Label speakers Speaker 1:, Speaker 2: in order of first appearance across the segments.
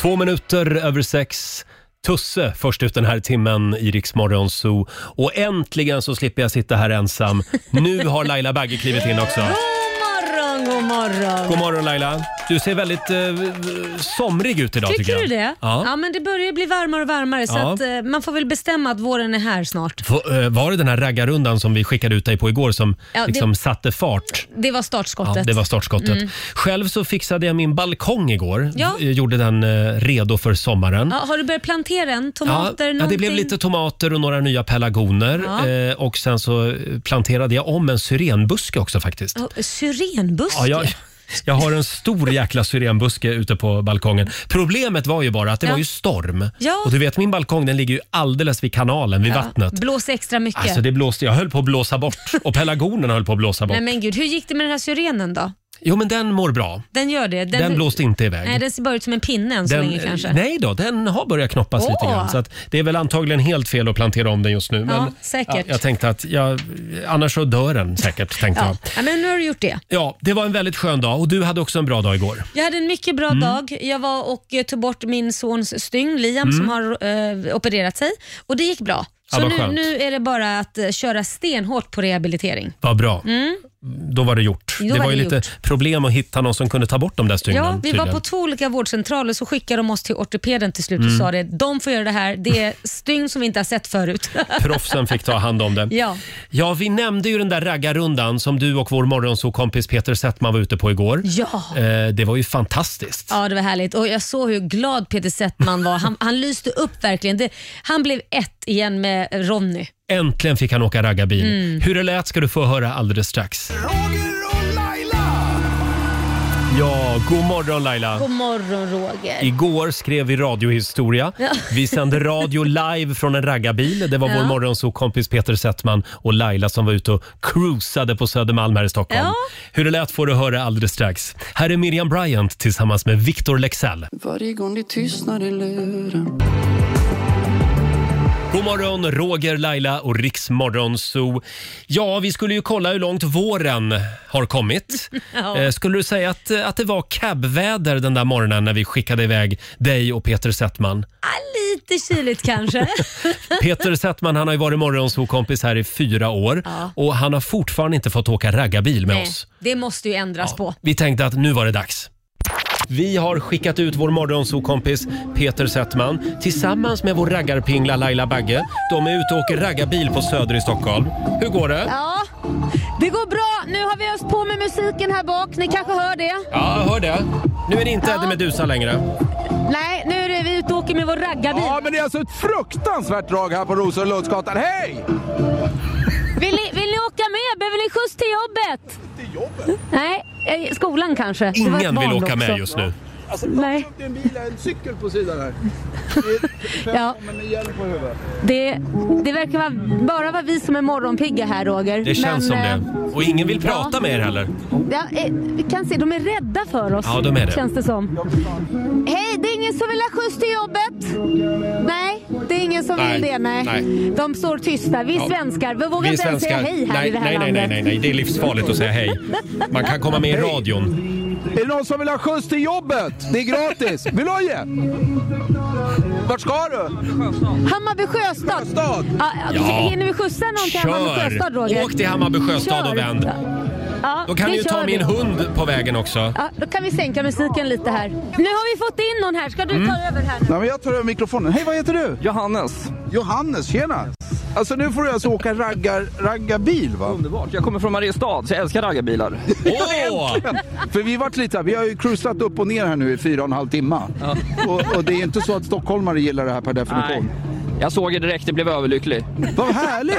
Speaker 1: Två minuter över sex. Tusse först ut den här timmen i Rix Morgon Zoo. Och äntligen så slipper jag sitta här ensam. Nu har Laila Bagge klivit in också.
Speaker 2: morgon, god morgon.
Speaker 1: God morgon Laila. Du ser väldigt eh, somrig ut idag tycker,
Speaker 2: Tycker
Speaker 1: jag.
Speaker 2: du det?
Speaker 1: Ja.
Speaker 2: men det börjar bli varmare och varmare så
Speaker 1: Ja.
Speaker 2: att, eh, man får väl bestämma att våren är här snart.
Speaker 1: V- eh, Var det den här raggarrundan som vi skickade ut dig på igår som
Speaker 2: Ja, det-
Speaker 1: liksom satte fart?
Speaker 2: Det var
Speaker 1: Ja,
Speaker 2: startskottet.
Speaker 1: det var startskottet.
Speaker 2: Mm.
Speaker 1: Själv så fixade jag min balkong igår.
Speaker 2: Ja.
Speaker 1: Jag gjorde den eh, redo för sommaren.
Speaker 2: Ja, har du börjat plantera än? Tomater?
Speaker 1: ja, ja, det blev
Speaker 2: någonting?
Speaker 1: lite tomater och några nya pelargoner.
Speaker 2: Ja.
Speaker 1: Eh, och sen så planterade jag om en syrenbuske också faktiskt.
Speaker 2: Ja, syrenbuske?
Speaker 1: Ja, jag, jag har en stor jäkla syrenbuske ute på balkongen. Problemet var ju bara att det
Speaker 2: Ja.
Speaker 1: var ju storm.
Speaker 2: Ja.
Speaker 1: Och du vet, min balkong den ligger ju alldeles vid kanalen, vid
Speaker 2: Ja,
Speaker 1: vattnet.
Speaker 2: Blås extra mycket.
Speaker 1: Alltså det blåste, jag höll på att blåsa bort och pelargonerna höll på att blåsa bort.
Speaker 2: Nej men gud, hur gick det med den här syrenen då?
Speaker 1: Jo men den mår bra.
Speaker 2: Den gör det? Den,
Speaker 1: Den, blåste inte iväg.
Speaker 2: Nej, den ser bara ut som en pinne än så
Speaker 1: Den-
Speaker 2: länge kanske.
Speaker 1: Nej då, den har börjat knoppas
Speaker 2: Åh.
Speaker 1: lite grann. Så att det är väl antagligen helt fel att plantera om den just nu. men
Speaker 2: säkert.
Speaker 1: ja, jag tänkte att jag, annars så dör den säkert. Tänkte
Speaker 2: Ja.
Speaker 1: jag.
Speaker 2: Ja, men nu har du gjort det.
Speaker 1: Ja, det var en väldigt skön dag och du hade också en bra dag igår.
Speaker 2: Jag hade en mycket bra
Speaker 1: Mm.
Speaker 2: dag. Jag var och eh, tog bort min sons styng, Liam,
Speaker 1: Mm.
Speaker 2: som har eh, opererat sig och det gick bra.
Speaker 1: Ja,
Speaker 2: Så
Speaker 1: vad
Speaker 2: nu,
Speaker 1: skönt.
Speaker 2: nu är det bara att eh, köra stenhårt på rehabilitering.
Speaker 1: Vad bra.
Speaker 2: Mm.
Speaker 1: Då var det gjort.
Speaker 2: Då
Speaker 1: det
Speaker 2: var
Speaker 1: var ju
Speaker 2: det
Speaker 1: lite
Speaker 2: gjort.
Speaker 1: problem att hitta någon som kunde ta bort de där stygnen.
Speaker 2: Ja, vi var
Speaker 1: tydligen.
Speaker 2: på två olika vårdcentraler så skickade de oss till ortopeden till slut och
Speaker 1: Mm.
Speaker 2: sa det. De får göra det här. Det är stygn som vi inte har sett förut.
Speaker 1: Proffsen fick ta hand om det.
Speaker 2: ja.
Speaker 1: Ja, vi nämnde ju den där raggarrundan som du och vår morgonsåkompis Peter Settman var ute på igår.
Speaker 2: Ja.
Speaker 1: Eh, det var ju fantastiskt.
Speaker 2: ja, det var härligt. Och Jag såg hur glad Peter Settman var. Han, han lyste upp verkligen. Det, han blev ett igen med Ronny.
Speaker 1: Äntligen fick han åka raggarbil.
Speaker 2: Mm.
Speaker 1: Hur det lät ska du få höra alldeles strax. Ja, god morgon Laila.
Speaker 2: God morgon Roger.
Speaker 1: Igår skrev vi radiohistoria.
Speaker 2: Ja.
Speaker 1: Vi sände radio live från en raggarbil. Det var vår
Speaker 2: Ja.
Speaker 1: morgonsåkompis Peter Settman och Laila som var ute och cruisade på Södermalm här i Stockholm.
Speaker 2: Ja.
Speaker 1: Hur det lät får du höra alldeles strax. Här är Miriam Bryant tillsammans med Victor Lexell.
Speaker 3: Varje gång det tystnar i luren
Speaker 1: God morgon, Roger, Laila och Riksmorgon Zoo. Ja, vi skulle ju kolla hur långt våren har kommit.
Speaker 2: Ja.
Speaker 1: Eh, Skulle du säga att, att det var cabväder den där morgonen när vi skickade iväg dig och Peter Settman?
Speaker 2: Lite kyligt kanske.
Speaker 1: Peter Settman han har ju varit morgonzoo-kompis här i fyra år
Speaker 2: Ja.
Speaker 1: och han har fortfarande inte fått åka raggarbil med
Speaker 2: Nej,
Speaker 1: oss.
Speaker 2: Det måste ju ändras på.
Speaker 1: Vi tänkte att nu var det dags. Vi har skickat ut vår morgonzoo-kompis Peter Settman tillsammans med vår raggarpingla Laila Bagge. De är ute och åker raggarbil på Söder i Stockholm. Hur går det?
Speaker 4: Ja, det går bra. Nu har vi öst på med musiken här bak. Ni kanske hör det?
Speaker 1: Ja, jag hör det. Nu är det inte Eddie Meduza längre.
Speaker 4: Nej, nu är det vi ute och åker med vår raggarbil.
Speaker 5: Ja, men det är alltså ett fruktansvärt drag här på Rosenlundsgatan. Hej!
Speaker 4: Vill ni, vill ni åka med? Behöver ni skjuts till jobbet? Till jobbet? Nej, eh, skolan kanske. Det var ett
Speaker 1: Ingen vill
Speaker 4: barn
Speaker 1: åka
Speaker 4: också.
Speaker 1: med just nu.
Speaker 5: Alltså,
Speaker 4: Nej.
Speaker 5: det är en bil en cykel på sidan här.
Speaker 4: Ja,
Speaker 5: Men hjälp på huvudet.
Speaker 4: det, det verkar vara, bara vara vi som är morgonpigga här Roger.
Speaker 1: Det känns som
Speaker 4: Men, eh,
Speaker 1: det. Och ingen vill
Speaker 4: ja.
Speaker 1: prata med er heller.
Speaker 4: Ja, eh, vi kan se, de är rädda för oss.
Speaker 1: Ja, de är det.
Speaker 4: Känns det som. Hej, det är ingen som vill ha skjuts till jobbet? Nej, det är ingen som
Speaker 1: Nej,
Speaker 4: vill det. Nej.
Speaker 1: nej.
Speaker 4: De står tysta. Vi
Speaker 1: Ja.
Speaker 4: svenskar, vi vågar
Speaker 1: Vi
Speaker 4: inte ens säga
Speaker 1: svenskar-
Speaker 4: hej här
Speaker 1: nej,
Speaker 4: i det här
Speaker 1: nej, nej,
Speaker 4: landet.
Speaker 1: nej, nej, nej, det är livsfarligt att säga hej. Man kan komma med i radion.
Speaker 5: Är det någon som vill ha skjuts till jobbet? Det är gratis. Vill du ha hjälp? Vart ska du?
Speaker 4: Hammarby sjöstad.
Speaker 5: Sjöstad.
Speaker 4: Ja,
Speaker 1: Ja.
Speaker 4: Hinner vi skjussa någon till Hammarby sjöstad,
Speaker 1: Kör!
Speaker 4: Roger?
Speaker 1: Åk till Hammarby sjöstad
Speaker 4: Kör.
Speaker 1: och vänd.
Speaker 4: Ja,
Speaker 1: Då kan
Speaker 4: vi
Speaker 1: du ju ta
Speaker 4: kör
Speaker 1: min
Speaker 4: det.
Speaker 1: hund på vägen också.
Speaker 4: Ja, då kan vi sänka musiken lite här. Nu har vi fått in någon här. Ska du
Speaker 1: Mm.
Speaker 4: ta över här nu?
Speaker 5: Nej, men jag tar över mikrofonen. Hej, vad heter du?
Speaker 6: Johannes.
Speaker 5: Johannes, tjena. Alltså nu får du alltså åka raggar, raggarbil va?
Speaker 6: Underbart. Jag kommer från Mariestad så jag älskar raggarbilar.
Speaker 1: Åh!
Speaker 5: För vi vart lite, vi har ju cruisat upp och ner här nu i fyra och en halv timme. Och, och det är inte så att stockholmare gillar det här per definition.
Speaker 6: Jag såg er direkt, jag blev överlycklig.
Speaker 5: Vad härligt!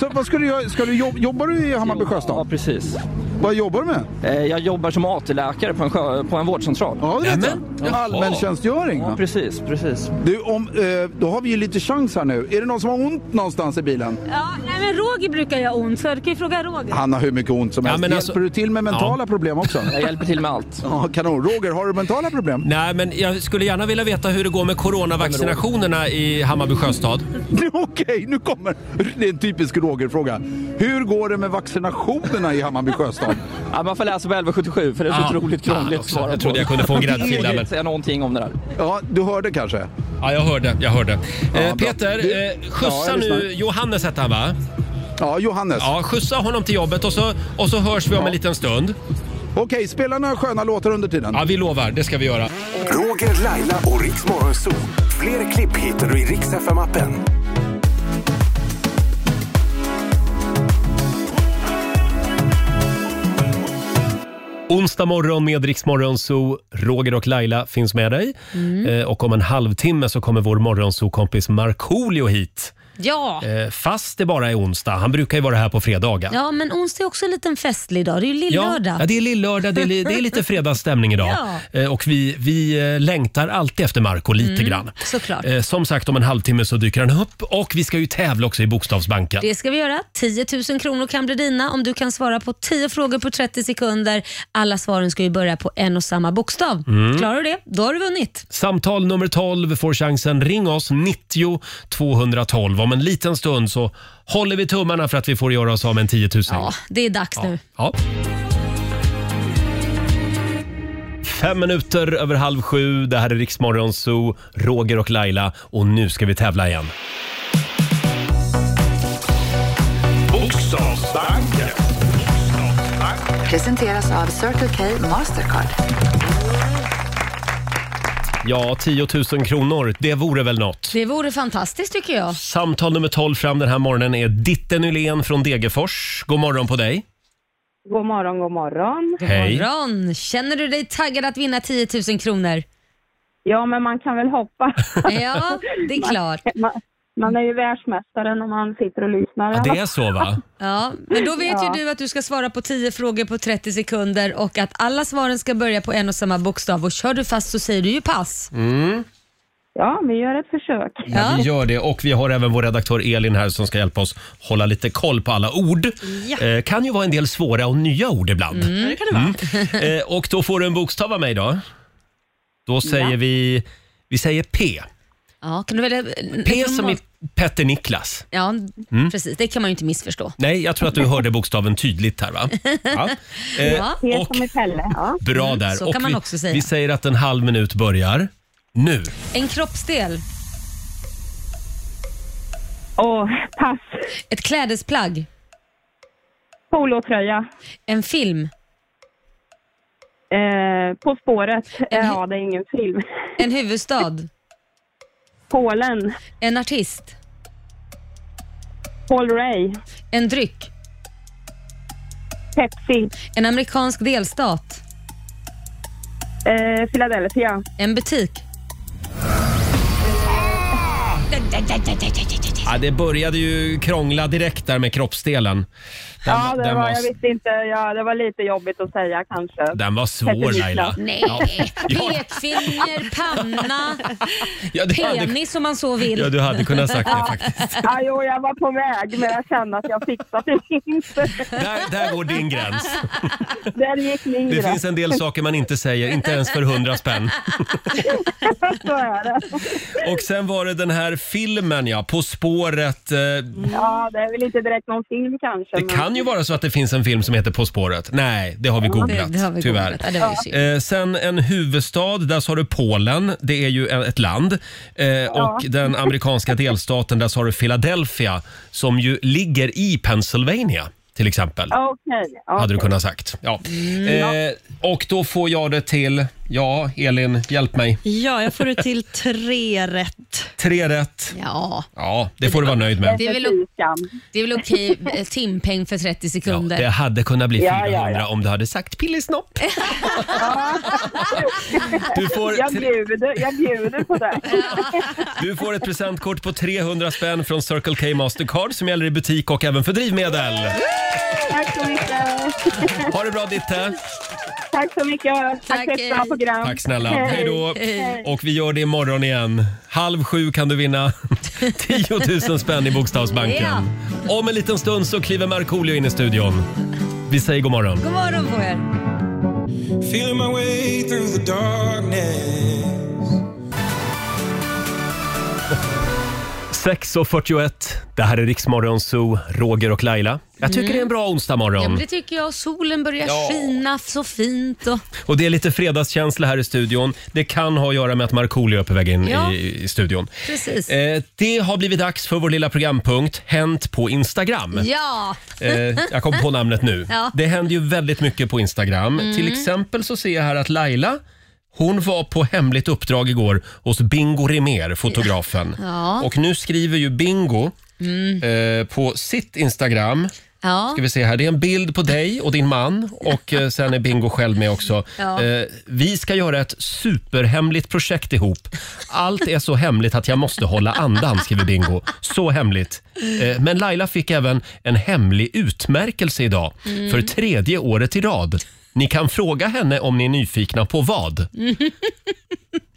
Speaker 5: Så vad ska du göra? Ska du jobb, jobbar du i Hammarby
Speaker 6: Ja,
Speaker 5: sjöstad?
Speaker 6: precis.
Speaker 5: Vad jobbar du med?
Speaker 6: Eh, Jag jobbar som AT-läkare på en, sjö, på en vårdcentral.
Speaker 5: Ja, det vet
Speaker 1: Nämen.
Speaker 5: jag. Allmäntjänstgöring.
Speaker 6: Ja,
Speaker 5: va?
Speaker 6: precis, precis.
Speaker 5: Du, om, eh, då har vi ju lite chans här nu. Är det någon som har ont någonstans i bilen?
Speaker 4: Ja, nej, men Roger brukar göra ont, så du kan ju fråga Roger.
Speaker 5: Han har hur mycket ont som
Speaker 1: Ja,
Speaker 5: helst.
Speaker 1: men alltså-
Speaker 5: Hjälper du till med mentala problem också?
Speaker 6: Jag hjälper till med allt.
Speaker 5: Ja, kanon. Roger, har du mentala problem?
Speaker 1: Nej, men jag skulle gärna vilja veta hur det går med coronavaccinationerna i Hammarby sjöstad.
Speaker 5: Okej, nu kommer... Det är en typisk Roger-fråga. Hur går det med vaccinationerna i Hammarby sjöstad?
Speaker 6: Ja, man får läsa på 1177 för det är så
Speaker 1: Ja.
Speaker 6: otroligt krångligt
Speaker 1: Fan
Speaker 6: att
Speaker 1: också,
Speaker 6: svara
Speaker 1: jag trodde
Speaker 6: på.
Speaker 1: jag kunde få en
Speaker 6: Det
Speaker 1: gräddfil
Speaker 6: går
Speaker 1: där,
Speaker 6: inte
Speaker 1: men-
Speaker 6: att säga någonting om det där.
Speaker 5: Ja, du hörde kanske?
Speaker 1: Ja, jag hörde. Jag hörde. eh,
Speaker 5: bra.
Speaker 1: Peter,
Speaker 5: Du-
Speaker 1: eh,
Speaker 5: Ja,
Speaker 1: skjutsa
Speaker 5: jag lyssnar.
Speaker 1: nu Johannes hette han va?
Speaker 5: Ja, Johannes.
Speaker 1: Ja, skjutsa honom till jobbet och så, och så hörs vi om en liten stund.
Speaker 5: Okej, spela några sköna låtar under tiden.
Speaker 1: Ja, vi lovar. Det ska vi göra.
Speaker 7: Roger, Laila och Riks Morgonzoo. Fler klipp hittar du i Riks FM-appen.
Speaker 1: Onsdag morgon med Rix Morgonzoo. Roger och Laila finns med dig.
Speaker 2: Mm.
Speaker 1: Eh, och om en halvtimme så kommer vår Morgonzoo-kompis Markoolio hit.
Speaker 2: Ja.
Speaker 1: Eh, fast det bara är onsdag. Han brukar ju vara här på fredagar.
Speaker 2: ja, men onsdag är också en liten festlig dag. Det är ju
Speaker 1: Ja,
Speaker 2: lillördag.
Speaker 1: ja, det är lillördag, det är, li- det är lite fredagsstämning idag.
Speaker 2: Ja. Mm.
Speaker 1: Eh, Och vi, vi eh, längtar alltid efter Marco lite grann.
Speaker 2: såklart.
Speaker 1: Eh, Som sagt, om en halvtimme så dyker han upp och vi ska ju tävla också i Bokstavsbanken.
Speaker 2: Det ska vi göra. 10 000 kronor kan bli dina om du kan svara på 10 frågor på 30 sekunder. Alla svaren ska ju börja på en och samma bokstav.
Speaker 1: Mm.
Speaker 2: Klarar du det, då har du vunnit.
Speaker 1: Samtal nummer 12 får chansen. Ring oss, 90 212. Om en liten stund så håller vi tummarna för att vi får göra oss av med en 10 000.
Speaker 2: Ja, det är dags nu.
Speaker 1: Ja. Fem minuter över halv sju. Det här är Riksmorgon Zoo, Roger och Laila och nu ska vi tävla igen.
Speaker 8: Presenteras av Circle K Mastercard.
Speaker 1: Ja, 10 000 kronor, det vore väl något.
Speaker 2: Det vore fantastiskt tycker jag.
Speaker 1: Samtal nummer 12 fram den här morgonen är Ditte Nylén från Degerfors. God morgon på dig.
Speaker 9: God morgon, god morgon.
Speaker 1: Hej.
Speaker 2: Ron, känner du dig taggad att vinna 10 000 kronor?
Speaker 9: Ja, men man kan väl hoppa.
Speaker 2: Ja, det är klart.
Speaker 9: Man, man är ju världsmästare när man sitter och lyssnar.
Speaker 1: Ja, det är så va?
Speaker 2: Ja, men då vet
Speaker 9: Ja.
Speaker 2: ju du att du ska svara på 10 frågor på 30 sekunder och att alla svaren ska börja på en och samma bokstav. Och kör du fast så säger du ju pass.
Speaker 9: Ja, vi gör ett försök.
Speaker 1: Ja, vi gör det och vi har även vår redaktör Elin här som ska hjälpa oss hålla lite koll på alla ord. Eh, kan ju vara en del svåra och nya ord
Speaker 2: Mm.
Speaker 1: ibland.
Speaker 10: Mm,
Speaker 11: Det kan det vara.
Speaker 1: Eh, och då får du en bokstav av mig då. Då säger vi, vi säger P.
Speaker 2: Ja, kan du välja?
Speaker 1: P som i Mm. Petter Niklas.
Speaker 2: Ja, precis. Det kan man ju inte missförstå.
Speaker 1: Nej, jag tror att du hörde bokstaven tydligt här va? Ja. Eh,
Speaker 2: Ja.
Speaker 9: Helt
Speaker 1: och
Speaker 9: som i Pelle. Ja.
Speaker 1: bra där.
Speaker 2: Mm, så
Speaker 1: och
Speaker 2: kan man
Speaker 1: vi,
Speaker 2: också säga.
Speaker 1: vi säger att en halv minut börjar nu.
Speaker 2: En kroppsdel,
Speaker 9: Och pass.
Speaker 2: ett klädesplagg,
Speaker 9: Polotröja.
Speaker 2: en film,
Speaker 9: Eh, på spåret. Eh,
Speaker 2: En-
Speaker 9: ja, det är ingen film.
Speaker 2: en huvudstad,
Speaker 9: Polen.
Speaker 2: en artist,
Speaker 9: Paul Ray.
Speaker 2: en dryck,
Speaker 9: Pepsi.
Speaker 2: en amerikansk delstat,
Speaker 9: Eh, Philadelphia.
Speaker 2: en butik.
Speaker 1: Ja, det började ju krångla direkt där med kroppsdelen. Den,
Speaker 9: Ja, det
Speaker 1: den,
Speaker 9: var,
Speaker 1: var,
Speaker 9: jag visste inte. Ja, det var lite jobbigt att säga kanske.
Speaker 1: den var svår
Speaker 9: Petter
Speaker 1: Laila.
Speaker 9: Niklas.
Speaker 2: Nej,
Speaker 1: Ja. Ja.
Speaker 2: pekfinger, panna,
Speaker 1: Ja, du hade,
Speaker 2: penis om man så vill.
Speaker 1: ja, du hade kunnat sagt det faktiskt.
Speaker 9: Ja, jo, jag var på väg, men jag kände att jag fixade det inte.
Speaker 1: Där, där går din gräns.
Speaker 9: Där gick min
Speaker 1: Det
Speaker 9: gräns.
Speaker 1: finns en del saker man inte säger, inte ens för hundra spänn.
Speaker 9: Så är det.
Speaker 1: Och sen var det den här filmen ja, På spåret. eh,
Speaker 9: Ja, det är väl inte direkt någon film kanske.
Speaker 1: Det
Speaker 9: men-
Speaker 1: kan ju vara så att det finns en film som heter På spåret. Nej, det har vi googlat
Speaker 2: det, det har vi
Speaker 1: tyvärr.
Speaker 2: googlat. Ja, det var ju
Speaker 1: Eh,
Speaker 2: synd.
Speaker 1: sen en huvudstad, där sa du Polen. Det är ju en- ett land. Eh, Och den amerikanska delstaten, där sa du Philadelphia som ju ligger i Pennsylvania till exempel.
Speaker 9: Okej.
Speaker 1: Hade
Speaker 9: okej.
Speaker 1: du kunnat sagt. Ja.
Speaker 2: Mm.
Speaker 1: Eh, och då får jag det till, ja Elin, hjälp mig.
Speaker 11: Ja, jag får det till tre rätt.
Speaker 1: Tre rätt.
Speaker 2: Ja,
Speaker 1: Ja, det får du vara nöjd med.
Speaker 2: det är väl, o-
Speaker 9: Fikan.
Speaker 2: det är väl okej eh, timpeng för 30 sekunder.
Speaker 1: Ja, det hade kunnat bli 400
Speaker 9: Ja, ja, ja.
Speaker 1: om du hade sagt pillesnopp. du,
Speaker 9: Jag
Speaker 1: får, tre-
Speaker 9: bjuder, jag bjuder på det.
Speaker 1: du får ett presentkort på 300 spänn från Circle K Mastercard som gäller i butik och även för drivmedel.
Speaker 9: Tack så mycket.
Speaker 1: Ha det bra Ditte!
Speaker 9: Tack så mycket. Tack, för
Speaker 2: Tack,
Speaker 9: ett bra
Speaker 2: hej.
Speaker 9: program.
Speaker 1: Tack snälla. Hej då! Och vi gör det imorgon igen. Halv sju kan du vinna 10 000 spänn i Bokstavsbanken. Om en liten stund så kliver Markoolio in i studion. Vi säger god morgon.
Speaker 2: God morgon på er.
Speaker 1: 6.41, det här är Riksmorgon Zoo, Roger och Laila. Jag tycker det är en bra
Speaker 2: Ja, men
Speaker 1: onsdagmorgon.
Speaker 2: det tycker jag. Solen börjar
Speaker 1: Ja.
Speaker 2: skina så fint. Och,
Speaker 1: Och det är lite fredagskänsla här i studion. Det kan ha att göra med att Markoolio är på väg in
Speaker 2: Ja.
Speaker 1: i, i studion.
Speaker 2: precis.
Speaker 1: Eh, det har blivit dags för vår lilla programpunkt Hänt på Instagram.
Speaker 2: Ja,
Speaker 1: Eh, jag kom på namnet nu.
Speaker 2: Ja. Mm.
Speaker 1: Det händer ju väldigt mycket på Instagram. Till exempel så ser jag här att Laila hon var på hemligt uppdrag igår hos Bingo Rimér, fotografen.
Speaker 2: Ja. Mm.
Speaker 1: Och nu skriver ju Bingo eh, på sitt Instagram.
Speaker 2: ja.
Speaker 1: Ska vi se här. Det är en bild på dig och din man och eh, sen är Bingo själv med också.
Speaker 2: Ja.
Speaker 1: Eh, vi ska göra ett superhemligt projekt ihop. Allt är så hemligt att jag måste hålla andan, skriver Bingo. Så hemligt. Eh, men Laila fick även en hemlig utmärkelse idag
Speaker 2: Mm.
Speaker 1: för tredje året i rad. Ni kan fråga henne om ni är nyfikna på vad.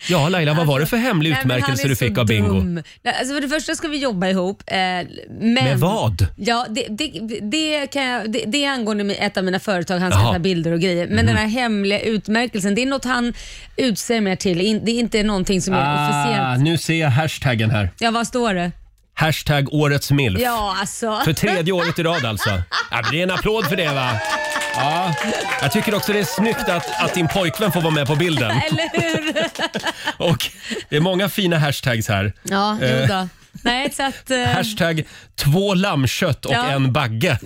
Speaker 1: Ja, Laila, vad var det för hemlig
Speaker 2: Nej, men han är
Speaker 1: utmärkelse du
Speaker 2: så
Speaker 1: fick av Bingo?
Speaker 2: dum. Nej, alltså för det första ska vi jobba ihop. Eh, men,
Speaker 1: Med vad?
Speaker 2: Ja, det, det, det, kan jag, det, det är angående mi- ett av mina företag, han ska
Speaker 1: Jaha. Mhm.
Speaker 2: ta bilder och grejer. Men den här hemliga utmärkelsen, det är något han utser mig till. In, det är inte någonting som är
Speaker 1: Ah,
Speaker 2: officiellt.
Speaker 1: nu ser jag hashtaggen här.
Speaker 2: Ja, vad står det?
Speaker 1: Hashtag årets milf.
Speaker 2: Ja, alltså.
Speaker 1: För tredje året i rad alltså. Ja, men det är en applåd för det va? Ja. Jag tycker också det är snyggt att, att din pojkvän får vara med på bilden.
Speaker 2: Eller hur?
Speaker 1: Och det är många fina hashtags här.
Speaker 2: Ja,
Speaker 1: Eh,
Speaker 2: jo då. Nej, så att... eh,
Speaker 1: Hashtag två lammkött och
Speaker 2: Ja.
Speaker 1: en bagge.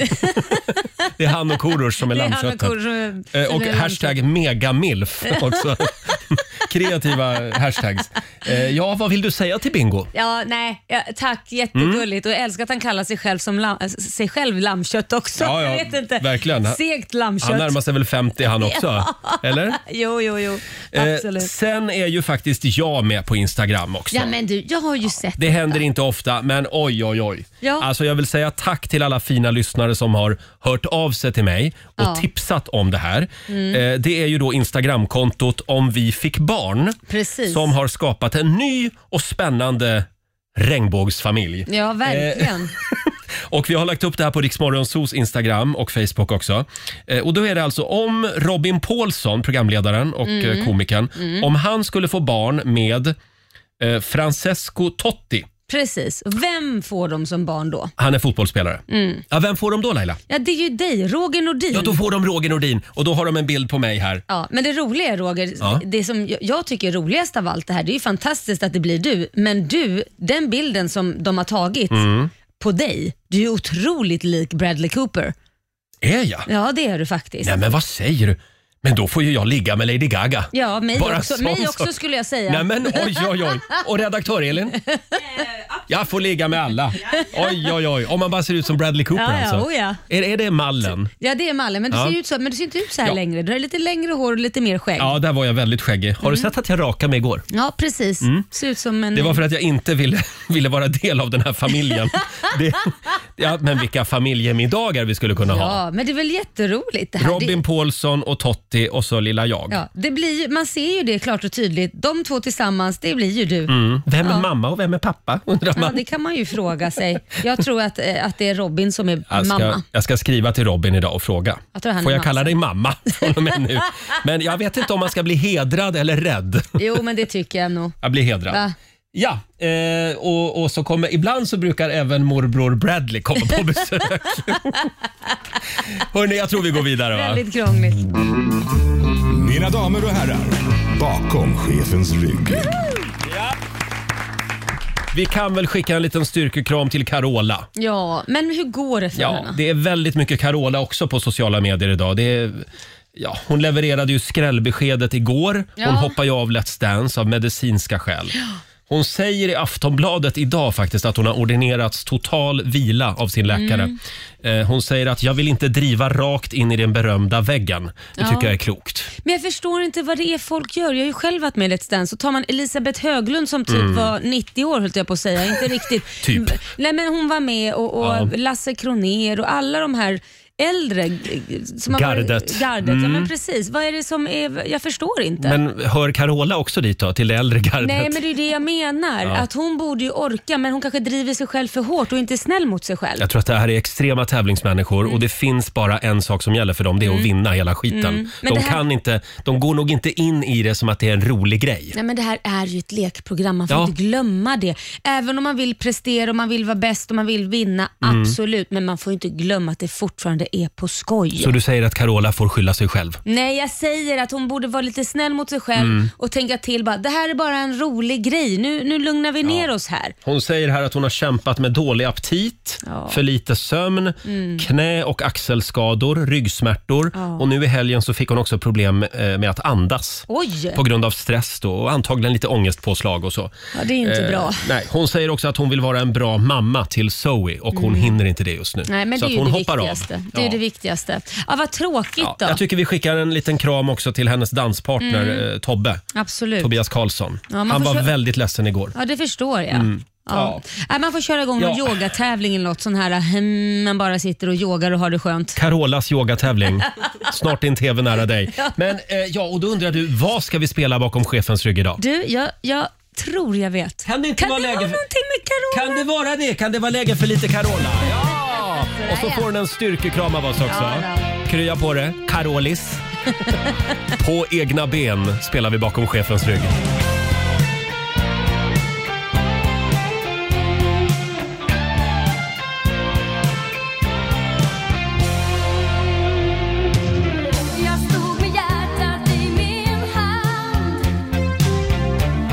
Speaker 1: Det är han och Korosh som är
Speaker 2: det är han och
Speaker 1: lammköttet.
Speaker 2: Kor som-
Speaker 1: Eh, Och
Speaker 2: eller-
Speaker 1: hashtag megamilf också. Kreativa hashtags. Eh, Ja, vad vill du säga till Bingo?
Speaker 2: Ja, nej, ja, tack. Jättegulligt.
Speaker 1: Mm.
Speaker 2: Och jag älskar att han kallar sig själv, som lam, äh, sig själv lammkött också.
Speaker 1: Ja, ja,
Speaker 2: jag vet inte.
Speaker 1: verkligen.
Speaker 2: Segt lammkött.
Speaker 1: Han närmar sig väl 50 han också? Eller?
Speaker 2: Jo, jo, jo.
Speaker 1: Eh,
Speaker 2: Absolut.
Speaker 1: sen är ju faktiskt jag med på Instagram också.
Speaker 2: ja, men du, jag har ju sett.
Speaker 1: Det händer inte ofta, men oj, oj, oj.
Speaker 2: Ja.
Speaker 1: Alltså, jag vill säga tack till alla fina lyssnare som har hört av sig till mig och
Speaker 2: Ja. Mm.
Speaker 1: tipsat om det här. Eh, det är ju då Instagramkontot om vi fick barn
Speaker 2: Precis.
Speaker 1: som har skapat en ny och spännande regnbågsfamilj.
Speaker 2: Ja, verkligen.
Speaker 1: Och vi har lagt upp det här på Riksmorgonsos Instagram och Facebook också. Eh, och då är det alltså om Robin Paulsson, programledaren och eh, komikern, om han skulle få barn med eh, Francesco Totti.
Speaker 2: Precis. Vem får de som barn då?
Speaker 1: Han är fotbollsspelare. Ja, vem får de då Laila?
Speaker 2: Ja, det är ju dig, Roger Nordin.
Speaker 1: Ja, då får de Roger Nordin och då har de en bild på mig här.
Speaker 2: Ja, men det roliga är Roger,
Speaker 1: Ja.
Speaker 2: det som jag- jag tycker är roligast av allt det här, det är ju fantastiskt att det blir du, men du, den bilden som de har tagit
Speaker 1: Mm.
Speaker 2: på dig, du är ju otroligt lik Bradley Cooper.
Speaker 1: Är jag?
Speaker 2: Ja, det är du faktiskt.
Speaker 1: Nej, men vad säger du? Men då får ju jag ligga med Lady Gaga.
Speaker 2: Ja, mig
Speaker 1: Bara
Speaker 2: också,
Speaker 1: sån
Speaker 2: mig också
Speaker 1: sak.
Speaker 2: skulle jag säga. Eh,
Speaker 1: Nej men oj oj oj. Och redaktör Elin? Jag får ligga med alla. Oj oj oj. Om man bara ser ut som Bradley Cooper
Speaker 2: Ja, ja,
Speaker 1: alltså.
Speaker 2: oh, ja.
Speaker 1: Är, är det mallen?
Speaker 2: Ja, det är Malle, men du,
Speaker 1: Ja.
Speaker 2: ser ju ut så, men du ser inte ut så här
Speaker 1: Ja.
Speaker 2: längre. Du har lite längre hår och lite mer skägg. Ja,
Speaker 1: Ja, där var jag väldigt skäggig. Har
Speaker 2: Mm.
Speaker 1: du sett att jag rakade mig igår?
Speaker 2: precis. Ser ut som en...
Speaker 1: Mm. Det var för att jag inte ville, ville vara del av den här familjen. Det, ja, men vilka familjemiddagar vi skulle kunna ha.
Speaker 2: Ja, men det är väl jätteroligt det här.
Speaker 1: Robin
Speaker 2: Det...
Speaker 1: Paulsson och Totti och så lilla jag.
Speaker 2: Ja, det blir, ju- man ser ju det klart och tydligt. De två tillsammans, det blir ju du.
Speaker 1: Mm. Vem är mamma och vem är pappa? Undrar
Speaker 2: Ja,
Speaker 1: man.
Speaker 2: det kan man ju fråga sig. Jag tror att, eh, att det är Robin som är
Speaker 1: Jag ska,
Speaker 2: mamma.
Speaker 1: jag ska skriva till Robin idag och fråga.
Speaker 2: Jag tror han är
Speaker 1: Får jag
Speaker 2: mamma
Speaker 1: kalla
Speaker 2: sen.
Speaker 1: dig mamma från och med nu? Men jag vet inte om man ska bli hedrad eller rädd.
Speaker 2: Jo, men det tycker jag nog.
Speaker 1: Jag blir hedrad.
Speaker 2: Va?
Speaker 1: Ja, eh, och, och så kommer, ibland så brukar även morbror Bradley komma på besök. Hörni, jag tror vi går vidare va?
Speaker 2: Väldigt krångligt.
Speaker 7: Mina damer och herrar, bakom chefens rygg.
Speaker 1: Vi kan väl skicka en liten styrkekram till Carola.
Speaker 2: Ja, men hur går det för
Speaker 1: Ja,
Speaker 2: henne?
Speaker 1: det är väldigt mycket Carola också på sociala medier idag. Det är, ja, hon levererade ju skrällbeskedet igår. Hon
Speaker 2: Ja.
Speaker 1: hoppar ju av Let's Dance av medicinska skäl. Hon säger i Aftonbladet idag faktiskt att hon har ordinerats total vila av sin läkare.
Speaker 2: Mm.
Speaker 1: Eh, Hon säger att jag vill inte driva rakt in i den berömda väggen. Det
Speaker 2: Ja.
Speaker 1: tycker jag är klokt.
Speaker 2: Men jag förstår inte vad det är folk gör. Jag har ju själv varit med i Let's Dance. Så tar man Elisabeth Höglund som typ var 90 år höll jag på att säga. Inte riktigt.
Speaker 1: Mm. Typ.
Speaker 2: Nej men hon var med och, och
Speaker 1: Ja.
Speaker 2: Lasse Kroner och alla de här äldre. g- Som har
Speaker 1: Gardet. Mm.
Speaker 2: Varit, gardet. Ja, men precis. Vad är det som är... Jag förstår inte.
Speaker 1: Men hör Carola också dit då, till det äldre gardet?
Speaker 2: Nej, men det är det jag menar. Att hon borde ju orka, men hon kanske driver sig själv för hårt och inte är snäll mot sig själv.
Speaker 1: Jag tror att det här är extrema tävlingsmänniskor
Speaker 2: Mm.
Speaker 1: och det finns bara en sak som gäller för dem, det är att vinna hela skiten.
Speaker 2: Mm. Men
Speaker 1: De,
Speaker 2: det här-
Speaker 1: kan inte, de går nog inte in i det som att det är en rolig grej.
Speaker 2: Nej, men det här är ju ett lekprogram, man får
Speaker 1: Ja.
Speaker 2: inte glömma det. Även om man vill prestera och man vill vara bäst och man vill vinna,
Speaker 1: Mm.
Speaker 2: absolut. Men man får inte glömma att det fortfarande är på skoj.
Speaker 1: Så du säger att Carola får skylla sig själv?
Speaker 2: Nej, jag säger att hon borde vara lite snäll mot sig själv
Speaker 1: Mm.
Speaker 2: och tänka till bara, det här är bara en rolig grej. Nu, nu lugnar vi ner oss här.
Speaker 1: Hon säger här att hon har kämpat med dålig aptit,
Speaker 2: Ja. Mm.
Speaker 1: för lite sömn, knä och axelskador, ryggsmärtor och nu i helgen så fick hon också problem eh, med att andas.
Speaker 2: Oj!
Speaker 1: På grund av stress då och antagligen lite ångestpåslag och så.
Speaker 2: Ja, det är ju inte
Speaker 1: Eh,
Speaker 2: bra.
Speaker 1: Nej, hon säger också att hon vill vara en bra mamma till Zoe och hon hinner inte det just nu.
Speaker 2: Mm. Nej, men
Speaker 1: så
Speaker 2: det är
Speaker 1: att
Speaker 2: ju
Speaker 1: hon
Speaker 2: det
Speaker 1: hoppar
Speaker 2: viktigaste.
Speaker 1: av.
Speaker 2: Det är ju det viktigaste. Ja, vad tråkigt
Speaker 1: Ja,
Speaker 2: då.
Speaker 1: jag tycker vi skickar en liten kram också till hennes danspartner eh, Tobbe.
Speaker 2: Mm. Absolut.
Speaker 1: Tobias Karlsson.
Speaker 2: Ja, man
Speaker 1: Han
Speaker 2: får
Speaker 1: var
Speaker 2: kö-
Speaker 1: väldigt ledsen igår.
Speaker 2: Ja, det förstår jag.
Speaker 1: Mm.
Speaker 2: Ja.
Speaker 1: Ja.
Speaker 2: Nej, man får köra igång någon
Speaker 1: Ja.
Speaker 2: yogatävling eller något sån här, hmm, man bara sitter och yogar och har det skönt.
Speaker 1: Carolas yogatävling. Snart är en TV nära dig. Men eh, ja, och då undrar du, vad ska vi spela bakom chefens rygg idag?
Speaker 2: Du, jag, jag tror jag vet.
Speaker 1: Kan det inte vara läge för-
Speaker 2: vara någonting med Carola?
Speaker 1: Kan det vara det? Kan det vara läge för lite Carola? Ja! Och så får hon en styrkekram av oss också. Krya på det. Carolis. På egna ben spelar vi bakom chefens rygg.
Speaker 4: Jag stod med hjärtat i min hand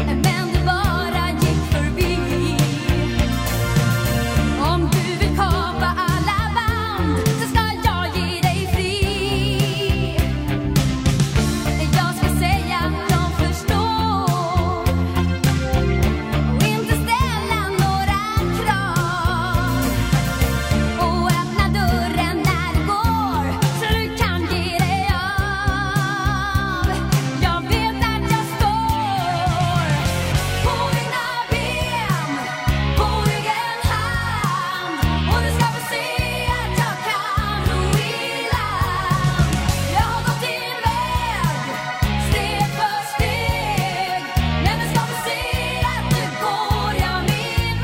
Speaker 4: Men det bara gick förbi Om du vill kapa alla band Så ska jag ge dig fri Jag ska säga att de förstår Och inte ställa några krav och öppna dörren när det går så du kan ge dig av Jag vet att jag står på mina ben, på egen hand och du ska få se att jag kan ro i land Jag har gått din väg, steg för steg men du ska få se att nu går jag min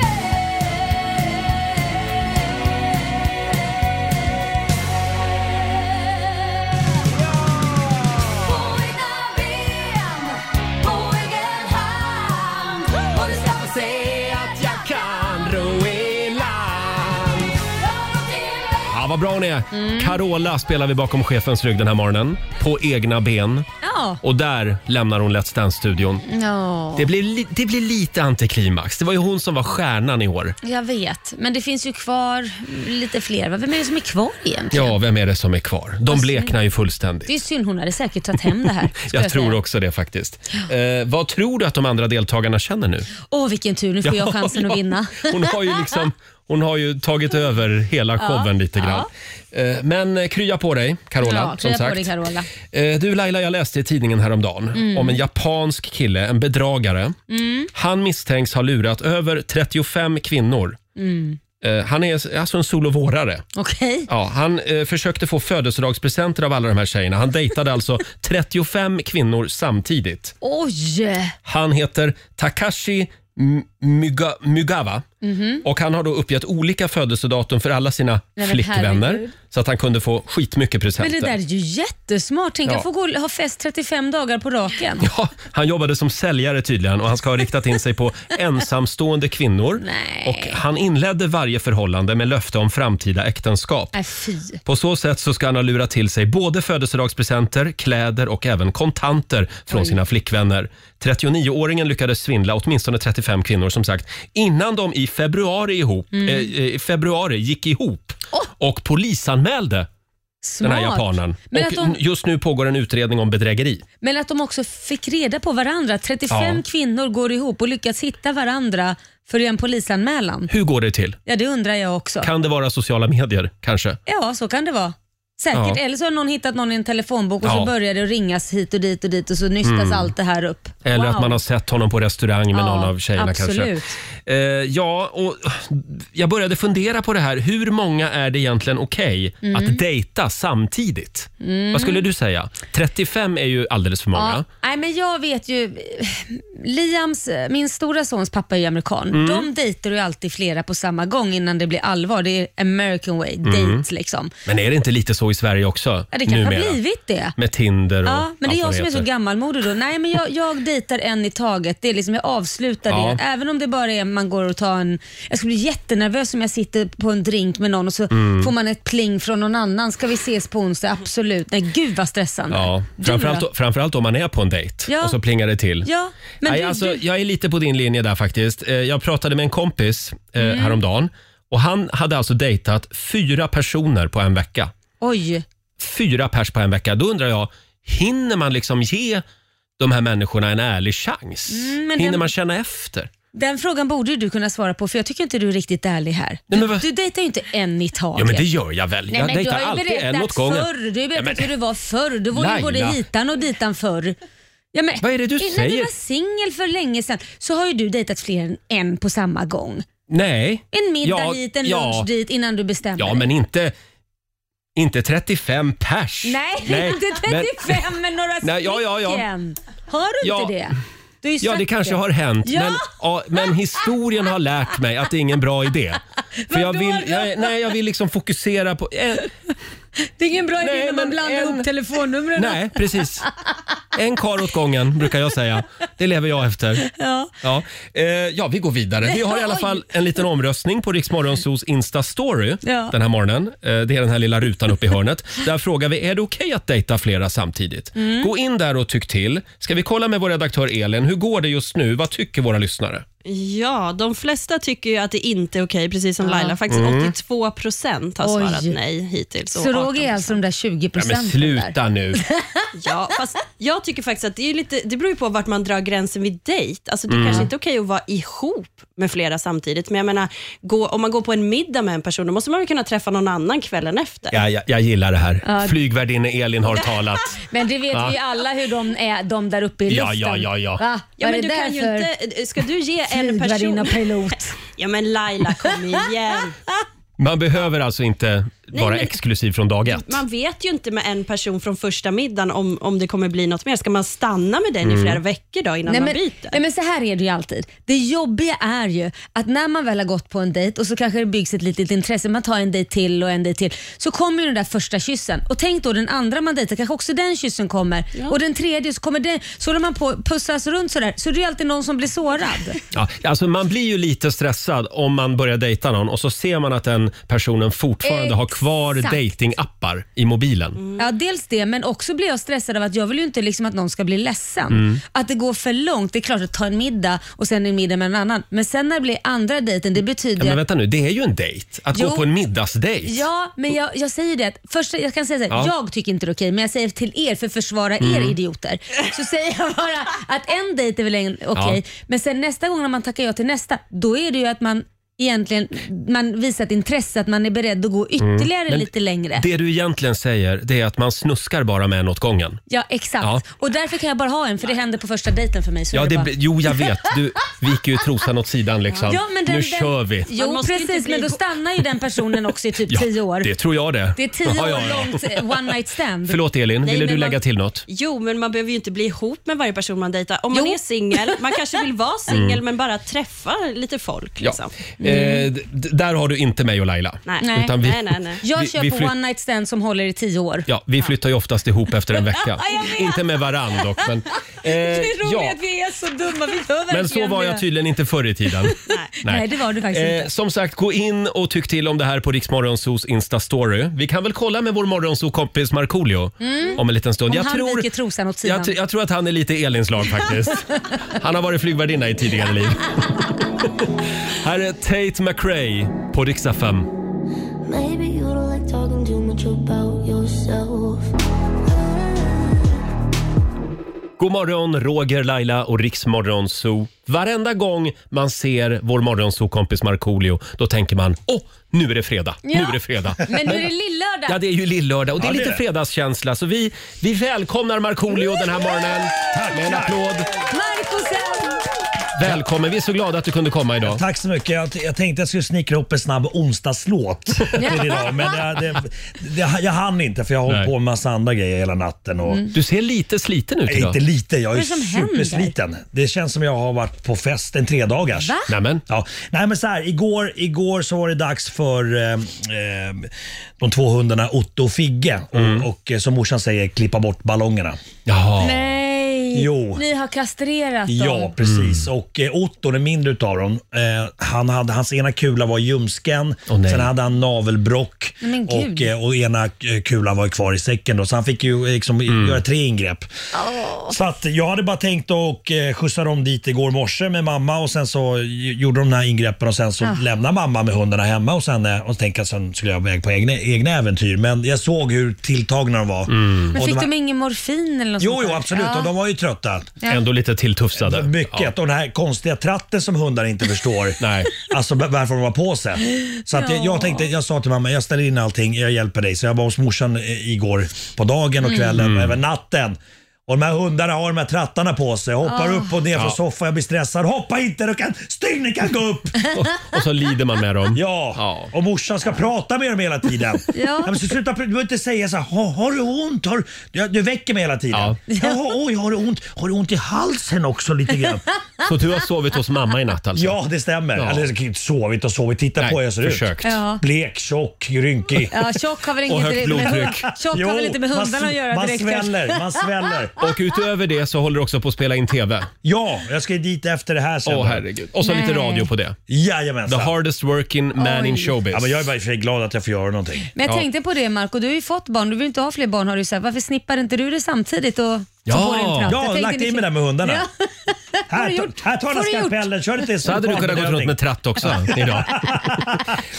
Speaker 4: väg på egna ben, på egen hand Och du ska få se att jag
Speaker 1: Kan ro i land.
Speaker 4: rör till mig
Speaker 1: Ja, vad bra hon är. Carola spelar vi bakom chefens rygg den här morgonen. På egna ben.
Speaker 2: Ja.
Speaker 1: Och där lämnar hon Let's Dance-studion.
Speaker 2: ja,
Speaker 1: Det blir, li- det blir lite antiklimax. Det var ju hon som var stjärnan i år.
Speaker 2: jag vet. Men det finns ju kvar lite fler. va? Vem är det som är kvar egentligen?
Speaker 1: Ja, vem är det som är kvar? De bleknar ju fullständigt.
Speaker 2: Det är synd, hon hade säkert tagit hem det här. skulle
Speaker 1: Jag tror
Speaker 2: säga.
Speaker 1: också det faktiskt. Eh, vad tror du att de andra deltagarna känner nu?
Speaker 2: Åh, vilken tur. Nu får jag chansen
Speaker 1: Ja,
Speaker 2: att vinna.
Speaker 1: Hon har ju, liksom, hon har ju tagit över hela showen lite grann. Eh, Men eh, krya på dig, Carola.
Speaker 2: Ja,
Speaker 1: som
Speaker 2: krya på
Speaker 1: sagt.
Speaker 2: dig, Carola.
Speaker 1: Eh, Du Laila, jag läste i tidningen häromdagen
Speaker 2: Mm.
Speaker 1: om en japansk kille, en bedragare. Han misstänks ha lurat över 35 kvinnor. Eh, Han är alltså en solovårare.
Speaker 2: Okej.
Speaker 1: Ja, han eh, försökte få födelsedagspresenter av alla de här tjejerna. Han dejtade alltså 35 kvinnor samtidigt.
Speaker 2: Oj!
Speaker 1: Han heter Takashi M- Muga- Mugawa
Speaker 2: Mhm.
Speaker 1: och han har då uppgett olika födelsedatum för alla sina
Speaker 2: men
Speaker 1: flickvänner
Speaker 2: herregud.
Speaker 1: så att han kunde få skitmycket
Speaker 2: Men det
Speaker 1: presenter.
Speaker 2: där är ju jättesmart. Tänk,
Speaker 1: Ja.
Speaker 2: jag får gå och ha fest 35 dagar på raken.
Speaker 1: Ja, han jobbade som säljare tydligen och han ska ha riktat in sig på ensamstående kvinnor.
Speaker 2: Nej.
Speaker 1: Och han inledde varje förhållande med löfte om framtida äktenskap.
Speaker 2: Nej, Äh, fy.
Speaker 1: På så sätt så ska han ha lurat till sig både födelsedagspresenter, kläder och även kontanter från sina flickvänner. 39-åringen lyckades svindla åtminstone 35 kvinnor som sagt innan de i februari, ihop,
Speaker 2: Mm.
Speaker 1: eh, eh, i februari gick ihop och polisanmälde
Speaker 2: Smart.
Speaker 1: den här japanen.
Speaker 2: Men
Speaker 1: och
Speaker 2: att, de,
Speaker 1: Just nu pågår en utredning om bedrägeri.
Speaker 2: men att de också fick reda på varandra. 35
Speaker 1: Ja.
Speaker 2: kvinnor går ihop och lyckats hitta varandra för en polisanmälan.
Speaker 1: Hur går det till?
Speaker 2: Ja, det undrar jag också.
Speaker 1: Kan det vara sociala medier kanske?
Speaker 2: Ja, så kan det vara. Säkert.
Speaker 1: Ja.
Speaker 2: Eller så har någon hittat någon i en telefonbok och
Speaker 1: Ja. Mm.
Speaker 2: så börjar det ringas hit och dit och dit och så nystas allt det här upp.
Speaker 1: Eller
Speaker 2: Wow.
Speaker 1: att man har sett honom på restaurang med
Speaker 2: Ja,
Speaker 1: någon av tjejerna
Speaker 2: absolut.
Speaker 1: kanske. Eh, ja, och jag började fundera på det här. Hur många är det egentligen okej
Speaker 2: Mm.
Speaker 1: att dejta samtidigt? Vad skulle du säga? 35 är ju alldeles för många.
Speaker 2: Nej, men jag vet ju... eh, Liams, eh, min stora sons pappa är ju amerikan.
Speaker 1: Mm.
Speaker 2: De dejtar ju alltid flera på samma gång innan det blir allvar. Det är American way, dates liksom.
Speaker 1: Men är det inte lite så i Sverige också?
Speaker 2: Ja, det kanske
Speaker 1: Mm. numera?
Speaker 2: har blivit det.
Speaker 1: Med Tinder och
Speaker 2: Ja, men det
Speaker 1: allt
Speaker 2: är jag
Speaker 1: vad
Speaker 2: som är så
Speaker 1: heter.
Speaker 2: gammalmodig då. Nej, men jag, jag dejtar en i taget. Det är liksom, jag avslutar
Speaker 1: Ja.
Speaker 2: det. Även om det bara är man går och tar en... Jag skulle bli jättenervös om jag sitter på en drink med någon och så
Speaker 1: Mm.
Speaker 2: får man ett pling från någon annan. Ska vi ses på onsdag? Absolut. Nej, gud vad stressande.
Speaker 1: Ja,
Speaker 2: Du
Speaker 1: framförallt,
Speaker 2: då?
Speaker 1: framförallt om man är på en dejt
Speaker 2: Ja.
Speaker 1: och så plingar det till.
Speaker 2: Ja, men
Speaker 1: Nej,
Speaker 2: du,
Speaker 1: alltså,
Speaker 2: du,
Speaker 1: jag är lite på din linje där faktiskt. Eh, Jag pratade med en kompis eh,
Speaker 2: Mm.
Speaker 1: häromdagen och han hade alltså dejtat fyra personer på en vecka.
Speaker 2: oj.
Speaker 1: Fyra pers på en vecka. Då undrar jag, hinner man liksom ge de här människorna en ärlig chans?
Speaker 2: Mm, men
Speaker 1: hinner
Speaker 2: den-
Speaker 1: man känna efter?
Speaker 2: Den frågan borde ju du kunna svara på för jag tycker inte du är riktigt ärlig här. Du,
Speaker 1: men vad-
Speaker 2: du dejtar ju inte en i taget.
Speaker 1: Ja, men det gör jag väl.
Speaker 2: Nej,
Speaker 1: jag
Speaker 2: men du
Speaker 1: dejtar
Speaker 2: har ju
Speaker 1: alltid en åt
Speaker 2: berättat
Speaker 1: gången.
Speaker 2: förr. Du har ju
Speaker 1: Ja,
Speaker 2: berättat
Speaker 1: men-
Speaker 2: hur det var förr. Du var ju både
Speaker 1: Laila.
Speaker 2: hitan och ditan förr. Ja, men,
Speaker 1: Vad är det du
Speaker 2: innan
Speaker 1: säger?
Speaker 2: du var singel för länge sedan så har ju du dejtat fler än en på samma gång.
Speaker 1: Nej.
Speaker 2: En middag
Speaker 1: Ja,
Speaker 2: hit, en
Speaker 1: ja.
Speaker 2: lunch dit innan du bestämmer
Speaker 1: Ja,
Speaker 2: dig.
Speaker 1: men inte, inte 35 pers.
Speaker 2: Nej, inte
Speaker 1: men-
Speaker 2: 35 men, några
Speaker 1: Nej, ja, ja, ja.
Speaker 2: stycken. Har du
Speaker 1: Ja.
Speaker 2: inte det? Du har ju
Speaker 1: Ja,
Speaker 2: sagt
Speaker 1: det kanske har hänt.
Speaker 2: Ja!
Speaker 1: Men, ja, men historien har lärt mig att det är ingen bra idé. För jag
Speaker 2: Vadå
Speaker 1: vill,
Speaker 2: då?
Speaker 1: jag, nej, jag vill liksom fokusera på... Eh,
Speaker 2: Det är ingen bra idé
Speaker 1: Nej,
Speaker 2: när man
Speaker 1: men
Speaker 2: blandar
Speaker 1: en-
Speaker 2: ihop telefonnumren.
Speaker 1: nej, precis. En kar åt gången, brukar jag säga. Det lever jag efter.
Speaker 2: Ja.
Speaker 1: Ja, eh, ja, vi går vidare. Vi har i alla fall en liten omröstning på Riksmorgonsos Insta-story
Speaker 2: Ja.
Speaker 1: den här morgonen. Eh, det är den här lilla rutan uppe i hörnet. Där frågar vi, är det okej att dejta flera samtidigt?
Speaker 2: Mm.
Speaker 1: Gå in där och tyck till. Ska vi kolla med vår redaktör Elin, hur går det just nu? Vad tycker våra lyssnare?
Speaker 11: Ja, de flesta tycker ju att det inte är okej, precis som Laila. Faktiskt
Speaker 1: Mm.
Speaker 11: 82 procent har
Speaker 2: Oj.
Speaker 11: svarat nej hittills. och
Speaker 2: Så Roger
Speaker 11: 18%.
Speaker 2: är alltså de där 20
Speaker 1: Ja, men
Speaker 2: procenten där.
Speaker 1: sluta nu.
Speaker 11: Ja, fast jag tycker faktiskt att det, är lite, det beror ju på vart man drar gränsen vid dejt. Alltså, det är
Speaker 1: Mm.
Speaker 11: kanske inte är okej att vara ihop med flera samtidigt, men jag menar, gå, om man går på en middag med en person, då måste man väl kunna träffa någon annan kvällen efter.
Speaker 1: Ja, jag, jag gillar det här. Flygvärdinne Elin har talat.
Speaker 2: Men det vet vi ju alla hur de är, de där uppe i
Speaker 1: Ja,
Speaker 2: luften.
Speaker 1: ja, ja, ja.
Speaker 2: Va?
Speaker 11: Ja,
Speaker 2: Vad
Speaker 11: men
Speaker 2: är
Speaker 11: du
Speaker 2: det
Speaker 11: kan ju
Speaker 2: därför?
Speaker 11: inte, eh, ska du ge en
Speaker 2: Flygvärdinna
Speaker 11: person...
Speaker 2: och pilot.
Speaker 11: Ja men Laila, kom igen.
Speaker 1: Man behöver alltså inte vara
Speaker 11: men-
Speaker 1: exklusiv från dag ett.
Speaker 11: Man vet ju inte med en person från första middagen om, om det kommer bli något mer. Ska man stanna med den
Speaker 1: Mm.
Speaker 11: i flera veckor då innan
Speaker 2: Nej
Speaker 11: man
Speaker 2: men,
Speaker 11: byter?
Speaker 2: nej men så här är det ju alltid. Det jobbiga är ju att när man väl har gått på en dejt och så kanske det byggs ett litet intresse, man tar en dejt till och en dejt till. Så kommer ju den där första kyssen och tänk då den andra man dejtar, kanske också den kyssen kommer. Och den tredje så kommer den, så håller man på och pussas runt sådär. Så det är ju alltid någon som blir sårad.
Speaker 1: Ja, alltså man blir ju lite stressad om man börjar dejta någon och så ser man att den personen fortfarande har kvar
Speaker 2: Exakt. Mm.
Speaker 1: datingappar i mobilen.
Speaker 2: Ja, dels det, men också blir jag stressad av att jag vill ju inte liksom att någon ska bli ledsen.
Speaker 1: Mm.
Speaker 2: Att det går för långt. Det är klart att ta en middag och sen en middag med en annan. Men sen när det blir andra dejten, det betyder
Speaker 1: Ja, men
Speaker 2: ju att
Speaker 1: vänta nu, det är ju en dejt. Att gå
Speaker 2: Jo.
Speaker 1: på en middagsdejt.
Speaker 2: Ja, men jag, jag säger det. att Först, jag kan säga så här,
Speaker 1: Ja. Mm.
Speaker 2: jag tycker inte det är okej, men jag säger till er för att försvara er idioter. Så säger jag bara att en dejt är väl en- okej, men sen nästa gång när man tackar ja till nästa, då är det ju att man egentligen man visar ett intresse, att man är beredd att gå ytterligare
Speaker 1: Mm. Men
Speaker 2: lite längre.
Speaker 1: Det du egentligen säger det är att man snuskar bara med en åt gången.
Speaker 2: Ja, exakt.
Speaker 1: Ja.
Speaker 2: Och därför kan jag bara ha en, för det hände på första dejten för mig. Så
Speaker 1: Ja,
Speaker 2: är
Speaker 1: det,
Speaker 2: bara...
Speaker 1: jo, jag vet. Du viker ju trosan åt sidan liksom.
Speaker 2: Ja, men den,
Speaker 1: nu
Speaker 2: den,
Speaker 1: kör vi.
Speaker 11: Man
Speaker 2: Jo,
Speaker 11: måste ju inte
Speaker 2: precis,
Speaker 11: bli
Speaker 2: men då
Speaker 11: go-
Speaker 2: stannar ju den personen också i typ
Speaker 1: Ja,
Speaker 2: tio år.
Speaker 1: Det
Speaker 2: Det,
Speaker 1: tror jag det.
Speaker 2: är tio
Speaker 1: Ja, ja,
Speaker 2: år
Speaker 1: ja.
Speaker 2: långt eh, one night stand.
Speaker 1: Förlåt Elin,
Speaker 11: Nej,
Speaker 1: ville du
Speaker 11: men
Speaker 1: lägga
Speaker 11: man-
Speaker 1: till något?
Speaker 11: Jo, men man behöver ju inte bli ihop med varje person man dejtar. Om man
Speaker 2: Jo.
Speaker 11: är singel, man kanske vill vara singel men bara träffa lite folk.
Speaker 1: Mm. Ja.
Speaker 11: Liksom.
Speaker 1: Eh, d- d- där har du inte mig och Laila.
Speaker 11: Nej.
Speaker 2: Nej.
Speaker 1: Utan vi,
Speaker 11: Nej, nej, nej.
Speaker 2: Jag
Speaker 1: vi-
Speaker 2: kör
Speaker 1: vi
Speaker 2: på
Speaker 1: flytt-
Speaker 2: one night stand som håller i tio år.
Speaker 1: Ja, vi flyttar ju oftast ihop efter en vecka.
Speaker 2: jag vet.
Speaker 1: inte med varann dock. Men, eh, ja.
Speaker 2: vi är så dumma. Vi gör
Speaker 1: men så var jag tydligen inte förr i tiden.
Speaker 2: Nej. det var du faktiskt
Speaker 1: Eh,
Speaker 2: inte.
Speaker 1: som sagt, gå in och tyck till om det här på Riksmorgonsos Insta-story. Vi kan väl kolla med vår morgonsokompis Markoolio om en liten stund.
Speaker 2: Mm. Om han viker trosan åt sidan.
Speaker 1: jag, tr- jag tror att han är lite Elins lag faktiskt. han har varit flygvärdinna i tidigare liv. här är Tate McRae på Riksdag 5.
Speaker 4: Maybe you don't like talking too much about yourself.
Speaker 1: God morgon, Roger, Laila och Riksmorgon Zoo. Varenda gång man ser vår morgonzoo-kompis Markoolio, då tänker man åh, nu är det fredag. Nu är det fredag.
Speaker 2: Men nu är det lillördag.
Speaker 1: Ja, det är ju lillördag och det är
Speaker 12: Ja, det
Speaker 1: lite
Speaker 12: är det.
Speaker 1: fredagskänsla. Så vi, vi välkomnar Markoolio den här morgonen med en applåd.
Speaker 2: Marcus Elm!
Speaker 1: Välkommen, vi är så glada att du kunde komma idag.
Speaker 12: Tack så mycket. Jag, jag tänkte jag skulle snickra upp en snabb onsdagslåt till idag. Men jag, det, det, jag hann inte för jag har hållit
Speaker 1: Nej.
Speaker 12: på med massa andra grejer hela natten. Och,
Speaker 1: Du ser lite sliten ut
Speaker 12: Nej,
Speaker 1: idag.
Speaker 12: Inte lite, jag är,
Speaker 2: Vad är det som händer?
Speaker 12: supersliten. Det känns som jag har varit på fest en tredagars.
Speaker 2: Va?
Speaker 1: Nämen.
Speaker 12: Ja. Nej men så här, igår, igår så var det dags för eh, eh, de två hundarna Otto och Figge och, och eh, som morsan säger, klippa bort ballongerna.
Speaker 1: Mm. Jaha.
Speaker 2: Nej,
Speaker 12: Jo.
Speaker 2: ni har kastrerat dem.
Speaker 12: Ja, precis.
Speaker 1: Mm.
Speaker 12: Och eh, Otto, den mindre utav dem, eh, han hade, hans ena kula var i ljumsken.
Speaker 1: Åh, nej.
Speaker 12: sen hade han navelbrock
Speaker 2: Nej, men gud.
Speaker 12: och, eh, och ena eh, kulan var kvar i säcken. Då, så han fick ju eh, liksom,
Speaker 1: Mm.
Speaker 12: göra tre ingrepp. Så att jag hade bara tänkt att eh, skjutsa dem dit igår morse med mamma och sen så gj- gjorde de de här ingreppen och sen så
Speaker 2: Ah.
Speaker 12: lämnade mamma med hundarna hemma och sen eh, och tänkte jag sen skulle jag iväg på egna, egna äventyr. Men jag såg hur tilltagna de var.
Speaker 2: Men
Speaker 1: Mm.
Speaker 12: Och
Speaker 2: fick
Speaker 12: var-
Speaker 2: de ingen morfin eller något
Speaker 12: Jo,
Speaker 2: sånt
Speaker 12: jo
Speaker 2: där?
Speaker 12: absolut.
Speaker 2: Ja.
Speaker 12: Och de var ju trötta.
Speaker 1: Ändå lite tilltufsade.
Speaker 12: Mycket.
Speaker 1: Ja.
Speaker 12: Och den här konstiga tratten som hundar inte förstår.
Speaker 1: Nej.
Speaker 12: Alltså b- varför de har på sig. Så att jag, jag tänkte, jag sa till mamma, jag ställer in allting, jag hjälper dig. Så jag var hos morsan eh, igår på dagen
Speaker 2: Mm.
Speaker 12: och kvällen
Speaker 1: Mm.
Speaker 12: och även natten. Och de här hundarna har de här trattarna på sig. Jag
Speaker 2: Ah.
Speaker 12: hoppar upp och ner från soffan, jag blir stressad. Hoppa inte, du kan, stygnen kan gå upp!
Speaker 1: Och, och så lider man med dem.
Speaker 12: Ja,
Speaker 1: Ja.
Speaker 12: och morsan ska prata med dem hela tiden. ja. men så sluta, pr- du behöver inte säga så här, "Ha- har du ont? Har, du, du väcker mig hela tiden.
Speaker 1: Ja.
Speaker 12: Ja. oj, har du ont? Har du ont i halsen också lite grann?
Speaker 1: Så du har sovit hos mamma i natt alltså?
Speaker 12: Ja, det stämmer.
Speaker 1: Ja.
Speaker 12: Eller så- sovit och sovit. Titta
Speaker 1: Nej,
Speaker 12: på hur jag ser
Speaker 1: försökt.
Speaker 2: Ja.
Speaker 12: ut. Blek, tjock, rynkig.
Speaker 2: Ja, tjock har väl
Speaker 1: Och
Speaker 2: inget
Speaker 1: högt blodtryck.
Speaker 2: Tjock har väl inte med
Speaker 12: man
Speaker 2: hundarna
Speaker 12: sv-
Speaker 2: att göra
Speaker 12: Man
Speaker 2: direkt.
Speaker 12: sväller, man sväller.
Speaker 1: Och utöver det så håller du också på att spela in TV.
Speaker 12: Ja, jag ska ju dit efter det här sen.
Speaker 1: Åh
Speaker 12: då.
Speaker 1: herregud. Och så lite
Speaker 2: Nej.
Speaker 1: radio på det. The
Speaker 12: Jajamensan.
Speaker 1: hardest working man in showbiz.
Speaker 12: Ja, men jag är bara i och för sig glad att jag får göra någonting.
Speaker 2: Men jag
Speaker 1: Ja.
Speaker 2: tänkte på det Marco, du har ju fått barn, du vill inte ha fler barn har du sagt. Varför snippar inte du det samtidigt och tar
Speaker 1: Ja.
Speaker 2: på dig en tratt?
Speaker 12: Ja,
Speaker 2: tänkte
Speaker 12: lagt
Speaker 2: ni-
Speaker 12: in mig där med hundarna.
Speaker 2: Ja. Får
Speaker 12: Här,
Speaker 2: du
Speaker 12: ta-
Speaker 2: gjort.
Speaker 12: här tar den
Speaker 2: Får du gjort.
Speaker 12: skalpellen, kör lite
Speaker 1: Så hade du kunnat gå runt med tratt också idag.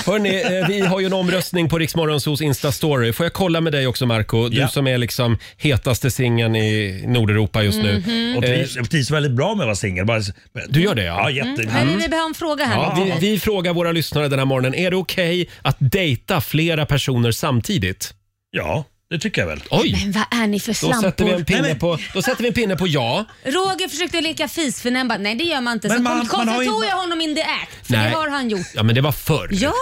Speaker 1: Hörni, eh, vi har ju en omröstning på Riksmorgonsos Insta-story. Får jag kolla med dig också Marco? Du
Speaker 12: Ja.
Speaker 1: som är liksom hetaste singeln i Nordeuropa just nu.
Speaker 12: Mm-hmm.
Speaker 1: Eh,
Speaker 12: och trivs, jag trivs väldigt bra med att vara singel. Bara-
Speaker 1: Du gör det
Speaker 12: Ja,
Speaker 1: ja?
Speaker 12: jätte...
Speaker 2: Nej, men Mm. vi behöver en fråga här
Speaker 1: Ja,
Speaker 2: nu.
Speaker 1: vi, vi frågar våra lyssnare den här morgonen. Är det okej att dejta flera personer samtidigt?
Speaker 12: Ja, det tycker jag väl.
Speaker 1: Oj!
Speaker 2: Men vad är ni för
Speaker 1: Då sätter, vi en
Speaker 2: slampor?
Speaker 12: Nej,
Speaker 1: pinne
Speaker 12: men-
Speaker 1: på, då sätter vi en pinne på ja.
Speaker 2: Roger försökte leka fis för bara, nej det gör man inte.
Speaker 12: Men
Speaker 2: så
Speaker 12: man-
Speaker 2: man,
Speaker 12: man har ju-
Speaker 2: tog jag honom in the act. För
Speaker 1: Nej.
Speaker 2: det har han gjort.
Speaker 1: Ja, men det var förr.
Speaker 2: Ja,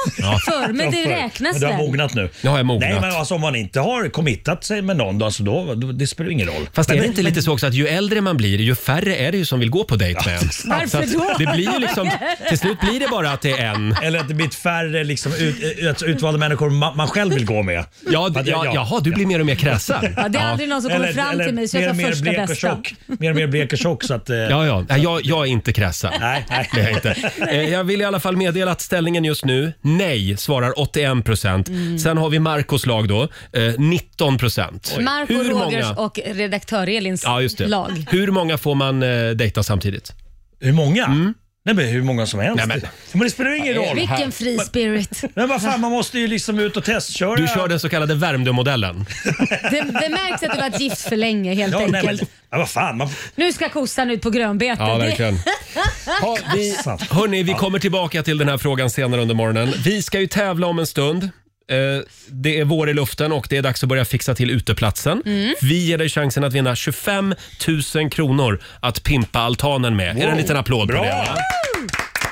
Speaker 2: förr, men det räknas
Speaker 12: Men du har
Speaker 2: väl?
Speaker 12: mognat nu?
Speaker 1: Nu har jag mognat.
Speaker 12: Nej, men alltså, om man inte har committat sig med någon, då, alltså, då, då, det spelar ingen roll.
Speaker 1: Fast är
Speaker 12: men,
Speaker 1: det inte lite så också att ju äldre man blir, ju färre är det ju som vill gå på dejt med en? Så
Speaker 2: Varför
Speaker 1: att
Speaker 2: då?
Speaker 1: Det blir ju liksom, till slut blir det bara att det är en.
Speaker 12: Eller att det blir ett färre liksom, ut, alltså, utvalda människor man, man själv vill gå med.
Speaker 1: Ja,
Speaker 12: Att-
Speaker 1: ja, jaha, du blir mer och mer kräsen.
Speaker 2: Ja, det är aldrig någon som kommer fram till mig så jag tar
Speaker 12: mer
Speaker 2: första
Speaker 12: blek och
Speaker 2: bästa.
Speaker 12: tjock. Mer och mer blek och tjock så att... eh,
Speaker 1: Ja, ja. Nej, Jag, jag är inte kräsen.
Speaker 12: Nej, nej.
Speaker 1: Det är jag inte. Eh, Jag vill i alla fall meddela att ställningen just nu, nej, svarar 81 procent.
Speaker 2: Mm.
Speaker 1: Sen har vi Marcos lag då, eh, 19 procent.
Speaker 2: Marco Rogers och redaktör Elins
Speaker 1: ja, just det.
Speaker 2: lag.
Speaker 1: Hur många får man eh, dejta samtidigt? Mm.
Speaker 12: Hur många? Nej, men hur många som helst.
Speaker 1: Nej, men-
Speaker 12: men... det spelar ingen roll.
Speaker 2: Vilken fri spirit.
Speaker 12: Men vad fan, man måste ju liksom ut och testköra.
Speaker 1: Du kör den så kallade Värmdömodellen.
Speaker 2: Det, det märks att du varit gift för länge helt
Speaker 12: Ja, nej,
Speaker 2: enkelt.
Speaker 12: men, ja, vad fan. Man,
Speaker 2: Nu ska kossan ut på grönbete.
Speaker 1: Ja,
Speaker 2: Det-
Speaker 1: verkligen. Ha, vi, hörni, vi kommer tillbaka till den här frågan senare under morgonen. Vi ska ju tävla om en stund. Eh, Det är vår i luften och det är dags att börja fixa till uteplatsen.
Speaker 2: Mm.
Speaker 1: Vi ger dig chansen att vinna 25 000 kronor att pimpa altanen med. Är det en liten applåd på
Speaker 12: Bra.
Speaker 1: det? va?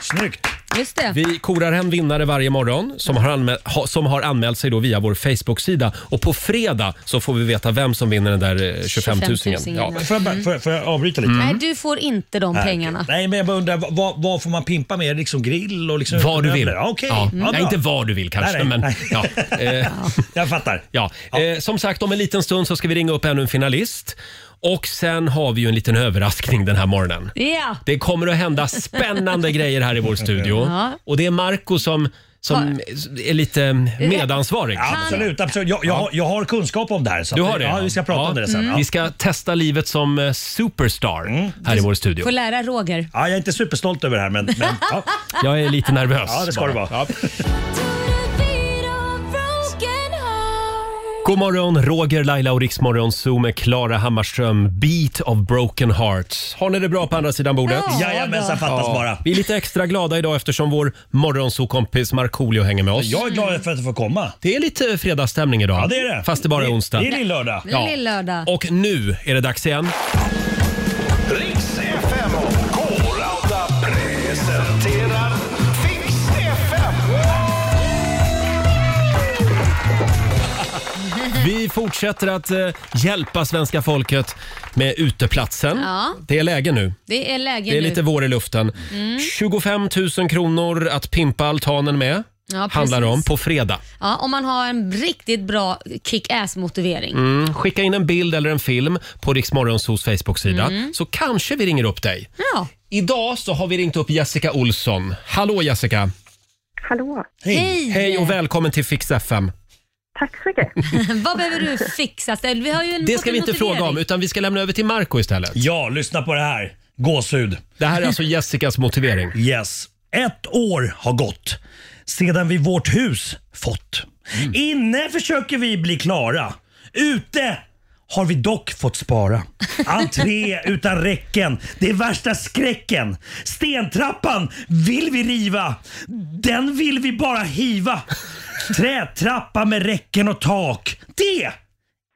Speaker 12: snyggt.
Speaker 2: Just det.
Speaker 1: Vi korar hem vinnare varje morgon som har, anmäl- ha, som har anmält sig då via vår Facebook-sida. Och på fredag så får vi veta vem som vinner den där eh, 25 000.
Speaker 2: 25 000.
Speaker 1: Ja.
Speaker 12: Får jag, bara, får, jag, får jag avbryta lite?
Speaker 2: Nej, du får inte de pengarna.
Speaker 12: Nej, men jag bara undrar, vad- vad, vad får man pimpa med? Liksom grill och liksom...
Speaker 1: Vad du vill.
Speaker 12: Ja, Okej.
Speaker 1: Ja.
Speaker 12: Ja,
Speaker 1: Nej,
Speaker 12: bra.
Speaker 1: inte vad du vill kanske,
Speaker 12: Nej, nej.
Speaker 1: men ja. Eh,
Speaker 12: Jag fattar.
Speaker 1: Ja. Eh, som sagt, om en liten stund så ska vi ringa upp ännu en finalist. Och sen har vi ju en liten överraskning den här morgonen.
Speaker 2: Ja.
Speaker 1: Det kommer att hända spännande grejer här i vår studio.
Speaker 2: Ja.
Speaker 1: Och det är Marco som, som är lite
Speaker 2: Eh,
Speaker 1: medansvarig.
Speaker 12: Absolut, absolut. Jag, jag, har, jag har kunskap om det här. Så
Speaker 1: Du
Speaker 12: att-
Speaker 1: har det?
Speaker 12: Ja, vi ska prata
Speaker 1: Ja.
Speaker 12: om det sen. Ja. Mm.
Speaker 1: Vi ska testa livet som eh, superstar här i vår studio.
Speaker 2: Får lära Roger.
Speaker 12: Ja, jag är inte superstolt över det här, men... men ja.
Speaker 1: Jag är lite nervös.
Speaker 12: ja, det ska
Speaker 1: bara.
Speaker 12: det vara.
Speaker 1: God morgon, Roger, Laila och Riksmorgon Zoom med Klara Hammarström. Beat of broken hearts. Har ni det bra på andra sidan bordet?
Speaker 2: Ja.
Speaker 12: Jajamensan, fattas bara.
Speaker 1: Vi är lite extra glada idag eftersom vår morgonsokompis Markoolio hänger med oss.
Speaker 12: Jag är glad för att du får komma.
Speaker 1: Det är lite fredagsstämning idag.
Speaker 12: Ja, det är det.
Speaker 1: Fast det bara är onsdag.
Speaker 12: Det är lill-lördag.
Speaker 2: Ja. Lill-lördag.
Speaker 1: Och nu är det dags igen.
Speaker 7: Riks FM och K-Rauta
Speaker 1: Vi fortsätter att eh, hjälpa svenska folket med uteplatsen.
Speaker 2: Ja.
Speaker 1: Det är läge nu.
Speaker 2: Det är läge
Speaker 1: Mm. Det är
Speaker 2: nu.
Speaker 1: lite vår i luften.
Speaker 2: Mm.
Speaker 1: 25 000 kronor att pimpa altanen med
Speaker 2: Ja, precis.
Speaker 1: handlar om på fredag.
Speaker 2: Ja, om man har en riktigt bra kick-ass-motivering.
Speaker 1: Mm. Skicka in en bild eller en film på Riksmorgonsos Facebook-sida
Speaker 2: Mm.
Speaker 1: så kanske vi ringer upp dig.
Speaker 2: Ja.
Speaker 1: Idag så har vi ringt upp Jessica Olsson. Hallå Jessica!
Speaker 9: Hallå.
Speaker 1: Hej! Hej och välkommen till Fix FM.
Speaker 2: Vad behöver du fixa? Ställ? Vi har ju en
Speaker 1: Det
Speaker 2: fått
Speaker 1: ska
Speaker 2: en
Speaker 1: vi inte
Speaker 2: motivering.
Speaker 1: fråga om utan vi ska lämna över till Marco istället.
Speaker 12: Ja, lyssna på det här. Gåshud.
Speaker 1: Det här är alltså Jessicas motivering.
Speaker 12: Yes. Ett år har gått sedan vi vårt hus fått.
Speaker 1: Mm.
Speaker 12: Inne försöker vi bli klara. Ute har vi dock fått spara. Entré utan räcken, det är värsta skräcken. Stentrappan vill vi riva, den vill vi bara hiva. Trätrappa med räcken och tak, det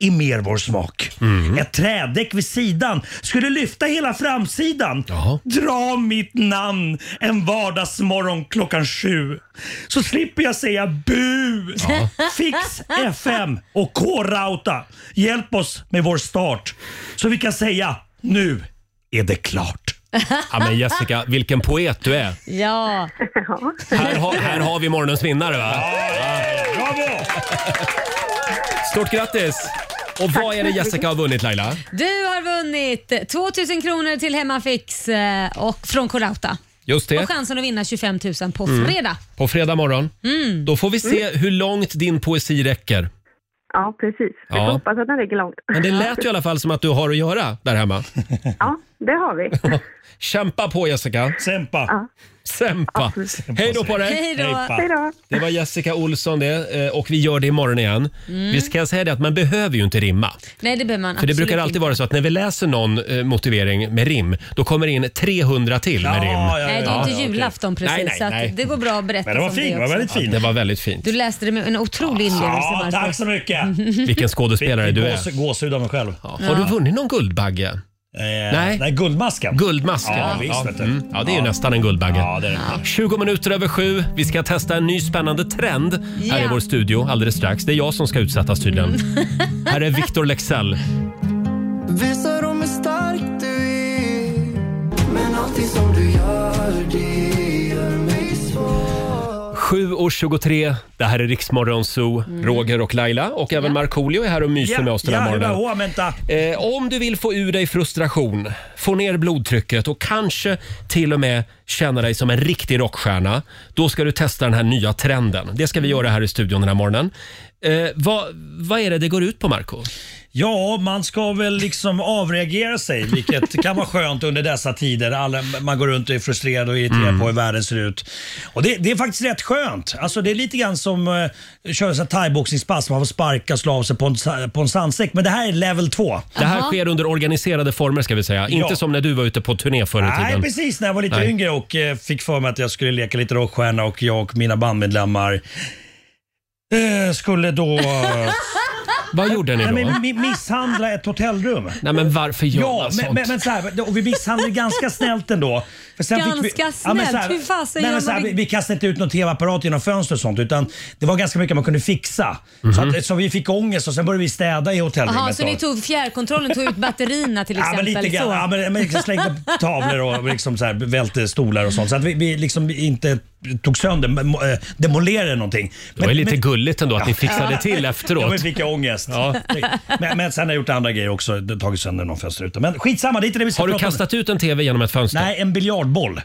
Speaker 12: i mer vår smak.
Speaker 1: Mhm.
Speaker 12: Ett trädäck vid sidan skulle lyfta hela framsidan. Dra mitt namn en vardagsmorgon klockan sju. Så slipper jag säga bu. Fix FM och K-Rauta. Hjälp oss med vår start. Så vi kan säga nu är det klart.
Speaker 1: Ja, men Jessica, vilken poet du är.
Speaker 2: Ja.
Speaker 1: Här, har- här har vi morgonens vinnare va?
Speaker 12: Bravo!
Speaker 1: Stort grattis! Och vad är det Jessica har vunnit Laila?
Speaker 2: Du har vunnit 2000 kronor till Hemmafix eh, och från Corauta.
Speaker 1: Just det.
Speaker 2: Och chansen att vinna 25 000 på
Speaker 1: Mm.
Speaker 2: fredag.
Speaker 1: På fredag morgon.
Speaker 2: Mm.
Speaker 1: Då får vi se hur långt din poesi räcker.
Speaker 9: Ja, precis. Vi
Speaker 1: Ja.
Speaker 9: får hoppas att den räcker långt.
Speaker 1: Men det lät ju i alla fall som att du har att göra där hemma.
Speaker 9: Ja, det har vi.
Speaker 1: Kämpa på Jessica!
Speaker 12: Sempa!
Speaker 1: Sempa! Hej då på dig!
Speaker 9: Hej då.
Speaker 1: Det var Jessica Olsson det eh, och vi gör det imorgon igen.
Speaker 2: Mm.
Speaker 1: Vi ska säga det att man behöver ju inte rimma.
Speaker 2: Nej, det behöver
Speaker 1: För
Speaker 2: man
Speaker 1: det
Speaker 2: absolut
Speaker 1: brukar
Speaker 2: inte.
Speaker 1: alltid vara så att när vi läser någon eh, motivering med rim, då kommer det in 300 till med rim.
Speaker 2: Nej, det är ju inte julafton precis.
Speaker 1: Nej, nej,
Speaker 2: så att
Speaker 1: nej.
Speaker 2: Det går bra att berätta om det också.
Speaker 1: Ja, det var väldigt fint.
Speaker 2: Du läste det med en otrolig inlevelse
Speaker 12: Ja,
Speaker 2: Marco.
Speaker 12: tack så mycket.
Speaker 1: Vilken skådespelare
Speaker 12: Fick- fick
Speaker 1: du är.
Speaker 12: gås- Gåshud av mig själv. Eh,
Speaker 1: Har du vunnit någon Guldbagge? nej.
Speaker 12: nej, Guldmasken.
Speaker 1: Guldmasken.
Speaker 12: Ja, visst, vet du.
Speaker 1: Mm. ja det är ju nästan en Guldbagge.
Speaker 12: Ja, det är det.
Speaker 1: 20 minuter över sju. Vi ska testa en ny spännande trend här i
Speaker 2: Ja.
Speaker 1: vår studio alldeles strax. Det är jag som ska utsättas tydligen.
Speaker 2: Mm.
Speaker 1: här är Victor Lexell.
Speaker 4: Visa dem hur stark du är Men allting som du gör det gör mig svår
Speaker 1: 7.23, det här är Riksmorgon Zoo. Roger och Laila och även Markoolio är här och myser med oss den här morgonen.
Speaker 12: Mm. Ja, vänta.
Speaker 1: Eh, om du vill få ur dig frustration, få ner blodtrycket och kanske till och med känna dig som en riktig rockstjärna, då ska du testa den här nya trenden. Det ska vi göra här i studion den här morgonen. Eh, vad, vad är det det går ut på, Marco?
Speaker 12: Ja, man ska väl liksom avreagera sig, vilket kan vara skönt under dessa tider. Alla, man går runt och är frustrerad och irriterad på hur världen ser ut. Och det, det är faktiskt rätt skönt. Alltså, det är lite grann som eh, köra sån här thaiboxningspass, man får sparka och slå av sig på en, sa- på en sandsäck. Men det här är level två.
Speaker 1: Det här sker under organiserade former ska vi säga.
Speaker 12: Ja.
Speaker 1: Inte som när du var ute på turné förr i tiden.
Speaker 12: Nej, precis. När jag var lite
Speaker 1: Nej.
Speaker 12: yngre och eh, fick för mig att jag skulle leka lite rockstjärna och jag och mina bandmedlemmar eh, skulle då... eh,
Speaker 1: Vad gjorde ni då?
Speaker 12: Nej, men mi- misshandla ett hotellrum.
Speaker 1: Nej, men varför gör
Speaker 12: Ja,
Speaker 1: man
Speaker 12: men,
Speaker 1: sånt?
Speaker 12: men, men så här, och vi misshandlade ganska snällt ändå. För
Speaker 2: Ganska
Speaker 12: men så
Speaker 2: snällt? Hur fasen
Speaker 12: nej,
Speaker 2: gör
Speaker 12: men så här,
Speaker 2: man
Speaker 12: vi,
Speaker 2: det?
Speaker 12: vi kastade inte ut någon tv-apparat genom fönster och sånt utan det var ganska mycket man kunde fixa. så,
Speaker 1: Mhm.
Speaker 12: att, så vi fick ångest och sen började vi städa i hotellrummet.
Speaker 2: Jaha, så ni
Speaker 12: då.
Speaker 2: tog fjärrkontrollen tog ut batterierna till
Speaker 12: Ja, men
Speaker 2: exempel?
Speaker 12: lite grann.
Speaker 2: Så.
Speaker 12: Ja, men, men liksom slängde upp tavlor och liksom så här, välte stolar och sånt. Så att vi, vi liksom inte tog sönder, men, eh, demolerade någonting.
Speaker 1: Det var ju lite gulligt ändå att ni fixade till efteråt.
Speaker 12: Ja, men fick jag ångest.
Speaker 1: Ja.
Speaker 12: Men, men sen har jag gjort andra grejer också. Tagit sönder någon fönsterruta. Men skitsamma, det är inte det vi ska
Speaker 1: Har du
Speaker 12: prata om.
Speaker 1: kastat ut en TV genom ett fönster?
Speaker 12: Nej, en biljardboll.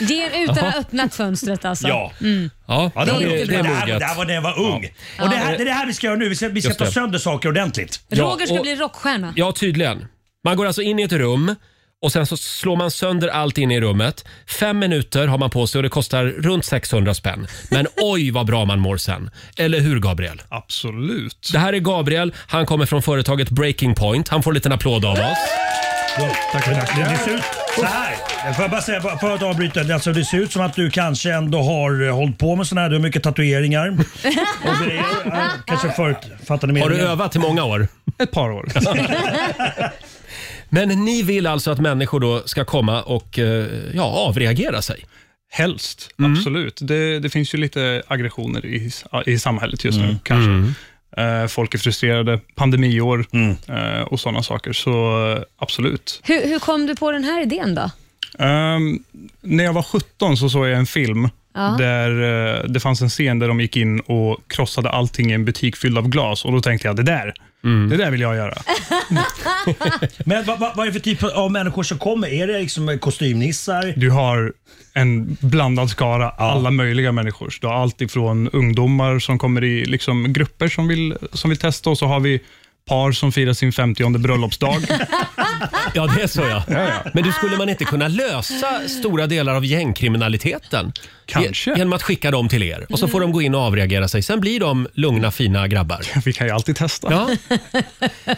Speaker 2: Ge er utan att
Speaker 1: Jaha.
Speaker 2: ha öppnat fönstret alltså?
Speaker 12: Ja.
Speaker 2: Mm.
Speaker 1: Ja,
Speaker 12: Ja, det,
Speaker 1: det,
Speaker 12: var
Speaker 1: det,
Speaker 12: det, det,
Speaker 1: är
Speaker 12: här,
Speaker 1: moget.
Speaker 12: det här var när jag var ung. Och det, här, det är det här vi ska göra nu. Vi ska, vi ska
Speaker 1: Just
Speaker 12: ta
Speaker 1: det.
Speaker 12: sönder saker ordentligt.
Speaker 2: Roger ska
Speaker 1: och-
Speaker 2: bli rockstjärna.
Speaker 1: Ja, tydligen. Man går alltså in i ett rum och sen så slår man sönder allt inne i rummet. Fem minuter har man på sig och det kostar runt 600 spänn. Men oj vad bra man mår sen. Eller hur Gabriel?
Speaker 13: Absolut.
Speaker 1: Det här är Gabriel. Han kommer från företaget Breaking Point. Han får en liten applåd av oss.
Speaker 12: Tackar, tackar. Det ser ut så här. Får jag bara säga, för att avbryta. det, Alltså, det ser ut som att du kanske ändå har eh, hållit på med sådana här. Du har mycket tatueringar. Och grejer. Ja, Kanske förutfattade
Speaker 1: Har du
Speaker 12: meningar.
Speaker 1: övat i många år?
Speaker 13: Ett par år.
Speaker 1: Men ni vill alltså att människor då ska komma och eh, ja, avreagera sig?
Speaker 13: Helst, absolut. Det, det finns ju lite aggressioner i, i samhället just nu kanske. Eh, folk är frustrerade, pandemiår eh, och sådana saker. Så eh, absolut.
Speaker 2: Hur, hur kom du på den här idén då?
Speaker 13: Ehm, när jag var 17 så såg jag en film
Speaker 2: Ja.
Speaker 13: där eh, det fanns en scen där de gick in och krossade allting i en butik fylld av glas. Och Då tänkte jag, det där, det där vill jag göra.
Speaker 12: Mm. Men vad, vad, vad är det för typ av människor som kommer? Är det liksom kostymnissar?
Speaker 13: Du har en blandad skara, alla möjliga människor. Du har allt ifrån ungdomar som kommer i liksom grupper som vill, som vill testa och så har vi par som firar sin 50 bröllopsdag.
Speaker 1: ja, det är så ja. Men du, skulle man inte kunna lösa stora delar av gängkriminaliteten? Kanske. Genom att skicka dem till er och så får de gå in och avreagera sig. Sen blir de lugna, fina grabbar.
Speaker 13: Vi kan ju alltid testa.
Speaker 1: Ja,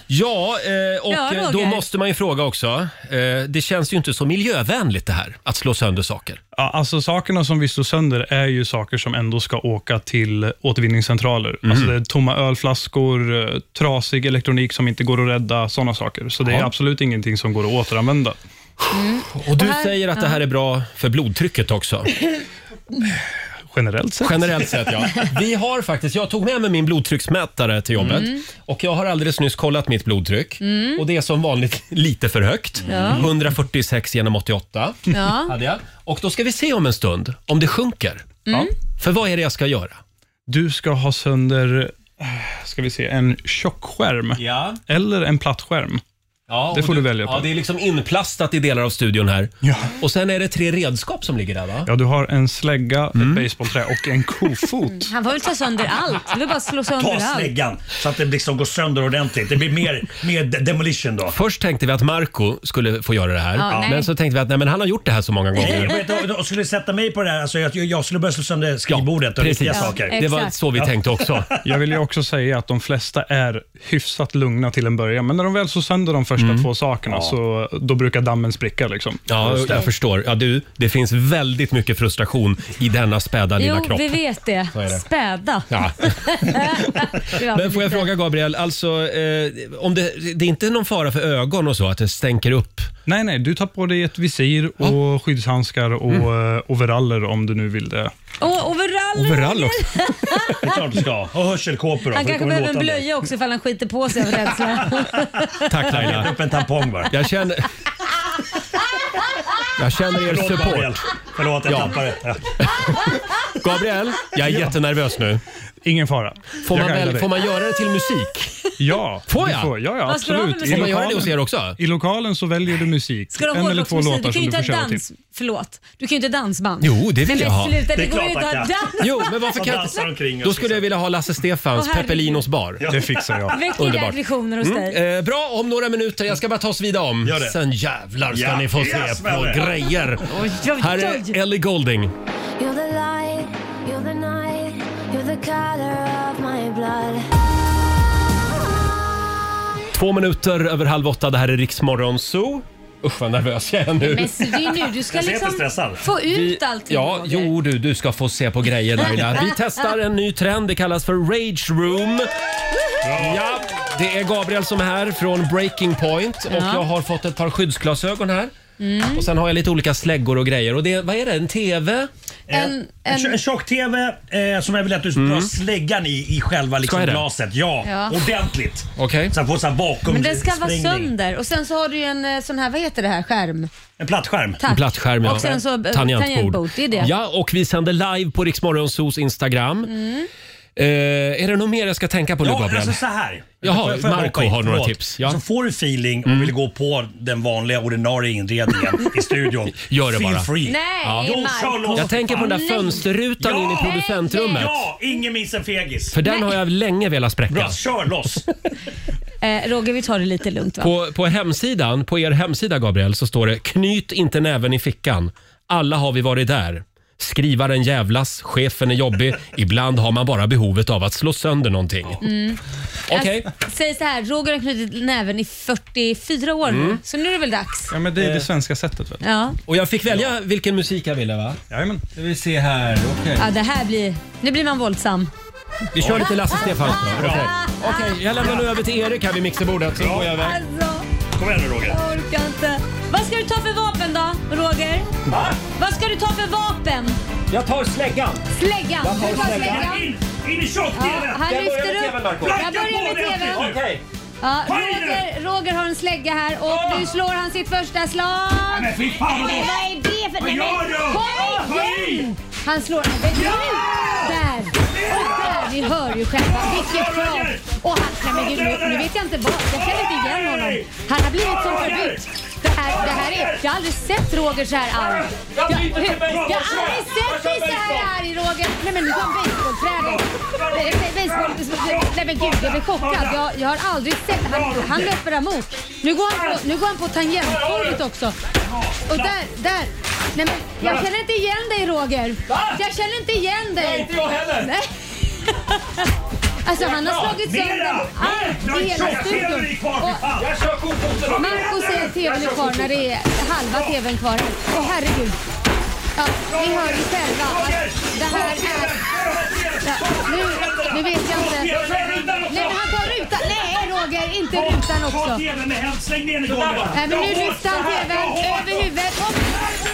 Speaker 1: ja eh, och
Speaker 2: Ja,
Speaker 1: eh, då
Speaker 2: Roger.
Speaker 1: måste man ju fråga också. Eh, det känns ju inte så miljövänligt det här, att slå sönder saker.
Speaker 13: Ja, alltså sakerna som vi slår sönder är ju saker som ändå ska åka till återvinningscentraler.
Speaker 1: Mm.
Speaker 13: Alltså det är tomma ölflaskor, eh, trasig elektronik som inte går att rädda, sådana saker. Så det är
Speaker 1: Ja.
Speaker 13: absolut ingenting som går att återanvända.
Speaker 1: Och du
Speaker 13: Och här-
Speaker 1: säger att det här är bra för blodtrycket också.
Speaker 13: Generellt sett.
Speaker 1: Generellt sett, ja. Vi har faktiskt, jag tog med mig min blodtrycksmätare till jobbet
Speaker 2: Mm.
Speaker 1: och jag har alldeles nyss kollat mitt blodtryck
Speaker 2: Mm.
Speaker 1: och det är som vanligt lite för högt.
Speaker 2: Ja. Mm.
Speaker 1: 146 genom 88
Speaker 2: Ja.
Speaker 1: hade jag. Och då ska vi se om en stund om det sjunker.
Speaker 2: Mm.
Speaker 1: För vad är det jag ska göra?
Speaker 13: Du ska ha sönder, eh, ska vi se, en tjockskärm
Speaker 1: ja.
Speaker 13: eller en plattskärm.
Speaker 1: Ja,
Speaker 13: det
Speaker 1: och
Speaker 13: får du, välja på.
Speaker 1: Ja, det är liksom inplastat i delar av studion här. Och sen är det tre redskap som ligger där va?
Speaker 13: Ja, du har en slägga,
Speaker 12: Mm.
Speaker 13: ett basebollträ Mm. och en kofot.
Speaker 2: Han får väl ta sönder allt. Han vill bara slå sönder
Speaker 12: Ta
Speaker 2: allt.
Speaker 12: släggan så att det liksom går sönder ordentligt. Det blir mer, mer de- demolition då.
Speaker 1: Först tänkte vi att Marco skulle få göra det här,
Speaker 12: Ja, nej.
Speaker 1: men så tänkte vi att nej, men han har gjort det här så många
Speaker 12: Nej,
Speaker 1: gånger.
Speaker 12: men då- då skulle du sätta mig på det här, alltså jag, jag skulle börja slå sönder skrivbordet och
Speaker 13: precis.
Speaker 12: riktiga
Speaker 13: Ja,
Speaker 12: saker.
Speaker 13: Det var exakt. så vi tänkte också. Jag vill ju också säga att de flesta är hyfsat lugna till en början, men när de väl så sönder de första
Speaker 1: Mm.
Speaker 13: två sakerna, så, då brukar dammen spricka. Liksom.
Speaker 1: Ja,
Speaker 13: Just det.
Speaker 1: jag förstår. Ja, du, det finns väldigt mycket frustration i denna späda lilla
Speaker 2: Jo,
Speaker 1: kropp.
Speaker 2: vi vet det.
Speaker 1: Så är det.
Speaker 2: Späda.
Speaker 1: Ja.
Speaker 2: Ja,
Speaker 1: Men får jag fråga Gabriel, alltså, eh, om det, det är inte någon fara för ögon och så, att det stänker upp?
Speaker 13: Nej, nej, du tar på dig ett visir och skyddshandskar och
Speaker 1: Mm.
Speaker 13: eh, overaller om du nu vill det.
Speaker 2: Och overall.
Speaker 13: Overall också.
Speaker 12: Det är klart du ska. Och hörselkåpor då,
Speaker 2: Han
Speaker 12: för det
Speaker 2: kanske
Speaker 12: kommer
Speaker 2: behöver en
Speaker 12: låta
Speaker 2: blöja också ifall han skiter på sig av rädsla.
Speaker 1: Tack
Speaker 12: Jag
Speaker 1: Laila.
Speaker 12: letar upp en tampong bara.
Speaker 1: Jag känner, jag känner er
Speaker 12: Förlåt, Gabriel.
Speaker 1: support.
Speaker 12: Förlåt, jag
Speaker 1: Ja.
Speaker 12: tappade. Ja.
Speaker 1: Gabriel, jag är
Speaker 13: Ja.
Speaker 1: jättenervös nu.
Speaker 13: Ingen fara.
Speaker 1: Får
Speaker 13: Jag
Speaker 1: man,
Speaker 13: guidar
Speaker 1: väl,
Speaker 13: dig.
Speaker 1: får man göra det till musik?
Speaker 13: Ja,
Speaker 1: Får
Speaker 13: du
Speaker 1: jag?
Speaker 13: Får, ja, ja
Speaker 1: Vad ska du ha för
Speaker 13: absolut.
Speaker 1: musik? Får man göra det hos er också?
Speaker 13: I lokalen så väljer du musik.
Speaker 2: Ska de
Speaker 13: en eller två
Speaker 2: hårdrocksmusik? Du
Speaker 13: låtar
Speaker 2: kan ju
Speaker 13: som du typ. får
Speaker 2: inte ha
Speaker 13: köra till.
Speaker 2: dans. Förlåt. Du kan ju inte ha dansband.
Speaker 1: Jo, det vill jag ha.
Speaker 2: Men sluta, det,
Speaker 1: Det är
Speaker 2: går
Speaker 1: klart
Speaker 2: ju inte
Speaker 1: man
Speaker 2: att ha
Speaker 1: kan.
Speaker 2: dans.
Speaker 1: Jo, men varför
Speaker 12: Och
Speaker 1: kan
Speaker 12: dansar omkring och
Speaker 1: Då
Speaker 12: så
Speaker 1: skulle jag vilja ha Lasse Stefans
Speaker 2: Åh, herregud.
Speaker 1: Peppelinos bar.
Speaker 12: Ja. Det fixar jag.
Speaker 2: Väcker aggressioner hos dig.
Speaker 1: eh, bra, om några minuter. Jag ska bara ta oss vidare om.
Speaker 12: Gör det.
Speaker 1: Sen jävlar ska
Speaker 12: Ja,
Speaker 1: ni få
Speaker 12: jag
Speaker 1: se på
Speaker 12: smäller.
Speaker 1: grejer.
Speaker 4: Oj, oj,
Speaker 1: Här är
Speaker 4: oj.
Speaker 1: Ellie Golding.
Speaker 4: You're the light, you're the night, you're the color of my blood.
Speaker 1: Två minuter över halv åtta. Det här är Riksmorgon Zoo. Usch vad nervös jag är nu.
Speaker 2: Men så det är ju nu du ska
Speaker 1: Jag ser inte
Speaker 2: liksom
Speaker 1: stressad.
Speaker 2: få ut allting.
Speaker 1: Ja,
Speaker 2: Roger.
Speaker 1: jo du, du ska få se på grejer Laila. Vi testar en ny trend, det kallas för Rage Room. Ja, det är Gabriel som är här från Breaking Point och
Speaker 2: Ja.
Speaker 1: jag har fått ett par skyddsglasögon här.
Speaker 2: Mm.
Speaker 1: Och sen har jag lite olika släggor och grejer. Och det, vad är det? En TV?
Speaker 2: En,
Speaker 12: Eh, En, tjo- en tjock-TV eh, som jag vill att du drar släggan i, i själva liksom
Speaker 1: Mm. jag det?
Speaker 12: glaset. Ja,
Speaker 2: Ja.
Speaker 12: ordentligt.
Speaker 1: Okej.
Speaker 12: Så att få så här bakom
Speaker 2: Men den ska vara
Speaker 12: sprängning.
Speaker 2: sönder och sen så har du ju en eh, sån här, vad heter det här, skärm?
Speaker 12: En plattskärm.
Speaker 2: Tack.
Speaker 1: Plattskärm, ja.
Speaker 2: Och sen så, eh, tangentbord, det är det.
Speaker 1: Ja, och vi sänder live på Riksmorgonsos Instagram.
Speaker 2: Mm.
Speaker 1: Eh, är det något mer jag ska tänka på nu
Speaker 12: Ja,
Speaker 1: Gabriel?
Speaker 12: alltså så här.
Speaker 1: Jaha,
Speaker 12: Får jag- får jag
Speaker 1: Marco
Speaker 12: hoppa in?
Speaker 1: har några
Speaker 12: Förlåt.
Speaker 1: tips. Ja. Mm.
Speaker 12: Så får du feeling och vill gå på den vanliga ordinarie inredningen i studion.
Speaker 1: Gör det
Speaker 12: Feel
Speaker 1: bara.
Speaker 12: Free.
Speaker 2: Nej,
Speaker 12: Jo,
Speaker 2: Marco.
Speaker 12: kör loss
Speaker 1: Jag
Speaker 12: för
Speaker 1: tänker på
Speaker 12: fan.
Speaker 1: den där fönsterrutan in i
Speaker 12: Ja!
Speaker 1: producentrummet.
Speaker 12: Ja, ingen minns en fegis.
Speaker 1: För den har jag länge velat spräcka.
Speaker 12: Bra, kör loss.
Speaker 2: Eh, Roger, vi tar det lite lugnt va?
Speaker 1: På, på hemsidan, på er hemsida Gabriel, så står det “Knyt inte näven i fickan. Alla har vi varit där. Skrivaren jävlas, chefen är jobbig. Ibland har man bara behovet av att slå sönder någonting.”
Speaker 2: Mm.
Speaker 1: Okej.
Speaker 2: Jag säger så här, Roger har knutit näven i 44 år nu,
Speaker 1: Mm.
Speaker 2: så nu är det väl dags.
Speaker 13: Ja, men det är det svenska sättet. Vet du.
Speaker 2: Ja.
Speaker 1: Och jag fick välja vilken musik jag ville va?
Speaker 13: Jajamän.
Speaker 1: Ska vi se här. Okej.
Speaker 2: ja, det här blir... Nu blir man våldsam.
Speaker 1: Vi kör lite Lasse Stefans. Okej, Okej, jag lämnar nu över till Erik här vid mixerbordet. Så går jag iväg.
Speaker 2: Alltså,
Speaker 12: Kom igen nu Roger.
Speaker 2: jag orkar inte. Vad ska du ta för vapen då, Roger?
Speaker 1: Va?
Speaker 2: Vad ska du ta för vapen?
Speaker 1: Jag tar släggan.
Speaker 2: Släggan.
Speaker 1: Jag tar
Speaker 2: Du tar
Speaker 1: släggan.
Speaker 2: släggan.
Speaker 12: in i tjock-TVn!
Speaker 2: han lyfter upp. Jag börjar med TVn. Ja,
Speaker 12: Kom igen nu!
Speaker 2: Roger, Roger har en slägga här och nu slår han sitt första slag.
Speaker 12: Men fy fan, vad
Speaker 2: Nej, men Vad är det för...
Speaker 12: Vad
Speaker 2: Nej,
Speaker 12: gör
Speaker 2: men,
Speaker 12: du?
Speaker 2: kom
Speaker 12: Vad
Speaker 2: igen! Han slår... Men nu! Där! Och där! Ni hör ju själva. Vilket krav! Och han... Nej men gud, nu, nu vet jag inte vad. Jag känner inte igen honom. Han har blivit som förut. Det här, det här är... Jag har aldrig sett Roger så här arg. Jag, jag, jag har aldrig sett dig så här arg, Roger. Nej men nu kom basebollträdet. Nej, nej, baseball- Nej men gud, jag blir chockad. Jag, jag har aldrig sett... Han, han löper emot. Nu går han på, nu går han på tangentbordet också. Och där, där. Nej men, jag känner inte igen dig Roger. Jag känner inte igen dig. Nej, inte jag heller. Nej. Alltså han har slagit sönder allt i hela studion.
Speaker 12: Jag kör kofoten!
Speaker 2: Marco säger att tvn är kvar när det är halva tvn kvar. Åh herregud. Ja, ni hör ju själva att det här är... Ja, nu, nu vet jag inte. Nej, men han tar rutan. Nej, Roger, inte rutan också.
Speaker 12: TVn med händ, släng ner den i golvet!
Speaker 2: Nej, men nu lyfter han tvn över huvudet och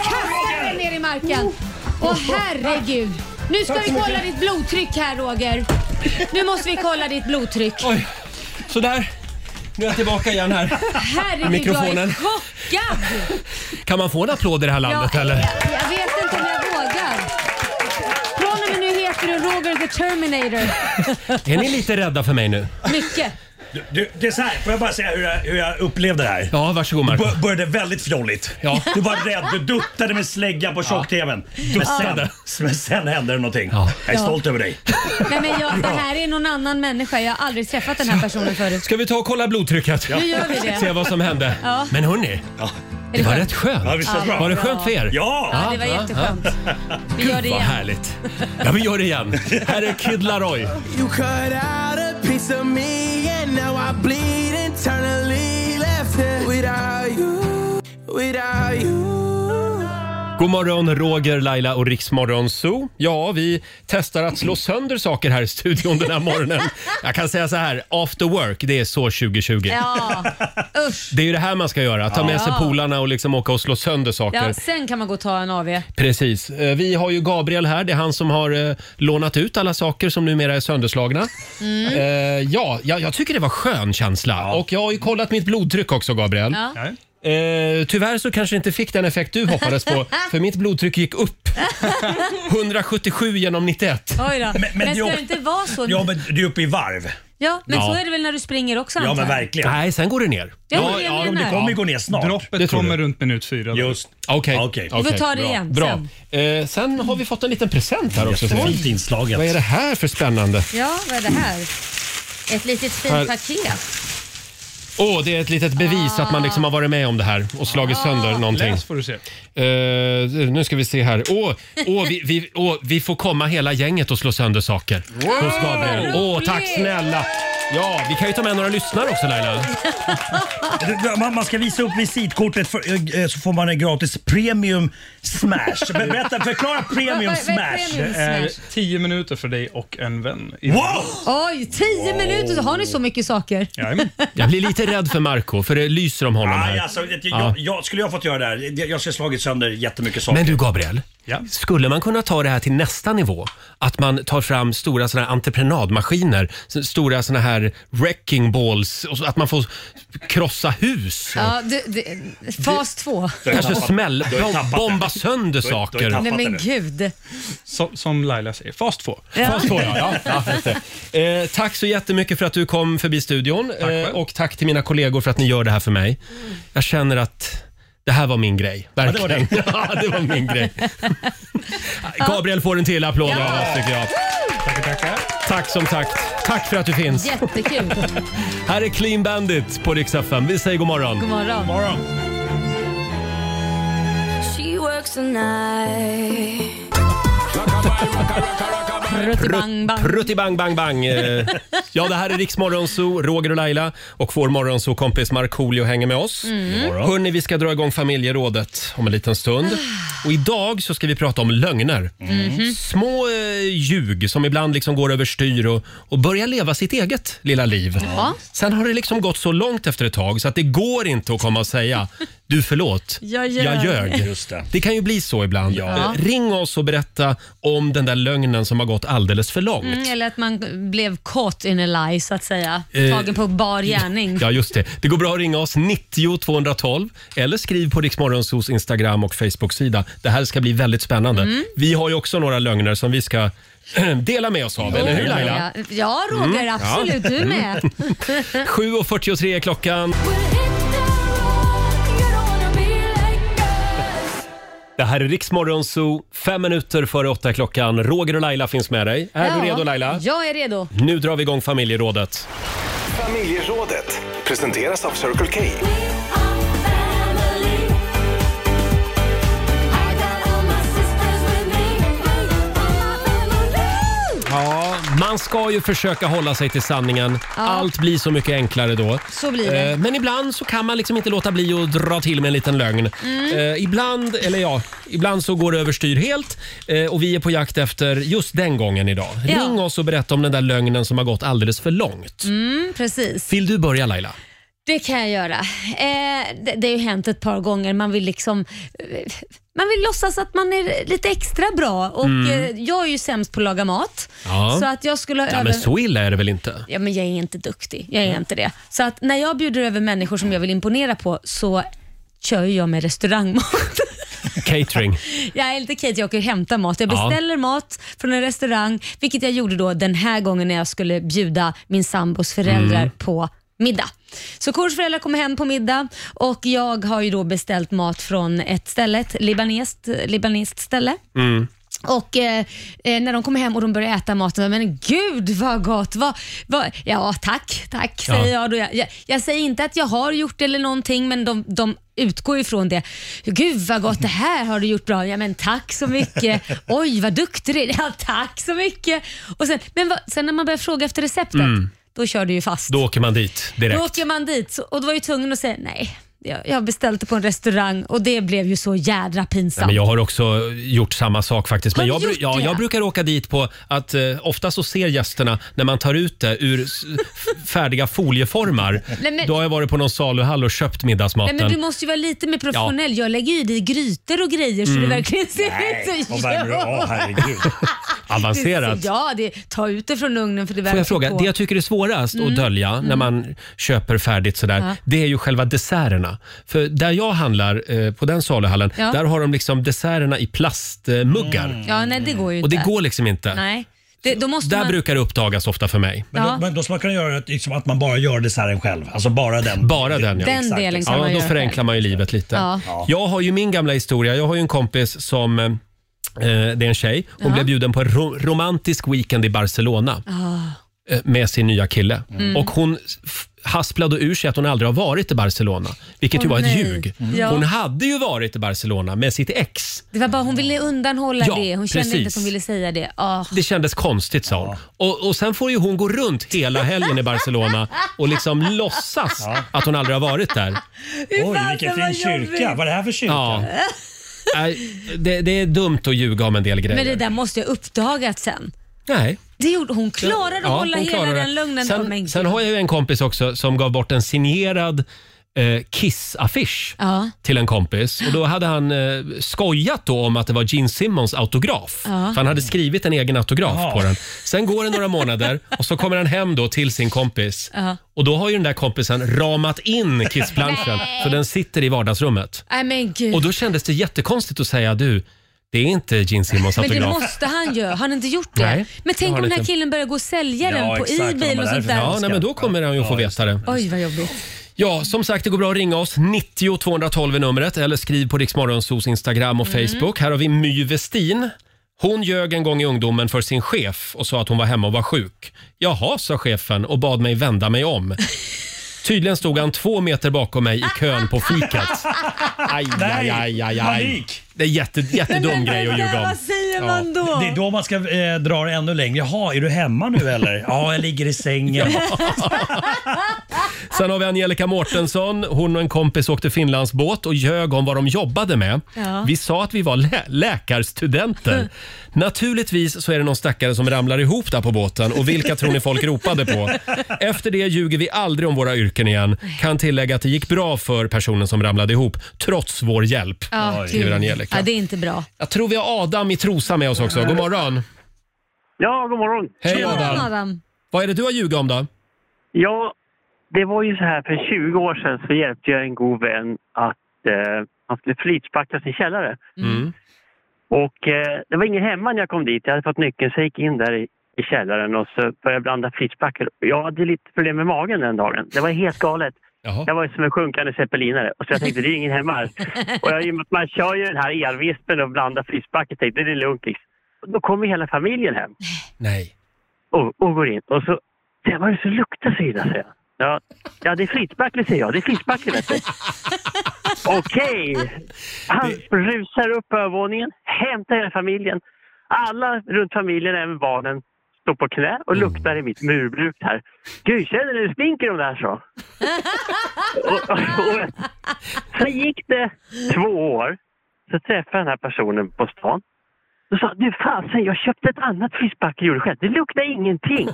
Speaker 2: kastar den ner i marken. Åh herregud. Nu ska vi kolla ditt blodtryck här Roger. Nu måste vi kolla ditt blodtryck.
Speaker 1: Oj, sådär. Nu är jag tillbaka igen här.
Speaker 2: Herregud, jag är
Speaker 1: Mikrofonen.
Speaker 2: chockad.
Speaker 1: Kan man få en applåd i det här landet
Speaker 2: Ja,
Speaker 1: eller?
Speaker 2: Jag vet inte om jag vågar. Från och med nu heter du Roger the Terminator.
Speaker 1: Är ni lite rädda för mig nu?
Speaker 2: Mycket.
Speaker 12: Du, du, det är så här, får jag bara säga hur jag, hur jag upplevde det här?
Speaker 1: Ja, varsågod Marco.
Speaker 12: Du bör- började väldigt fjolligt.
Speaker 1: Ja.
Speaker 12: Du var rädd, du duttade med slägga på tjock-TVn. Men,
Speaker 2: Ja.
Speaker 12: sen, men sen hände det någonting. Jag är
Speaker 2: Ja.
Speaker 12: stolt över dig.
Speaker 2: Nej, men jag, det här är någon annan människa. Jag har aldrig träffat den här personen förut.
Speaker 1: Ska vi ta och kolla blodtrycket?
Speaker 2: Nu gör vi det.
Speaker 1: Se vad som hände.
Speaker 2: Ja.
Speaker 1: Men hörni, det,
Speaker 2: Är det
Speaker 1: var
Speaker 2: skönt?
Speaker 1: rätt skönt.
Speaker 2: Ja, visst var det bra.
Speaker 1: Var det skönt för er?
Speaker 12: Ja!
Speaker 2: Ja, det var jätteskönt. Vi
Speaker 1: Gud
Speaker 2: gör det
Speaker 1: vad
Speaker 2: igen.
Speaker 1: härligt. Ja, vi gör det igen. Här är Kid Laroi.
Speaker 10: You cut out a piece of me and now I bleed internally left here without you, without you.
Speaker 1: God morgon Roger, Laila och Riksmorgon Zoo. Ja, vi testar att slå sönder saker här i studion den här morgonen. Jag kan säga så här, after work, det är så 2020.
Speaker 2: Ja,
Speaker 1: Det är ju det här man ska göra, ta med sig
Speaker 2: Ja.
Speaker 1: polarna och liksom åka och slå sönder saker.
Speaker 2: ja, sen kan man gå och ta en AV.
Speaker 1: Precis. Eh, Vi har ju Gabriel här, det är han som har eh, lånat ut alla saker som numera är sönderslagna.
Speaker 2: Mm.
Speaker 1: Eh, ja, jag, jag tycker det var skön känsla. Och jag har ju kollat mitt blodtryck också, Gabriel.
Speaker 2: Ja.
Speaker 1: Eh, tyvärr så kanske det inte fick den effekt du hoppades på, för mitt blodtryck gick upp. 177 genom 91.
Speaker 2: Oj då. Men,
Speaker 1: men
Speaker 2: ska
Speaker 1: jag-
Speaker 2: det inte vara så?
Speaker 12: men du är uppe i varv.
Speaker 2: Ja, men
Speaker 1: Ja.
Speaker 2: så är det väl när du springer också antar jag?
Speaker 1: Nej, sen går det ner.
Speaker 2: Ja, det är det jag menar. Det kommer ju gå ner snart.
Speaker 13: Droppet kommer runt minut fyra. Just.
Speaker 1: Okej.
Speaker 13: Vi får ta det
Speaker 1: bra.
Speaker 13: igen
Speaker 1: Bra.
Speaker 13: sen.
Speaker 1: Eh, sen har vi fått en liten present här också.
Speaker 12: Jättefint
Speaker 1: Oj. Vad är det här för spännande?
Speaker 2: Ja, vad är det här? Ett litet
Speaker 1: Här.
Speaker 2: fint paket.
Speaker 1: Åh, det är ett litet bevis att man liksom har varit med om det här och slagit sönder någonting.
Speaker 13: Läs får du se.
Speaker 1: Eh, nu ska vi se här. Åh, åh, vi, vi, åh, vi får komma hela gänget och slå sönder saker hos Gabriel. Åh, tack snälla! Ja, vi kan ju ta med några lyssnare också Laila.
Speaker 12: Man man ska visa upp visitkortet för, eh, så får man en gratis premium smash. Men Berätta, förklara premium smash. Eh,
Speaker 13: Det är 10 minuter för dig och en vän.
Speaker 2: Oj, tio minuter så har ni så mycket saker.
Speaker 1: Jag blir lite rädd för Marco för det lyser om honom
Speaker 12: Aj,
Speaker 1: här.
Speaker 12: alltså, jag,
Speaker 1: Ja.
Speaker 12: jag, jag, skulle jag fått göra det här, jag- jag skulle ha slagit sönder jättemycket saker.
Speaker 1: Men du Gabriel, skulle man kunna ta det här till nästa nivå? Att man tar fram stora såna här entreprenadmaskiner, s- stora såna här wrecking balls, och så att man får krossa hus.
Speaker 2: Ja, det, det, fas två.
Speaker 1: Kanske smäll, bomba sönder saker.
Speaker 2: Nej men gud.
Speaker 13: Som, som Laila säger, fas två.
Speaker 2: Ja.
Speaker 1: Fas två, ja. ja, ja just det. eh, tack så jättemycket för att du kom förbi studion. eh, och tack till mina kollegor för att ni gör det här för mig. Jag känner att det här var min grej.
Speaker 12: var
Speaker 1: Verkligen.
Speaker 12: det.
Speaker 1: Ja, det var min grej. Gabriel får en till applåd
Speaker 2: Ja.
Speaker 1: av oss tycker jag. Tackar, tackar. Tack som tack. Tack för att du finns.
Speaker 2: Jättekul.
Speaker 1: Här är Clean Bandit på Rix FM. Vi säger god morgon.
Speaker 2: God morgon.
Speaker 4: She works a
Speaker 2: Eh,
Speaker 4: night.
Speaker 1: Prutt- Prutti bang bang bang. Eh, Ja, det här är Riksmorgon Zoo, Roger och Laila och vår morgonzoo-kompis Markoolio hänger med oss.
Speaker 4: Mm.
Speaker 1: Hörni, vi ska dra igång familjerådet om en liten stund. Och idag så ska vi prata om lögner. Mm.
Speaker 4: Mhm.
Speaker 1: Små eh, ljug som ibland liksom går överstyr och, och börjar leva sitt eget lilla liv.
Speaker 4: Ja.
Speaker 1: Sen har det liksom gått så långt efter ett tag så att det går inte att komma och säga Du förlåt,
Speaker 11: Jag ljög."
Speaker 1: jag ljög.
Speaker 12: Just det.
Speaker 1: kan ju bli så ibland. Eh, Ring oss och berätta om den där lögnen som har gått alldeles för långt.
Speaker 2: Mm, eller att man blev caught in a lie så att säga.
Speaker 1: Eh,
Speaker 2: Tagen på bar gärning.
Speaker 1: Ja, just det. Det går bra att ringa oss 90 212 eller skriv på Riksmorgonsos Instagram och Facebook-sida. Det här ska bli väldigt spännande.
Speaker 2: Mm.
Speaker 1: Vi har ju också några lögner som vi ska dela med oss av, eller hur Laila?
Speaker 2: Ja, ja Roger,
Speaker 1: Mm, ja. Mm.
Speaker 2: absolut. Du är med.
Speaker 1: 7.43 är klockan. Det här är Riksmorgon Zoo, fem minuter före åtta är klockan. Roger och Laila finns med dig. Är
Speaker 2: Ja,
Speaker 1: du redo Laila?
Speaker 2: Jag är redo.
Speaker 1: Nu drar vi igång familjerådet.
Speaker 7: Familjerådet presenteras av Circle K.
Speaker 1: Ja, man ska ju försöka hålla sig till sanningen. Allt blir så mycket enklare då.
Speaker 2: Så blir det.
Speaker 1: Eh, Men ibland så kan man liksom inte låta bli att dra till med en liten lögn.
Speaker 2: Mm.
Speaker 1: Eh, Ibland, eller ja, ibland så går det överstyr helt eh, och vi är på jakt efter just den gången idag.
Speaker 2: Ja.
Speaker 1: Ring oss och berätta om den där lögnen som har gått alldeles för långt.
Speaker 2: Mm, precis.
Speaker 1: Vill du börja Laila?
Speaker 2: Det kan jag göra. Eh, det, det har ju hänt ett par gånger. Man vill liksom eh, man vill låtsas att man är lite extra bra. Och
Speaker 1: Mm.
Speaker 2: eh, Jag är ju sämst på att laga mat.
Speaker 1: Ja.
Speaker 2: Så att jag skulle ha
Speaker 1: Ja,
Speaker 2: över...
Speaker 1: men så illa är det väl inte?
Speaker 2: Ja, men jag är inte duktig. Jag är inte det. Så att när jag bjuder över människor som jag vill imponera på så kör ju jag med restaurangmat.
Speaker 1: Catering.
Speaker 2: Jag är lite Kate, jag åker och hämtar mat. Jag
Speaker 1: Ja.
Speaker 2: beställer mat från en restaurang, vilket jag gjorde då den här gången när jag skulle bjuda min sambos föräldrar
Speaker 14: Mm.
Speaker 2: på middag. Så Kors föräldrar kommer hem på middag och jag har ju då beställt mat från ett ställe, ett libaneskt, libaneskt ställe.
Speaker 1: Mm.
Speaker 2: Och eh, eh, när de kommer hem och de börjar äta maten, men gud vad gott! Vad, vad, ja, tack, tack
Speaker 14: Ja.
Speaker 2: säger jag, då. Jag, jag. Jag säger inte att jag har gjort det eller någonting, men de, de utgår ifrån det. Gud vad gott, det här har du gjort bra. Ja, men tack så mycket. Oj, vad duktig du är. Ja, tack så mycket. Och sen, men vad, sen när man börjar fråga efter receptet,
Speaker 1: Mm.
Speaker 2: då kör du ju fast.
Speaker 1: Då åker man dit direkt.
Speaker 2: Då åker man dit så- och då var jag ju tvungen att säga nej. Jag, jag beställde på en restaurang och det blev ju så jädra pinsamt.
Speaker 1: Nej, men jag har också gjort samma sak faktiskt. Men
Speaker 2: Har
Speaker 1: jag,
Speaker 2: du
Speaker 1: bru-
Speaker 2: gjort
Speaker 1: ja,
Speaker 2: det?
Speaker 1: jag brukar åka dit på att eh, ofta så ser gästerna när man tar ut det ur s- f- färdiga folieformar.
Speaker 2: Nej, men-
Speaker 1: Då har jag varit på någon saluhall och köpt middagsmaten.
Speaker 2: Nej, men du måste ju vara lite mer professionell. Jag lägger ju i grytor och grejer så
Speaker 1: Mm.
Speaker 2: det verkligen ser
Speaker 1: Nej,
Speaker 2: ut
Speaker 1: vad värmer du av? Herregud.
Speaker 2: Det-
Speaker 1: Avancerat.
Speaker 2: Ja, det, ta ut det från ugnen för det
Speaker 1: Får
Speaker 2: verkar
Speaker 1: jag fråga,
Speaker 2: på.
Speaker 1: det jag tycker är svårast
Speaker 2: Mm.
Speaker 1: att dölja när
Speaker 2: Mm.
Speaker 1: man köper färdigt sådär,
Speaker 2: Ja.
Speaker 1: det är ju själva desserterna. För där jag handlar, eh, på den saluhallen,
Speaker 2: Ja. Mm.
Speaker 1: där har de liksom desserterna i plastmuggar.
Speaker 2: Ja, nej det går ju
Speaker 1: Och det
Speaker 2: inte.
Speaker 1: går liksom inte.
Speaker 2: Nej. Det, då måste
Speaker 1: Där
Speaker 2: man...
Speaker 1: brukar det uppdagas ofta för mig.
Speaker 12: Men,
Speaker 2: Ja.
Speaker 12: då, men då ska man kunna göra att- liksom att man bara gör desserten själv. Alltså bara den.
Speaker 1: Bara den, ja.
Speaker 2: Den delen kan man
Speaker 1: ja, Då
Speaker 2: göra
Speaker 1: förenklar man ju livet lite.
Speaker 2: Ja.
Speaker 1: Jag har ju min gamla historia. Jag har ju en kompis som eh, det är en tjej. Hon
Speaker 2: Ja.
Speaker 1: blev bjuden på en ro- romantisk weekend i Barcelona
Speaker 2: Ah.
Speaker 1: eh, med sin nya kille.
Speaker 2: Mm.
Speaker 1: Och hon f- hasplade ur sig att hon aldrig har varit i Barcelona, vilket ju
Speaker 2: Åh,
Speaker 1: var ett
Speaker 2: nej.
Speaker 1: ljug.
Speaker 2: Mm. Ja.
Speaker 1: Hon hade ju varit i Barcelona med sitt ex.
Speaker 2: Det var bara hon ville undanhålla
Speaker 1: Ja,
Speaker 2: det. Hon kände
Speaker 1: precis.
Speaker 2: inte att hon ville säga det. Ah.
Speaker 1: Det kändes konstigt sa hon. Och, och sen får ju hon gå runt hela helgen i Barcelona och liksom låtsas att hon aldrig har varit där.
Speaker 12: Oj, vilken fin kyrka. Vad är det här för kyrka?
Speaker 1: Ja. Nej, det, det är dumt att ljuga om en del grejer.
Speaker 2: Men det där måste jag uppdagat sen.
Speaker 1: Nej.
Speaker 2: Det gjorde hon. Klarade att
Speaker 1: Ja,
Speaker 2: hålla
Speaker 1: hon
Speaker 2: hela
Speaker 1: klarar det.
Speaker 2: den lögnen. Åh, men
Speaker 1: Sen, sen har jag ju en kompis också som gav bort en signerad eh, Kiss-affisch
Speaker 2: Ja.
Speaker 1: till en kompis. Och Då hade han eh, skojat då om att det var Gene Simmons autograf.
Speaker 2: Ja.
Speaker 1: För han hade skrivit en egen autograf
Speaker 2: Jaha.
Speaker 1: på den. Sen går det några månader och så kommer han hem då till sin kompis.
Speaker 2: Ja.
Speaker 1: Och Då har ju den där kompisen ramat in Kiss-planschen
Speaker 2: Nej.
Speaker 1: så den sitter i vardagsrummet.
Speaker 2: Nej men gud.
Speaker 1: Och Då kändes det jättekonstigt att säga du, det är inte Gene Simmons
Speaker 2: Men det
Speaker 1: autograf.
Speaker 2: måste han ju. Har han inte gjort det?
Speaker 1: Nej,
Speaker 2: men
Speaker 1: det
Speaker 2: tänk
Speaker 1: har han
Speaker 2: om den här
Speaker 1: inte.
Speaker 2: killen börjar gå och sälja den på Ebay och sånt där.
Speaker 1: Ja, nej, men då kommer han ju att få veta det.
Speaker 2: Oj, vad jobbigt.
Speaker 1: Ja, som sagt, det går bra att ringa oss. 90 212 är numret eller skriv på Riksmorgonsos Instagram och
Speaker 2: Mm.
Speaker 1: Facebook. Här har vi My Westin. Hon ljög en gång i ungdomen för sin chef och sa att hon var hemma och var sjuk. Jaha, sa chefen och bad mig vända mig om. Tydligen stod han två meter bakom mig i kön på fikat. Aj, aj, aj, aj, aj.
Speaker 12: panik.
Speaker 1: Det är jätte, jättedum grej att ljuga om. Ja.
Speaker 12: Det är då man ska eh, dra det ännu längre. Jaha, är du hemma nu eller? ja, jag ligger i sängen.
Speaker 1: Sen har vi Angelica Mårtensson. Hon och en kompis åkte Finlandsbåt och ljög om vad de jobbade med.
Speaker 4: Ja.
Speaker 1: Vi sa att vi var lä- läkarstudenter. Naturligtvis så är det någon stackare som ramlar ihop där på båten och vilka tror ni folk ropade på? Efter det ljuger vi aldrig om våra yrken igen. Kan tillägga att det gick bra för personen som ramlade ihop, trots vår hjälp,
Speaker 2: Ja,
Speaker 1: skriver
Speaker 2: kul.
Speaker 1: Angelica.
Speaker 2: ja, det är inte bra.
Speaker 1: Jag tror vi har Adam i Trosa med oss också. God morgon.
Speaker 14: Ja, god morgon.
Speaker 1: Hej
Speaker 2: Adam.
Speaker 1: Adam.
Speaker 2: Adam.
Speaker 1: Vad är det du har ljugit om då?
Speaker 14: Ja, det var ju så här för 20 år sedan så hjälpte jag en god vän att eh, han skulle flytspacka sin källare.
Speaker 2: Mm.
Speaker 14: Och eh, det var ingen hemma när jag kom dit. Jag hade fått nyckeln så jag gick in där i, i källaren och så började jag blanda flytspackel. Jag hade lite problem med magen den dagen. Det var helt galet. Jag var ju som en sjunkande zeppelinare. Och så jag tänkte, det är ingen hemma här. Och jag, i och med att man kör ju den här elvispen och blandar flytspackel, tänkte det är lugnt liksom. Och Då kommer hela familjen hem.
Speaker 1: Nej.
Speaker 14: Och, och går in. Och så, det var det så luktar Frida, säger jag. Ja, ja, det är flytspackel, säger jag. Det är flytspackel, vet du. Okej. Han rusar upp på övervåningen, hämtar hela familjen. Alla runt familjen, även barnen, står på knä och
Speaker 1: Mm.
Speaker 14: luktar i mitt murbruk här. Gud, känner du hur det stinker de där, så. och, och, och, så gick det två år. Så träffade jag den här personen på stan. Då sa han, du fasen, jag köpte ett annat flytspackel och gjorde själv. Det luktar ingenting.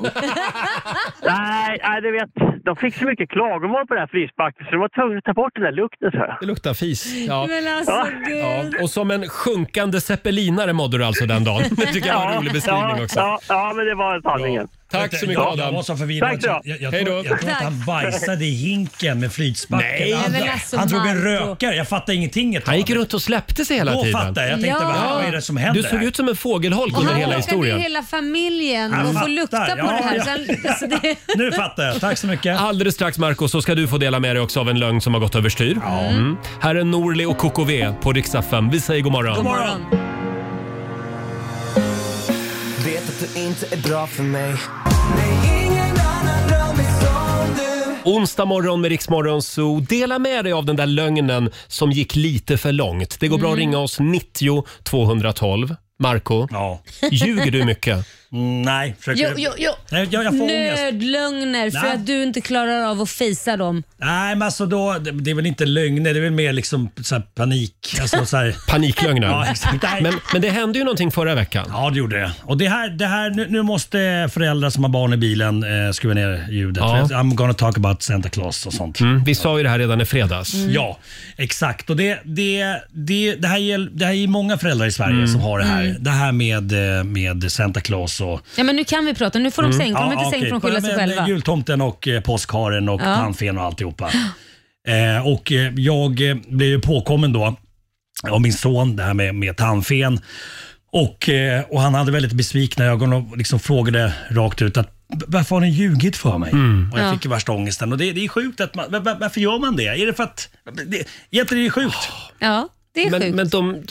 Speaker 14: nej, nej, du vet, de fick så mycket klagomål på det här flisbacken så de var tvungna att ta bort den där lukten, så jag.
Speaker 1: Det luktar fis. Ja.
Speaker 2: Men alltså, gud.
Speaker 1: Och som en sjunkande zeppelinare mådde du alltså den dagen. Det tycker jag var en rolig beskrivning också.
Speaker 14: Ja, ja, men det var sanningen.
Speaker 1: Tack så mycket
Speaker 12: jag,
Speaker 1: Adam.
Speaker 12: Jag var så förvirrad.
Speaker 1: Tack
Speaker 12: Jag,
Speaker 1: så
Speaker 12: jag,
Speaker 1: bra.
Speaker 12: jag,
Speaker 1: Hej då.
Speaker 12: tror- jag tror att han bajsade i hinken med
Speaker 1: Nej.
Speaker 12: flytspackel.
Speaker 1: Nej,
Speaker 12: Han,
Speaker 1: men alltså,
Speaker 12: han drog en
Speaker 1: Marco.
Speaker 12: rökare. Jag fattade ingenting ett tag. Han
Speaker 1: gick runt och släppte sig hela
Speaker 12: Då
Speaker 1: tiden.
Speaker 12: Då fattade jag. Jag tänkte,
Speaker 2: Ja.
Speaker 12: vad vad är det som händer?
Speaker 1: Du såg ut som en fågelholk
Speaker 2: Och
Speaker 1: under
Speaker 2: han
Speaker 1: hela
Speaker 2: råkade ju
Speaker 1: historien.
Speaker 2: hela familjen
Speaker 1: Han
Speaker 2: och få
Speaker 1: fattar,
Speaker 2: lukta på
Speaker 1: ja,
Speaker 2: det här.
Speaker 1: ja.
Speaker 2: Så han, alltså, det...
Speaker 12: Nu fattar jag. Tack så mycket.
Speaker 1: Alldeles strax Marco så ska du få dela med dig också av en lögn som har gått överstyr. Mm. Här är Norli och KKV på riksdag Vi säger god morgon.
Speaker 10: God morgon. Vet att du inte är bra för mig. Nej, ingen annan rör mig som du.
Speaker 1: Onsdag morgon med Riksmorgon så dela med dig av den där lögnen som gick lite för långt. Det går bra att
Speaker 12: Mm.
Speaker 1: ringa oss 90 212. Marco, ljuger du mycket?
Speaker 12: Nej,
Speaker 2: Jo, jo, jo. Nödlögner för
Speaker 12: Nej.
Speaker 2: att du inte klarar av att fejsa dem.
Speaker 12: Nej, men alltså då, det, det är väl inte lögner, det är väl mer liksom så här panik. Alltså, så här.
Speaker 1: Paniklögnen.
Speaker 12: Ja, exakt. Nej.
Speaker 1: Men, men det hände ju någonting förra veckan.
Speaker 12: Ja, det gjorde det. Och det här, det här nu, nu måste föräldrar som har barn i bilen eh, skruva ner ljudet.
Speaker 1: Ja.
Speaker 12: För I'm gonna talk about Santa Claus och sånt.
Speaker 1: Mm, vi sa ju det här redan i fredags.
Speaker 12: Mm. Ja, exakt. Och det, det, det, det, här är, det här är många föräldrar i Sverige
Speaker 1: Mm.
Speaker 12: som har det här.
Speaker 2: Mm.
Speaker 12: Det här med, eh, med Santa Claus och...
Speaker 2: Ja, men nu kan vi prata. Nu får
Speaker 1: Mm.
Speaker 2: de sänka. Om de inte
Speaker 12: okej.
Speaker 2: sänker får de skylla
Speaker 12: Mm. Ja,
Speaker 2: sig
Speaker 12: men
Speaker 2: själva.
Speaker 12: Jultomten och eh, påskharen och
Speaker 2: Ja.
Speaker 12: tandfen och alltihopa. eh, och eh, jag eh, blev ju påkommen då av min son, det här med, med tandfen. Och, eh, och han hade väldigt besvikna ögon och liksom frågade rakt ut att varför har ni ljugit för mig? Och jag
Speaker 10: Ja.
Speaker 12: fick ju värsta ångesten. Och det, det är sjukt att man, var- var- varför gör man det? Är det för att, det, egentligen är det sjukt.
Speaker 2: Ja, det är
Speaker 1: men,
Speaker 2: sjukt.
Speaker 1: Men de,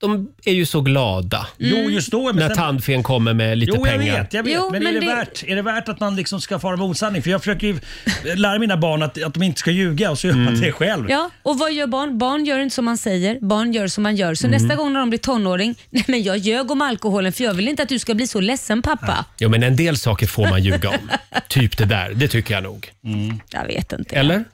Speaker 1: de är ju så glada.
Speaker 12: Jo, just då, men
Speaker 1: när
Speaker 12: sen-
Speaker 1: tandfen kommer med lite
Speaker 12: jo,
Speaker 1: pengar.
Speaker 12: jag vet. Jag vet.
Speaker 2: Jo,
Speaker 12: men
Speaker 2: men
Speaker 12: är, det
Speaker 2: det-
Speaker 12: Värt, är det värt att man liksom ska fara med osanning? För jag försöker ju lära mina barn att, att de inte ska ljuga och så gör
Speaker 1: Mm.
Speaker 12: man det själv.
Speaker 2: Ja, och vad gör barn? Barn gör inte som man säger, barn gör som man gör. Så
Speaker 12: Mm.
Speaker 2: nästa gång när de blir tonåring, nej men jag ljög om alkoholen för jag vill inte att du ska bli så ledsen pappa.
Speaker 1: Ja, men en del saker får man ljuga om. typ det där, det tycker jag nog.
Speaker 2: Jag vet inte.
Speaker 1: Eller?
Speaker 12: Mm.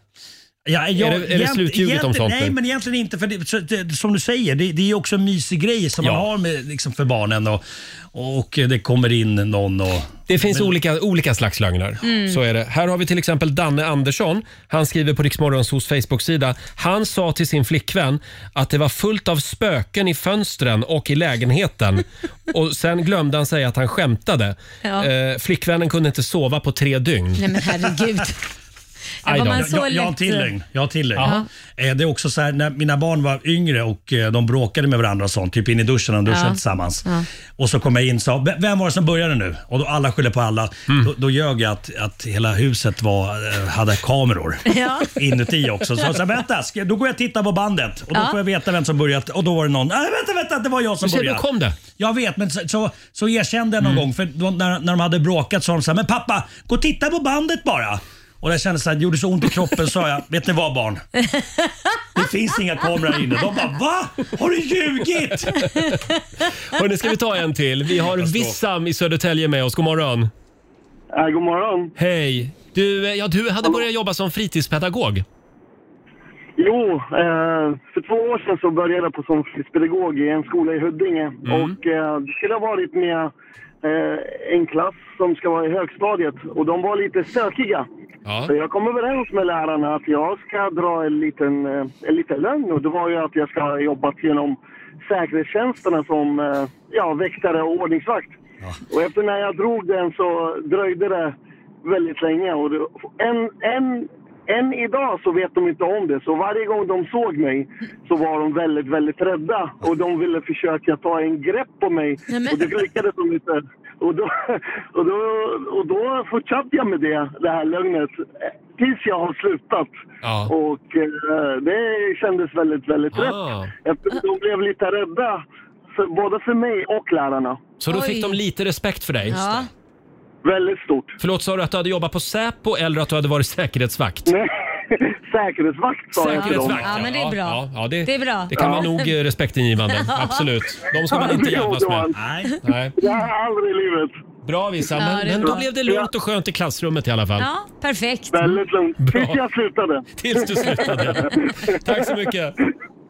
Speaker 12: Ja,
Speaker 1: är det, är det
Speaker 12: egent-
Speaker 1: slutljuget om
Speaker 12: egentligen-
Speaker 1: sånt
Speaker 12: Nej,
Speaker 1: nu?
Speaker 12: men egentligen inte. För det, så, det, som du säger, det, det är ju också en mysig grej som man har med, liksom, för barnen. Och, och det kommer in någon och...
Speaker 1: Det finns
Speaker 12: Men-
Speaker 1: olika, olika slags lögner.
Speaker 12: Mm.
Speaker 1: Så är det. Här har vi till exempel Danne Andersson. Han skriver på Riksmorgonsos Facebook-sida. Han sa till sin flickvän att det var fullt av spöken i fönstren och i lägenheten. och Sen glömde han säga att han skämtade.
Speaker 2: Ja.
Speaker 1: Eh, flickvännen kunde inte sova på tre dygn.
Speaker 2: Nej men herregud. Var
Speaker 12: Aj då.
Speaker 2: man så
Speaker 12: jag, jag, jag har en
Speaker 2: lätt-
Speaker 12: till lögn. Jag har en till lögn.
Speaker 2: Jaha.
Speaker 12: Eh, Det är också så här, när mina barn var yngre och eh, de bråkade med varandra och sånt, typ in i duschen, de duschade
Speaker 10: Ja.
Speaker 12: tillsammans.
Speaker 10: Ja.
Speaker 12: Och så kom jag in och sa, "V- vem var det som började nu? Och då alla skyller på alla.
Speaker 10: Mm.
Speaker 12: Då, då ljög jag att, att hela huset var, eh, hade kameror
Speaker 10: Ja.
Speaker 12: inuti också. Så jag sa, vänta, ska, då går jag och tittar på bandet och då
Speaker 10: Ja.
Speaker 12: får jag veta vem som börjat. Och då var det någon, nej vänta, vänta, det var jag som
Speaker 10: Men se, då
Speaker 12: började.
Speaker 10: kom det. Mm.
Speaker 12: Jag vet, men så, så, så erkände jag någon gång. För då, när, när de hade bråkat sa de så här, men pappa, gå och titta på bandet bara. Och det kändes så här, det gjorde så ont i kroppen sa jag, vet ni vad barn? Det finns inga kameror här inne. De bara, va? Har du ljugit?
Speaker 1: Hörrni, ska vi ta en till? Vi har Vissam i Södertälje med oss. God morgon.
Speaker 15: Ja, god morgon.
Speaker 1: Hej. Du, eh, ja, du hade börjat jobba som fritidspedagog.
Speaker 15: Jo, eh, för två år sedan så började jag på som fritidspedagog i en skola i Huddinge. Och eh, det skulle ha varit med eh, en klass som ska vara i högstadiet och de var lite stökiga. Så jag kom överens med lärarna att jag ska dra en liten, eh, en liten lögn och det var ju att jag ska ha jobbat genom säkerhetstjänsterna som eh, ja, väktare och ordningsvakt. Och efter när jag drog den så dröjde det väldigt länge. Och det, en, en, än idag så vet de inte om det, så varje gång de såg mig så var de väldigt, väldigt rädda och de ville försöka ta en grepp på mig och det lyckades de inte. Och då, och då, och då fortsatte jag med det, det här lögnet eh, tills jag har slutat. Och eh, det kändes väldigt, väldigt
Speaker 1: Ah.
Speaker 15: rätt. Eftersom de blev lite rädda, för, både för mig och lärarna.
Speaker 1: Så då fick de lite respekt för dig.
Speaker 15: Ja. Väldigt stort.
Speaker 1: Förlåt, sa du att du hade jobbat på Säpo eller att du hade varit säkerhetsvakt?
Speaker 15: Säkerhetsvakt sa jag till dem.
Speaker 1: Säkerhetsvakt,
Speaker 2: Ja, men det är bra.
Speaker 1: Ja, ja, det,
Speaker 2: Det är bra.
Speaker 1: Det kan
Speaker 2: Ja.
Speaker 1: vara nog eh, respektingivande, absolut. De ska man inte
Speaker 15: Ja,
Speaker 1: jävlas med.
Speaker 15: Nej.
Speaker 1: Nej.
Speaker 15: Det har jag aldrig i livet.
Speaker 1: Bra Vissa,
Speaker 2: Ja,
Speaker 1: men,
Speaker 2: det är
Speaker 1: men
Speaker 2: bra.
Speaker 1: då blev det lugnt och skönt i klassrummet i alla fall.
Speaker 2: Ja, perfekt.
Speaker 15: Väldigt lugnt.
Speaker 1: Bra.
Speaker 15: Tills jag slutade.
Speaker 1: Tills du slutade. Tack så mycket.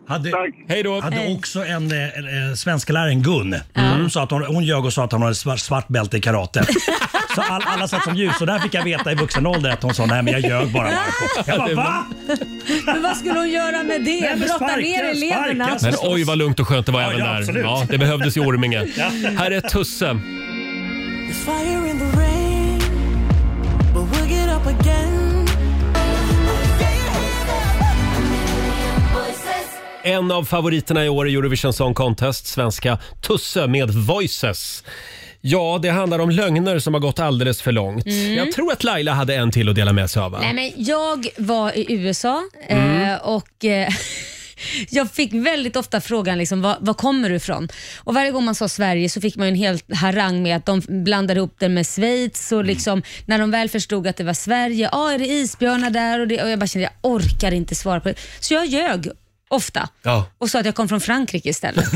Speaker 12: Hade,
Speaker 1: Hej då.
Speaker 12: hade också en, eh, en, en svenskläraren, Gun. Mm. Hon, sa att hon, hon ljög och sa att hon hade svart, svart bälte i karate. Så all, alla satt som ljus. Och där fick jag veta i vuxen ålder att hon sa nej men jag ljög bara. Marco." Jag bara va?
Speaker 2: Men vad skulle hon göra med det?
Speaker 4: Nej, men
Speaker 2: Brotta
Speaker 4: sparka,
Speaker 2: ner eleverna?
Speaker 1: Men oj vad lugnt och skönt det var även
Speaker 4: ja,
Speaker 1: där.
Speaker 4: absolut.
Speaker 1: Ja, det behövdes i Orminge.
Speaker 4: Ja.
Speaker 1: Här är Tusse.
Speaker 4: There's fire in the rain, but we'll get up again.
Speaker 1: En av favoriterna i år i Eurovision Song Contest, svenska Tusse med Voices. Ja, det handlar om lögner som har gått alldeles för långt.
Speaker 2: Mm.
Speaker 1: Jag tror att Laila hade en till att dela med sig av. va?
Speaker 2: Nej, men jag var i USA eh,
Speaker 1: Mm.
Speaker 2: och eh, jag fick väldigt ofta frågan liksom, var, var kommer du ifrån? Och Varje gång man sa Sverige så fick man ju en hel harang med att de blandade ihop det med Schweiz
Speaker 1: Mm.
Speaker 2: och liksom, när de väl förstod att det var Sverige, ja ah, är det isbjörnar där? Och, det, och Jag bara kände jag orkar inte svara på det. Så jag ljög ofta
Speaker 1: Ja.
Speaker 2: och sa att jag kom från Frankrike istället.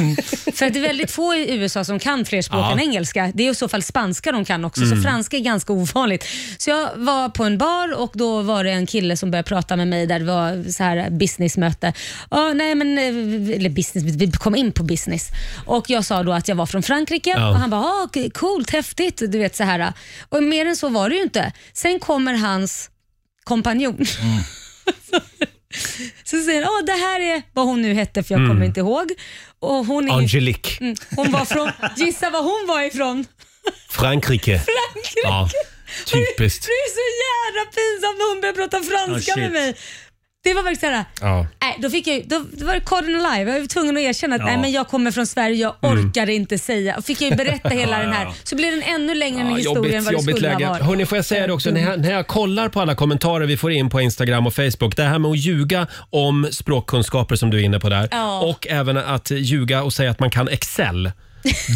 Speaker 2: För att det är väldigt få i USA som kan fler språk
Speaker 4: Ja.
Speaker 2: än engelska. Det är i så fall spanska de kan också,
Speaker 4: Mm.
Speaker 2: så franska är ganska ovanligt. Så jag var på en bar och då var det en kille som började prata med mig där det var så här businessmöte. Ja, nej men, eh, eller business, vi kom in på business. Och jag sa då att jag var från Frankrike
Speaker 4: Ja.
Speaker 2: och han bara, ah, okej, coolt, häftigt, du vet så här. Och mer än så var det ju inte. Sen kommer hans kompanjon.
Speaker 1: Mm.
Speaker 2: Så säger hon, "Åh, det här är vad hon nu hette för jag
Speaker 1: Mm.
Speaker 2: kommer inte ihåg. Och hon är,
Speaker 1: Angelique.
Speaker 2: Mm, hon var från, gissa var hon var ifrån?
Speaker 1: Frankrike.
Speaker 2: Frankrike.
Speaker 1: Ja,
Speaker 2: Det
Speaker 1: typiskt.
Speaker 2: är så jävla pinsamt när hon börjar prata franska
Speaker 1: Oh, shit.
Speaker 2: med mig. Det var verkligen såhär,
Speaker 1: Ja.
Speaker 2: nej, då, fick jag, ju- då då var det Cotton Alive. Jag var tvungen att erkänna att
Speaker 1: Ja.
Speaker 2: nej, men jag kommer från Sverige, jag
Speaker 1: Mm.
Speaker 2: orkade inte säga. Och Fick jag ju berätta hela
Speaker 1: Ja,
Speaker 2: den
Speaker 1: ja, ja.
Speaker 2: här, så blev den ännu längre än
Speaker 1: Ja,
Speaker 2: historien vad det skulle ha varit.
Speaker 1: Hörrni, får jag säga det också? När jag, när jag kollar på alla kommentarer vi får in på Instagram och Facebook, det här med att ljuga om språkkunskaper som du är inne på där
Speaker 2: Ja.
Speaker 1: och även att ljuga och säga att man kan Excel.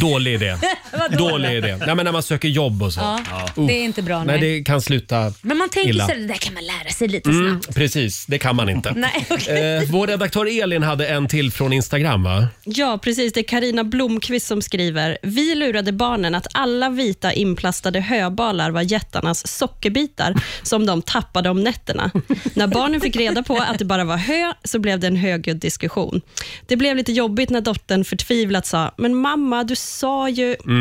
Speaker 1: Dålig idé.
Speaker 2: Vad
Speaker 1: Dålig idé. Nej, men när man söker jobb och så.
Speaker 2: Ja,
Speaker 1: Uff.
Speaker 2: Det är inte bra.
Speaker 1: Nej,
Speaker 2: Nej,
Speaker 1: det kan sluta
Speaker 2: Men man tänker
Speaker 1: illa.
Speaker 2: så här, det där kan man lära sig lite snabbt.
Speaker 1: Mm, precis, det kan man inte.
Speaker 2: Nej,
Speaker 1: eh, vår redaktör Elin hade en till från Instagram va?
Speaker 11: Ja, precis. Det är Karina Blomqvist som skriver. Vi lurade barnen att alla vita inplastade höbalar var jättarnas sockerbitar som de tappade om nätterna. När barnen fick reda på att det bara var hö så blev det en högljudd diskussion. Det blev lite jobbigt när dottern förtvivlat sa, men mamma, du sa ju...
Speaker 4: Mm.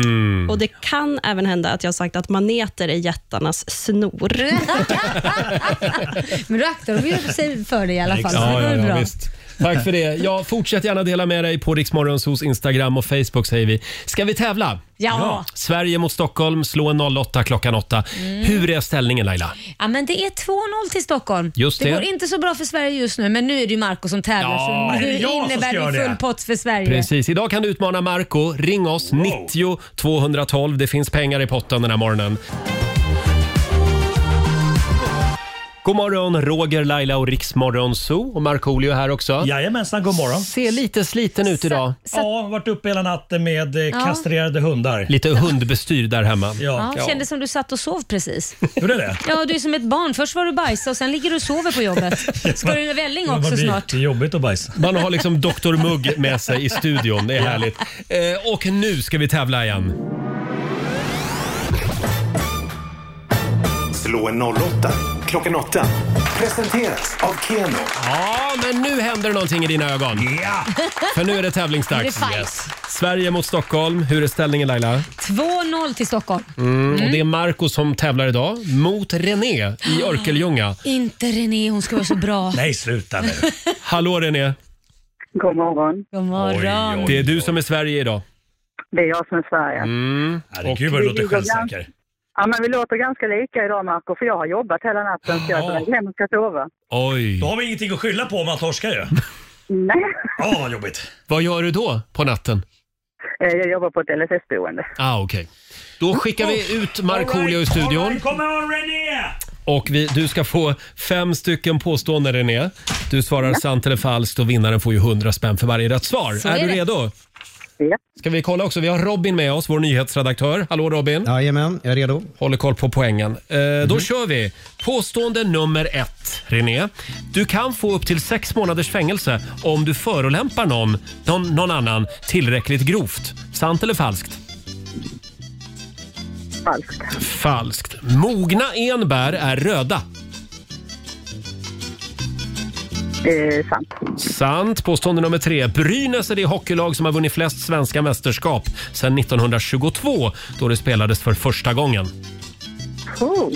Speaker 11: Och det kan även hända att jag sagt att maneter är jättarnas snor.
Speaker 2: Men du aktar dig ju för det i alla fall. så det
Speaker 1: Ja,
Speaker 2: var
Speaker 1: ja,
Speaker 2: väl
Speaker 1: ja,
Speaker 2: bra.
Speaker 1: visst. Tack för det. Ja, fortsätt gärna dela med dig på Riksmorgonsos Instagram och Facebook säger vi. Ska vi tävla?
Speaker 2: Ja. Ja.
Speaker 1: Sverige mot Stockholm, slå en 08 klockan 8.
Speaker 2: Mm.
Speaker 1: Hur är ställningen Laila?
Speaker 2: Ja, men det är 2-0 till Stockholm.
Speaker 1: Just det.
Speaker 2: går inte så bra för Sverige just nu, men nu är det ju Marco som tävlar.
Speaker 1: Ja.
Speaker 2: så
Speaker 1: Är
Speaker 2: nu
Speaker 1: det jag som ska
Speaker 2: innebär
Speaker 1: göra
Speaker 2: det
Speaker 1: det?
Speaker 2: full pott för Sverige.
Speaker 1: Precis, idag kan du utmana Marco. Ring oss, 90 212. Det finns pengar i potten den här morgonen. God morgon, Roger, Laila och Riksmorgon Zoo. Och Markoolio här också.
Speaker 12: Jajamensan, god morgon.
Speaker 1: Ser lite sliten ut idag.
Speaker 12: Ja, varit uppe hela natten med eh,
Speaker 2: Ja.
Speaker 12: kastrerade hundar.
Speaker 1: Lite hundbestyr där hemma.
Speaker 2: Ja, Kändes som du satt och sov precis.
Speaker 12: Gjorde det?
Speaker 2: Ja, du är som ett barn. Först var du bajsa och sen ligger du och sover på jobbet. Ska du med välling
Speaker 12: Ja,
Speaker 2: också
Speaker 12: vad blir-
Speaker 2: snart?
Speaker 12: Det är jobbigt att bajsa.
Speaker 1: Man har liksom Dr Mugg med sig i studion. Det är härligt. Eh, och nu ska vi tävla igen.
Speaker 7: Slå en 08 klockan åtta. Presenteras av Keno.
Speaker 1: Ja, men nu händer det någonting i dina ögon.
Speaker 12: Ja!
Speaker 1: För nu är det
Speaker 2: Nu är det
Speaker 1: tävlingsdags.
Speaker 2: fight. Yes.
Speaker 1: Sverige mot Stockholm. Hur är ställningen Laila?
Speaker 2: 2-0 till Stockholm.
Speaker 1: Mm.
Speaker 2: Mm.
Speaker 1: Och det är Marco som tävlar idag mot René i Örkelljunga.
Speaker 2: Inte René, hon ska vara så bra.
Speaker 1: Nej, sluta nu. Hallå René.
Speaker 9: God morgon.
Speaker 2: God morgon.
Speaker 1: Det är du som är Sverige idag.
Speaker 9: Det är jag som är Sverige.
Speaker 1: Mm.
Speaker 12: Herregud
Speaker 9: Vi ligger ganska- Ja, men vi låter ganska lika idag Marco, för jag har jobbat hela natten så jag är på väg hem och ska sova.
Speaker 1: Oj.
Speaker 12: Då har vi ingenting att skylla på om man torskar ju.
Speaker 9: Nej,
Speaker 12: Ja, vad jobbigt.
Speaker 1: Vad gör du då på natten?
Speaker 9: eh, jag jobbar på ett LSS-boende.
Speaker 1: Ah, okej. Då skickar vi ut Markoolio ur studion.
Speaker 12: Kom igen René!
Speaker 1: Och vi, du ska få fem stycken påståenden René. Du svarar sant eller falskt och vinnaren får ju 100 spänn för varje rätt svar.
Speaker 16: Så
Speaker 1: är,
Speaker 16: är
Speaker 1: du
Speaker 16: det.
Speaker 1: redo? Ja. Ska vi kolla också? Vi har Robin med oss, vår nyhetsredaktör. Hallå Robin!
Speaker 16: Jajamän, jag är redo. Mhm.
Speaker 1: Håller koll på poängen. Eh, Då kör vi! Påstående nummer ett, René. Du kan få upp till sex månaders fängelse om du förolämpar någon, någon, någon annan tillräckligt grovt. Sant eller falskt? Falskt. Falskt. Mogna enbär är röda.
Speaker 9: Eh, sant.
Speaker 1: Sant. Påstående nummer tre. Brynäs är det hockeylag som har vunnit flest svenska mästerskap sedan 1922 då det spelades för första gången.
Speaker 9: Oh.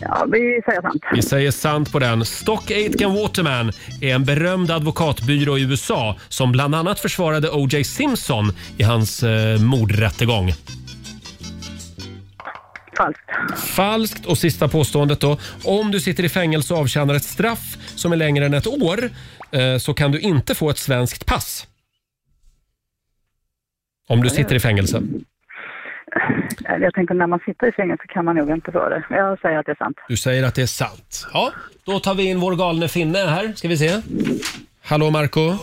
Speaker 9: Ja, vi säger sant.
Speaker 1: Vi säger sant på den. Stock Aitken Waterman är en berömd advokatbyrå i USA som bland annat försvarade O.J. Simpson i hans eh, mordrättegång. Falskt. Falskt. Och sista påståendet då. Om du sitter i fängelse och avtjänar ett straff som är längre än ett år eh, så kan du inte få ett svenskt pass. Om du sitter i fängelse.
Speaker 9: Eh, Jag tänker när man sitter i sängen så kan man nog inte få det. Jag säger att det är sant.
Speaker 1: Du säger att det är sant. Ja, då tar vi in vår galne finne här. Ska vi se. Hallå Marco.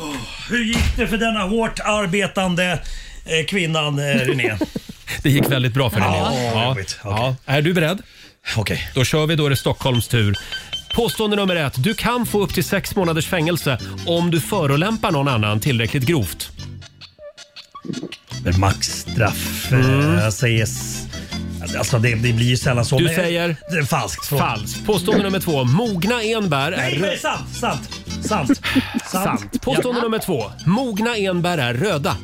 Speaker 12: Hur gick det för denna hårt arbetande eh, kvinnan eh, René?
Speaker 1: Det gick väldigt bra för René.
Speaker 12: Ja, vad
Speaker 1: ja.
Speaker 12: jobbigt.
Speaker 1: Ja. Är du beredd?
Speaker 12: Okej.
Speaker 1: Då kör vi. Då är det Stockholms tur. Påstående nummer ett. Du kan få upp till sex månaders fängelse om du förolämpar någon annan tillräckligt grovt.
Speaker 12: Men maxstraff. Mm. Jag säger... s- Alltså det, det blir ju sällan så.
Speaker 1: Du
Speaker 12: men-
Speaker 1: säger?
Speaker 12: Det är falskt. Förlåt.
Speaker 1: Falskt. Påstående nummer två. Mogna enbär är...
Speaker 12: Nej, men det är sant, sant, sant. Sant.
Speaker 1: Sant. Påstående nummer två. Mogna enbär är röda.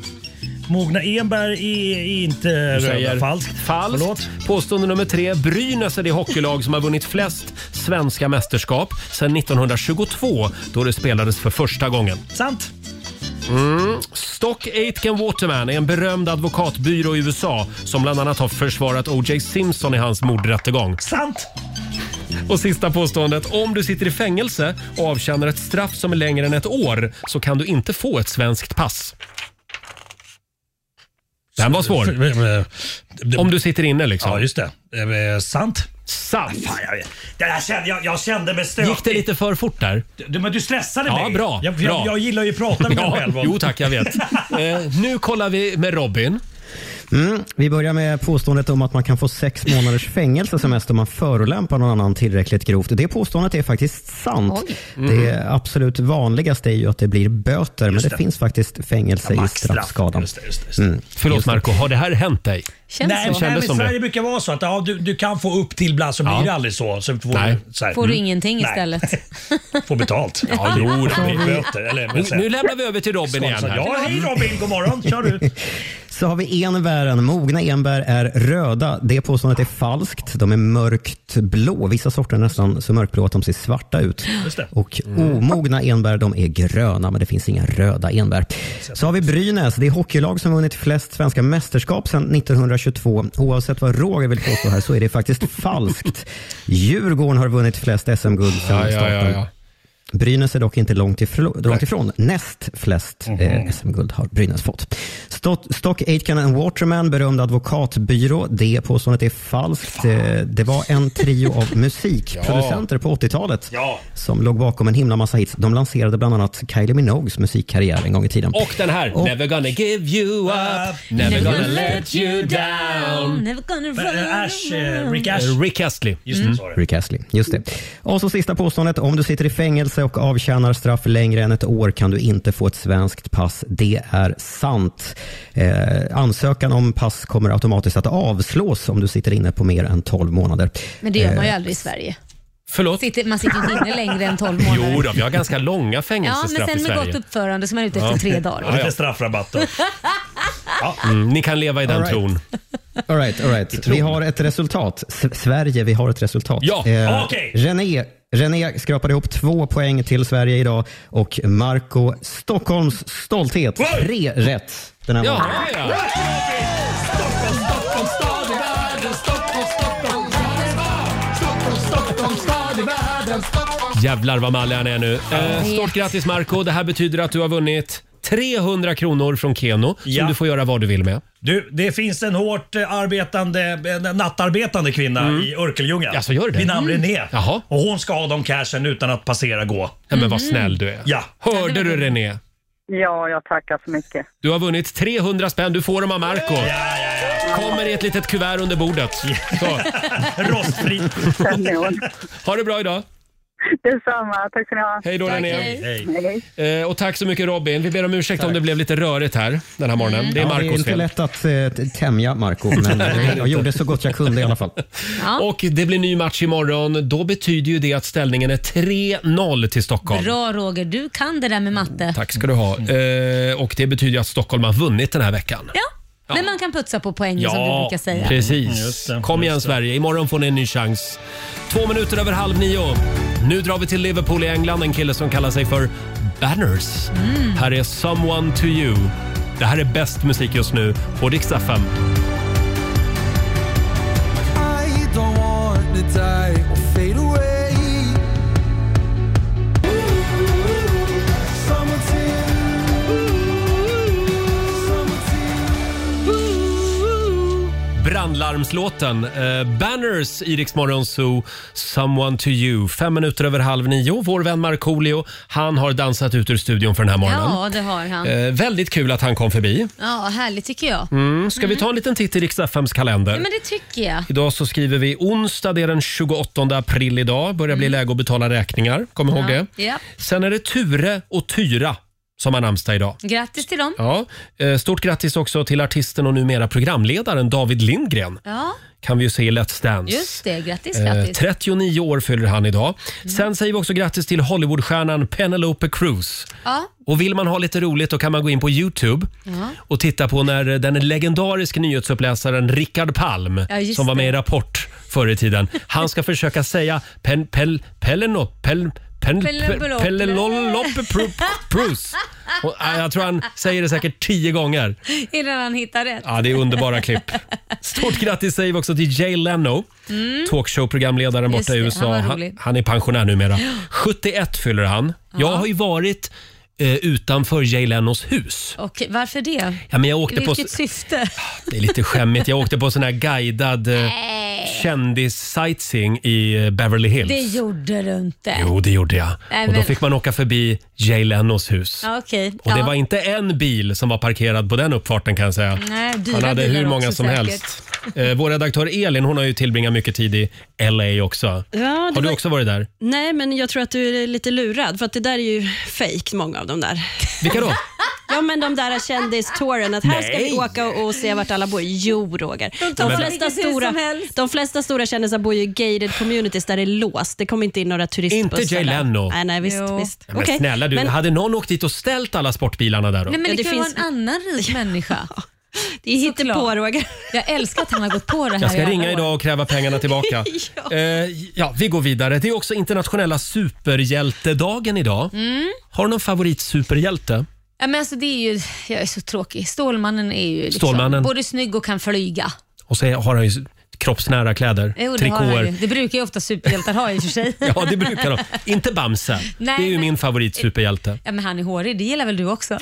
Speaker 12: Mogna enbär är, är inte
Speaker 1: Du
Speaker 12: röda.
Speaker 1: säger
Speaker 12: Falskt.
Speaker 1: falskt. Påstående nummer tre. Brynäs är det hockeylag som har vunnit flest svenska mästerskap sedan 1922 då det spelades för första gången.
Speaker 12: Sant.
Speaker 1: Mm. Stock Aitken Waterman är en berömd advokatbyrå i USA som bland annat har försvarat O.J. Simpson i hans mordrättegång.
Speaker 12: Sant!
Speaker 1: Och sista påståendet. Om du sitter i fängelse och avtjänar ett straff som är längre än ett år så kan du inte få ett svenskt pass. Den var svår. Om du sitter inne liksom.
Speaker 12: Ja, just det. Eh, sant.
Speaker 1: Sant.
Speaker 12: Fan, jag, det där kände, jag, jag kände mig stökig.
Speaker 1: Gick det lite för fort där?
Speaker 12: Du, men du stressade
Speaker 1: Ja,
Speaker 12: mig.
Speaker 1: bra.
Speaker 12: Jag,
Speaker 1: bra.
Speaker 12: Jag, jag gillar ju att prata med mig själv. om-
Speaker 1: Jo tack, jag vet. eh, nu kollar vi med Robin.
Speaker 16: Mm. Vi börjar med påståendet om att man kan få sex månaders fängelse som mest om man förolämpar någon annan tillräckligt grovt. Det påståendet är faktiskt sant.
Speaker 17: Oj.
Speaker 16: Det absolut vanligaste är ju att det blir böter, men det,
Speaker 17: det.
Speaker 16: finns faktiskt fängelse i
Speaker 17: maxstraff.
Speaker 16: straffskalan.
Speaker 12: Just det, just det, just
Speaker 16: Mm.
Speaker 1: Förlåt Marco, har det här hänt dig?
Speaker 12: nej,
Speaker 1: Det
Speaker 12: nej, men
Speaker 1: kändes som
Speaker 12: Sverige
Speaker 1: det.
Speaker 12: brukar vara så att ja, du, du kan få upp till ibland så blir det aldrig så. så får,
Speaker 1: Nej.
Speaker 12: så här,
Speaker 2: Får du
Speaker 12: mm.
Speaker 2: ingenting
Speaker 12: Nej.
Speaker 2: istället?
Speaker 12: Får betalt.
Speaker 1: Ja, jo,
Speaker 12: det
Speaker 1: det
Speaker 12: blir
Speaker 1: blir-
Speaker 12: böter. Eller, men
Speaker 1: Nu-
Speaker 12: sen-
Speaker 1: nu lämnar vi över till Robin igen här.
Speaker 12: Ja, hej Robin, god morgon. Kör du.
Speaker 16: Så har vi enbären. Mogna enbär är röda. Det påståendet är falskt. De är mörkt blå. Vissa sorter är nästan så mörkblå att de ser svarta ut.
Speaker 12: Just det.
Speaker 16: Och
Speaker 1: Mm.
Speaker 16: omogna enbär de är gröna, men det finns inga röda enbär. Så har vi Brynäs. Det är hockeylag som vunnit flest svenska mästerskap sedan 1922. Oavsett vad Roger vill påstå här så är det faktiskt falskt. Djurgården har vunnit flest SM-guld sedan
Speaker 1: Ja, ja, ja,
Speaker 16: starten.
Speaker 1: ja.
Speaker 16: Brynäs är dock inte långt ifrån. Långt ifrån. Näst flest eh, SM-guld har Brynäs fått. Stock, Stock Aitken and Waterman, berömd advokatbyrå. Det påståendet är falskt. Eh, Det var en trio av musikproducenter på 80-talet
Speaker 12: Ja.
Speaker 16: som låg bakom en himla massa hits. De lanserade bland annat Kylie Minogues musikkarriär en gång i tiden.
Speaker 1: Och den här.
Speaker 16: Och-
Speaker 1: Never gonna give you up, never gonna let you down.
Speaker 2: Never gonna run
Speaker 12: Ash, eh, Rick Ash.
Speaker 1: Eh, Rick Astley.
Speaker 12: Just det,
Speaker 1: Mm.
Speaker 12: sa du.
Speaker 16: Rick Astley. Just det. Och så sista påståendet. Om du sitter i fängelse och avtjänar straff längre än ett år kan du inte få ett svenskt pass. Det är sant. Eh, ansökan om pass kommer automatiskt att avslås om du sitter inne på mer än 12 månader.
Speaker 2: Men det gör man ju
Speaker 16: Eh,
Speaker 2: aldrig i Sverige.
Speaker 1: Förlåt?
Speaker 2: Sitter, man sitter ju inte inne längre än 12 månader.
Speaker 1: Jo då, vi har ganska långa
Speaker 2: Ja,
Speaker 1: fängelsestraff
Speaker 2: men
Speaker 1: i
Speaker 2: sen med
Speaker 1: Sverige.
Speaker 2: gott uppförande så är man ute efter
Speaker 1: Ja.
Speaker 2: tre dagar.
Speaker 1: Ja, ja.
Speaker 12: straffrabatt
Speaker 1: Mm, ni kan leva i den
Speaker 16: All right.
Speaker 1: tron.
Speaker 16: All right, all right. Vi har ett resultat. S Sverige, vi har ett resultat.
Speaker 1: Ja,
Speaker 16: Eh,
Speaker 1: okej.
Speaker 16: René, René skrapade ihop två poäng till Sverige idag och Marco Stockholms stolthet, tre rätt den här
Speaker 4: Ja,
Speaker 16: morgonen.
Speaker 1: ja.
Speaker 4: Stockholm, Stockholm, stad i världen. Stockholm, Stockholm, Stockholm, Stockholm, stad i världen. Stockholm.
Speaker 1: Jävlar vad mallig han är nu. Eh, stort grattis Marco. Det här betyder att du har vunnit 300 kronor från Keno
Speaker 12: Ja.
Speaker 1: som du får göra vad du vill med.
Speaker 12: Du, det finns en hårt eh, arbetande, en nattarbetande kvinna
Speaker 1: Mm.
Speaker 12: i Örkelljunga.
Speaker 1: Jaså, gör det?
Speaker 12: Vid namn
Speaker 1: Mm.
Speaker 12: René.
Speaker 1: Jaha.
Speaker 12: Och hon ska ha de cashen utan att passera gå. Mm.
Speaker 1: Ja, men vad snäll du är.
Speaker 12: Ja.
Speaker 1: Hörde du René?
Speaker 9: Ja, jag tackar så mycket.
Speaker 1: Du har vunnit 300 spänn. Du får dem av Marco. Kommer i ett litet kuvert under bordet. Så.
Speaker 12: Rostfritt.
Speaker 1: Ha det bra idag.
Speaker 9: Detsamma, tack ska ni ha.
Speaker 1: Hej då, Tack, René. hej.
Speaker 9: Hej.
Speaker 1: Eh, och tack så mycket Robin. Vi ber om ursäkt om det blev lite rörigt här den här morgonen. Det är
Speaker 16: ja, det är
Speaker 1: Marcos
Speaker 16: inte
Speaker 1: fel.
Speaker 16: lätt att eh, t- tämja Marco, men
Speaker 1: Nej, det är det
Speaker 16: eh,
Speaker 1: inte.
Speaker 16: jag gjorde så gott jag kunde i alla fall.
Speaker 1: Och det blir ny match imorgon. Då betyder ju det att ställningen är 3-0 till Stockholm.
Speaker 2: Bra Roger, du kan det där med matte.
Speaker 1: Tack ska du ha. Eh, och det betyder ju att Stockholm har vunnit den här veckan.
Speaker 2: Ja, men man kan putsa på poängen som du brukar säga. Mm,
Speaker 1: precis. Kom igen Sverige, imorgon får ni en ny chans. Två minuter över halv nio. Nu drar vi till Liverpool i England, en kille som kallar sig för Banners.
Speaker 2: Mm.
Speaker 1: Här är “Someone to you”. Det här är bäst musik just nu på Rix FM.
Speaker 10: I don't want to die or fade away.
Speaker 1: Brandlarmslåten. Eh, Banners i Rix Morgon Zoo, “Someone to you”. Fem minuter över halv nio. Vår vän Markoolio, han har dansat ut ur studion för den här morgonen.
Speaker 2: Ja, det har han.
Speaker 1: Eh, väldigt kul att han kom förbi.
Speaker 2: Ja, härligt tycker jag.
Speaker 1: Mm. Ska vi ta en liten titt i Rix FMs kalender?
Speaker 2: Ja, men det tycker jag.
Speaker 1: Idag så skriver vi onsdag, det är den 28 april idag. Börjar bli läge att betala räkningar, kom ihåg
Speaker 2: Mm. ja.
Speaker 1: det.
Speaker 2: Ja.
Speaker 1: Sen är det Ture och Tyra som har namnsdag idag.
Speaker 2: Grattis till dem.
Speaker 1: Ja, eh, stort grattis också till artisten och numera programledaren David Lindgren.
Speaker 2: Ja,
Speaker 1: Kan vi ju se i Let's Dance.
Speaker 2: just det. Grattis,
Speaker 1: Eh,
Speaker 2: grattis. Mm.
Speaker 1: 39 år fyller han idag. Sen säger vi också grattis till Hollywoodstjärnan Penelope Cruz.
Speaker 2: Ja.
Speaker 1: Och vill man ha lite roligt då kan man gå in på Youtube
Speaker 2: Ja.
Speaker 1: och titta på när den legendariska nyhetsuppläsaren Rickard Palm,
Speaker 2: Ja, just
Speaker 1: som var med
Speaker 2: det.
Speaker 1: i Rapport förr i tiden, han ska försöka säga pen, pel, peleno, pel, pen,
Speaker 2: Pelenope-
Speaker 1: pelelolope pru- prus. Och, ja, Jag tror han säger det säkert tio gånger.
Speaker 2: Innan han hittar rätt.
Speaker 1: Ja, det är underbara klipp. Stort grattis säger vi också till Jay Leno,
Speaker 2: Mm.
Speaker 1: talkshow-programledaren
Speaker 2: Just
Speaker 1: borta i
Speaker 2: det,
Speaker 1: USA.
Speaker 2: han var
Speaker 1: Han,
Speaker 2: rolig.
Speaker 1: han är pensionär numera.
Speaker 2: Ja.
Speaker 1: 71 fyller han. Jag har ju varit eh, utanför Jay Lenos hus.
Speaker 2: Och varför det?
Speaker 1: Ja, men jag åkte
Speaker 2: Vilket
Speaker 1: på...
Speaker 2: syfte?
Speaker 1: Det är lite skämmigt. Jag åkte på sån här guidad eh, kändis-sightseeing i eh, Beverly Hills.
Speaker 2: Det gjorde du inte.
Speaker 1: Jo, det gjorde jag.
Speaker 2: Nej,
Speaker 1: Och då
Speaker 2: men-
Speaker 1: fick man åka förbi Jay Lenos hus.
Speaker 2: Ja, Okej.
Speaker 1: Och det
Speaker 2: ja.
Speaker 1: var inte en bil som var parkerad på den uppfarten kan jag säga.
Speaker 2: Nej, dyra
Speaker 1: Han hade hur
Speaker 2: bilar
Speaker 1: många
Speaker 2: också
Speaker 1: som
Speaker 2: säkert.
Speaker 1: helst. Eh, vår redaktör Elin hon har ju tillbringat mycket tid i LA också.
Speaker 11: Ja, det
Speaker 1: har du
Speaker 11: var-
Speaker 1: också varit där?
Speaker 11: Nej, men jag tror att du är lite lurad, för att det där är ju fejk, många av dem där.
Speaker 1: Vilka då?
Speaker 11: Ja, men de där kändistouren, att här ska vi
Speaker 1: Nej.
Speaker 11: åka och, och se vart alla bor. Jo, Roger.
Speaker 1: tar
Speaker 11: De
Speaker 1: Men-
Speaker 11: flesta,
Speaker 2: vilket hus
Speaker 11: stora,
Speaker 2: som helst.
Speaker 11: de flesta stora kändisar bor ju i gated communities där det är låst. Det kommer inte in några turistbussar.
Speaker 1: Inte Jay
Speaker 11: där.
Speaker 1: Leno.
Speaker 11: Nej, nej, visst.
Speaker 2: Jo.
Speaker 11: visst.
Speaker 1: Men
Speaker 11: Okej,
Speaker 1: snälla du,
Speaker 11: men-
Speaker 1: hade någon åkt dit och ställt alla sportbilarna där då?
Speaker 2: Nej, men det,
Speaker 11: Ja, det
Speaker 2: kan ju
Speaker 11: finns-
Speaker 2: vara en annan rik människa.
Speaker 11: Det är på Roger.
Speaker 2: Jag älskar att han har gått på det här
Speaker 1: Jag ska
Speaker 2: i alla
Speaker 1: ringa
Speaker 2: år.
Speaker 1: idag och kräva pengarna tillbaka. ja. Eh, ja, vi går vidare. Det är också internationella superhjältedagen idag.
Speaker 2: Mm.
Speaker 1: Har du någon favoritsuperhjälte?
Speaker 2: Ja, men alltså det är ju, jag är så tråkig. Stålmannen är ju liksom
Speaker 1: Stålmannen.
Speaker 2: både snygg och kan flyga.
Speaker 1: Och så har han ju s- kroppsnära kläder,
Speaker 2: Jo, det, har han ju.
Speaker 1: trikåer.
Speaker 2: det brukar ju ofta superhjältar ha i och för sig.
Speaker 1: Ja, det brukar de. Inte Bamse.
Speaker 2: Nej,
Speaker 1: det är ju
Speaker 2: men-
Speaker 1: min favoritsuperhjälte.
Speaker 2: Ja, men han är hårig, det gillar väl du också?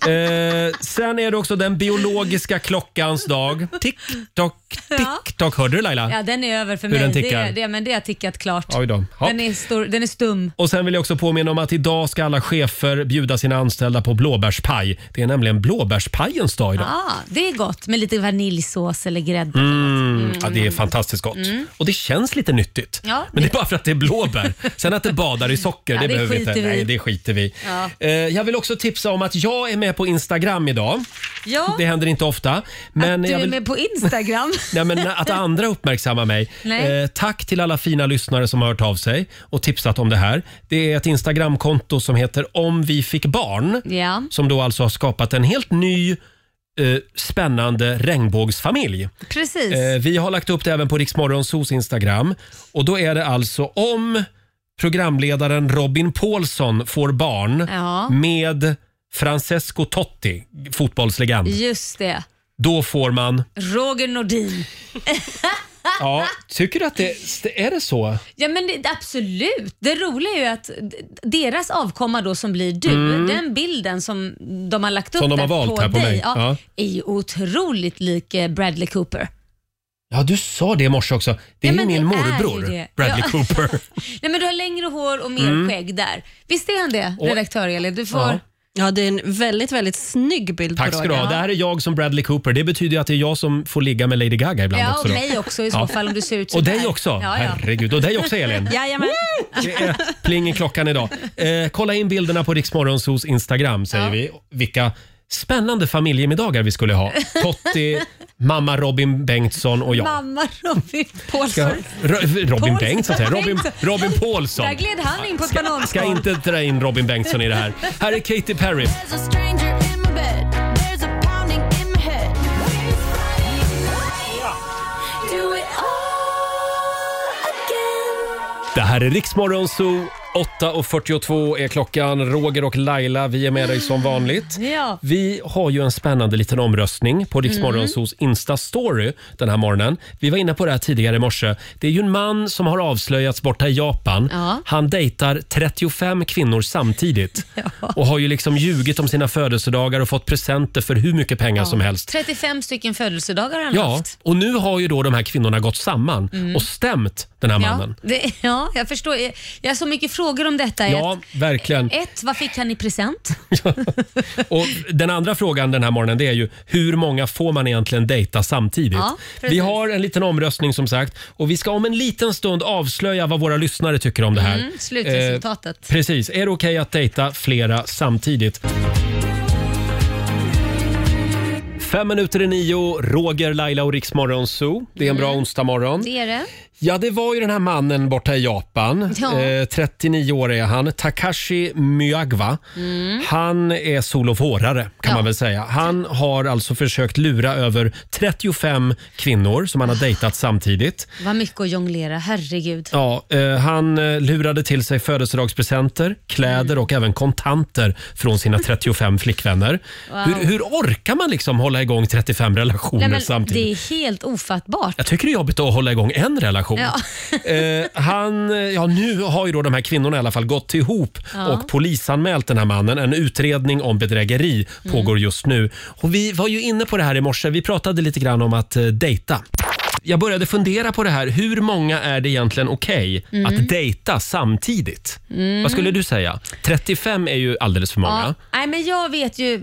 Speaker 1: Eh, sen är det också den biologiska klockans dag. Tick tock,
Speaker 2: Ja.
Speaker 1: TikTok, hörde du Laila?
Speaker 2: ja, den är över för
Speaker 1: Hur
Speaker 2: mig.
Speaker 1: den
Speaker 2: Det,
Speaker 1: tickar.
Speaker 2: är- det, men det har tickat klart.
Speaker 1: Oj då. Ja.
Speaker 2: Den, är stor, den är stum.
Speaker 1: Och sen vill jag också påminna om att idag ska alla chefer bjuda sina anställda på blåbärspaj. Det är nämligen blåbärspajens dag idag.
Speaker 2: Ja, Ah, det är gott med lite vaniljsås eller grädde.
Speaker 1: Mm. Ja, det är fantastiskt gott.
Speaker 2: Mm.
Speaker 1: Och det känns lite nyttigt.
Speaker 2: Ja,
Speaker 1: Men det är bara för att det är blåbär. Sen att det badar i socker,
Speaker 2: Ja,
Speaker 1: det,
Speaker 2: det
Speaker 1: behöver vi inte.
Speaker 2: skiter vi i.
Speaker 1: Nej, det skiter vi i.
Speaker 2: Ja.
Speaker 1: Eh, Jag vill också tipsa om att jag är med på Instagram idag.
Speaker 2: Ja,
Speaker 1: Det händer inte ofta. Men
Speaker 2: du
Speaker 1: jag
Speaker 2: är
Speaker 1: vill...
Speaker 2: med på Instagram.
Speaker 1: Nej, men att andra uppmärksammar mig.
Speaker 2: Nej.
Speaker 1: Eh, tack till alla fina lyssnare som har hört av sig och tipsat om det här. Det är ett Instagramkonto som heter Om vi fick barn.
Speaker 2: Ja.
Speaker 1: Som då alltså har skapat en helt ny eh, spännande regnbågsfamilj.
Speaker 2: Precis.
Speaker 1: Eh, vi har lagt upp det även på Riksmorgonsos Instagram. Och då är det alltså om programledaren Robin Paulsson får barn
Speaker 2: Ja.
Speaker 1: med Francesco Totti, fotbollslegend.
Speaker 2: Just det.
Speaker 1: Då får man...
Speaker 2: Roger Nordin.
Speaker 1: Ja, tycker du att det... Är det så?
Speaker 2: Ja men det, absolut. Det roliga är ju att d- deras avkomma då som blir du,
Speaker 1: Mm.
Speaker 2: den bilden som de har lagt upp
Speaker 1: Som de har
Speaker 2: där
Speaker 1: valt
Speaker 2: på
Speaker 1: här på
Speaker 2: dig,
Speaker 1: mig.
Speaker 2: Ja,
Speaker 1: Ja.
Speaker 2: är ju otroligt lik eh, Bradley Cooper.
Speaker 1: Ja, du sa det i morse också. Det
Speaker 2: Ja,
Speaker 1: är ju
Speaker 2: men
Speaker 1: min
Speaker 2: det är ju
Speaker 1: morbror,
Speaker 2: det.
Speaker 1: Bradley
Speaker 2: Ja.
Speaker 1: Cooper.
Speaker 2: Nej men du har längre hår och mer
Speaker 1: Mm.
Speaker 2: skägg där. Visst är han det,
Speaker 1: Och-
Speaker 2: redaktör Elin? Du får...
Speaker 1: Ja.
Speaker 11: Ja, det är en väldigt, väldigt snygg bild
Speaker 1: Tack
Speaker 11: på
Speaker 1: ska
Speaker 11: Roger.
Speaker 1: du ha. Det här är jag som Bradley Cooper. Det betyder ju att det är jag som får ligga med Lady Gaga ibland
Speaker 2: Ja,
Speaker 1: också.
Speaker 2: och
Speaker 1: då.
Speaker 2: mig också i så
Speaker 1: Ja.
Speaker 2: fall om du ser ut
Speaker 1: Och
Speaker 2: sådär.
Speaker 1: dig också.
Speaker 2: Ja, ja.
Speaker 1: Herregud. Och dig också Elin.
Speaker 11: Jajamän.
Speaker 1: Det är pling i klockan idag. Eh, kolla in bilderna på Riksmorgonsos Instagram säger vi. Vilka spännande familjemiddagar vi skulle ha. Totti, mamma Robin Bengtsson och jag.
Speaker 2: Mamma Robin
Speaker 1: Ska,
Speaker 2: Paulsson.
Speaker 1: Ro- Robin
Speaker 2: Paulsson.
Speaker 1: Bengtsson säger jag. Robin, Robin Paulsson.
Speaker 2: Där gled han in på ett
Speaker 1: Ska,
Speaker 2: bananskal.
Speaker 1: ska inte dra in Robin Bengtsson i det här. Här är Katy Perry.
Speaker 4: There's a stranger in my bed. There's a pounding in my head. Where's my- Do it all again.
Speaker 1: Det här är Riksmorgon Zoo. 8.42 är klockan. Roger och Laila, vi är med dig som vanligt.
Speaker 2: Mm. Ja. Mm.
Speaker 1: Vi har ju en spännande liten omröstning på Riksmorgonsos Insta-story den här morgonen. Vi var inne på det här tidigare i morse. Det är ju en man som har avslöjats borta i Japan.
Speaker 2: Ja.
Speaker 1: Han dejtar 35 kvinnor samtidigt och har ju liksom ljugit om sina födelsedagar och fått presenter för hur mycket pengar som helst.
Speaker 2: 35 stycken födelsedagar har han
Speaker 1: Ja,
Speaker 2: haft.
Speaker 1: och nu har ju då de här kvinnorna gått samman
Speaker 2: Mm.
Speaker 1: och stämt den här mannen.
Speaker 2: Ja, det, ja, jag förstår. Jag, jag har så mycket frågor om detta.
Speaker 1: Ja, verkligen.
Speaker 2: Ett, ett, vad fick han i present?
Speaker 1: Och den andra frågan den här morgonen det är ju hur många får man egentligen dejta samtidigt?
Speaker 2: Ja, precis.
Speaker 1: vi har en liten omröstning som sagt och vi ska om en liten stund avslöja vad våra lyssnare tycker om det här.
Speaker 2: Mm, slutresultatet.
Speaker 1: Eh, precis. Är det okej att dejta flera samtidigt? Fem minuter i nio, Roger, Laila och Riksmorgon Zoo. Det är en bra onsdagmorgon.
Speaker 2: Mm. Det är det.
Speaker 1: Ja, det var ju den här mannen borta i Japan.
Speaker 2: Ja.
Speaker 1: Eh, 39 år är han. Takashi Myagwa.
Speaker 2: Mm.
Speaker 1: Han är solofårare kan
Speaker 2: Ja.
Speaker 1: man väl säga. Han har alltså försökt lura över 35 kvinnor som han har dejtat samtidigt.
Speaker 2: Vad mycket att jonglera, herregud.
Speaker 1: Ja, eh, han eh, lurade till sig födelsedagspresenter, kläder och även kontanter från sina 35 flickvänner.
Speaker 2: Wow.
Speaker 1: Hur, hur orkar man liksom hålla igång 35 relationer
Speaker 2: Nej, men
Speaker 1: samtidigt?
Speaker 2: det är helt ofattbart.
Speaker 1: Jag tycker det är jobbigt att hålla igång en relation.
Speaker 2: Ja.
Speaker 1: Eh, han, eh, ja, nu har ju då de här kvinnorna i alla fall gått ihop
Speaker 2: Ja.
Speaker 1: och polisanmält den här mannen. En utredning om bedrägeri
Speaker 2: Mm.
Speaker 1: pågår just nu. Och vi var ju inne på det här i morse. Vi pratade lite grann om att eh, dejta. Jag började fundera på det här. Hur många är det egentligen okej
Speaker 2: Mm.
Speaker 1: att dejta samtidigt?
Speaker 2: Mm.
Speaker 1: Vad skulle du säga? 35 är ju alldeles för många.
Speaker 2: Ja, nej, men jag vet ju,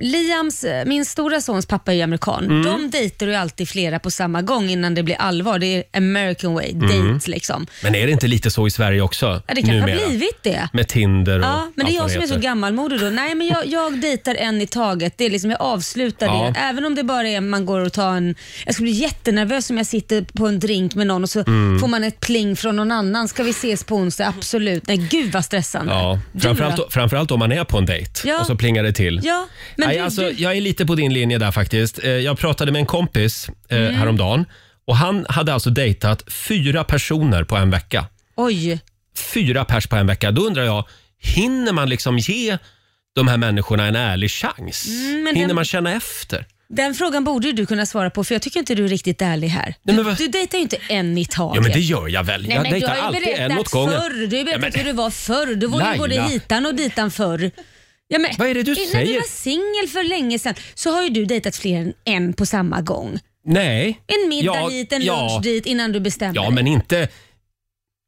Speaker 2: Liams, min stora sons pappa är ju amerikan.
Speaker 1: Mm.
Speaker 2: De dejtar ju alltid flera på samma gång innan det blir allvar. Det är American way,
Speaker 1: Mm.
Speaker 2: dates liksom.
Speaker 1: Men är det inte lite så i Sverige också?
Speaker 2: Ja, det kanske
Speaker 1: numera?
Speaker 2: har blivit det.
Speaker 1: Med Tinder och
Speaker 2: Ja, men det
Speaker 1: allt
Speaker 2: är jag
Speaker 1: vad
Speaker 2: som är så
Speaker 1: heter.
Speaker 2: gammalmodig då. Nej, men jag, jag dejtar en i taget. Det är liksom, jag avslutar
Speaker 1: Ja.
Speaker 2: det. Även om det bara är man går och tar en... Jag skulle bli jättenervös om jag sitter på en drink med någon och så
Speaker 1: Mm.
Speaker 2: får man ett pling från någon annan. Ska vi ses på onsdag? Absolut. Nej, gud vad stressande.
Speaker 1: Ja,
Speaker 2: Du
Speaker 1: framförallt,
Speaker 2: då?
Speaker 1: framförallt om man är på en dejt
Speaker 2: Ja.
Speaker 1: och så plingar det till.
Speaker 2: Ja, men
Speaker 1: Nej,
Speaker 2: du,
Speaker 1: alltså,
Speaker 2: du,
Speaker 1: jag är lite på din linje där faktiskt. Eh, Jag pratade med en kompis eh,
Speaker 2: Mm.
Speaker 1: häromdagen och han hade alltså dejtat fyra personer på en vecka.
Speaker 2: oj.
Speaker 1: Fyra pers på en vecka. Då undrar jag, hinner man liksom ge de här människorna en ärlig chans?
Speaker 2: Mm, men
Speaker 1: hinner
Speaker 2: den-
Speaker 1: man känna efter?
Speaker 2: Den frågan borde ju du kunna svara på för jag tycker inte du är riktigt ärlig här. Du, du dejtar ju inte en i taget.
Speaker 1: Ja, men det gör jag väl.
Speaker 2: Nej,
Speaker 1: jag
Speaker 2: men du
Speaker 1: dejtar
Speaker 2: har ju
Speaker 1: alltid en
Speaker 2: berättat
Speaker 1: åt gången.
Speaker 2: Förr. Du har ju
Speaker 1: Ja,
Speaker 2: berättat
Speaker 1: men-
Speaker 2: hur det var förr. Du var ju
Speaker 1: Laila.
Speaker 2: både hitan och ditan förr. Ja, men,
Speaker 1: Vad är det du
Speaker 2: innan
Speaker 1: säger?
Speaker 2: du var singel för länge sedan så har ju du dejtat fler än en på samma gång.
Speaker 1: Nej.
Speaker 2: En middag
Speaker 1: Ja,
Speaker 2: hit, en
Speaker 1: ja.
Speaker 2: lunch dit innan du bestämmer
Speaker 1: Ja,
Speaker 2: dig.
Speaker 1: men inte,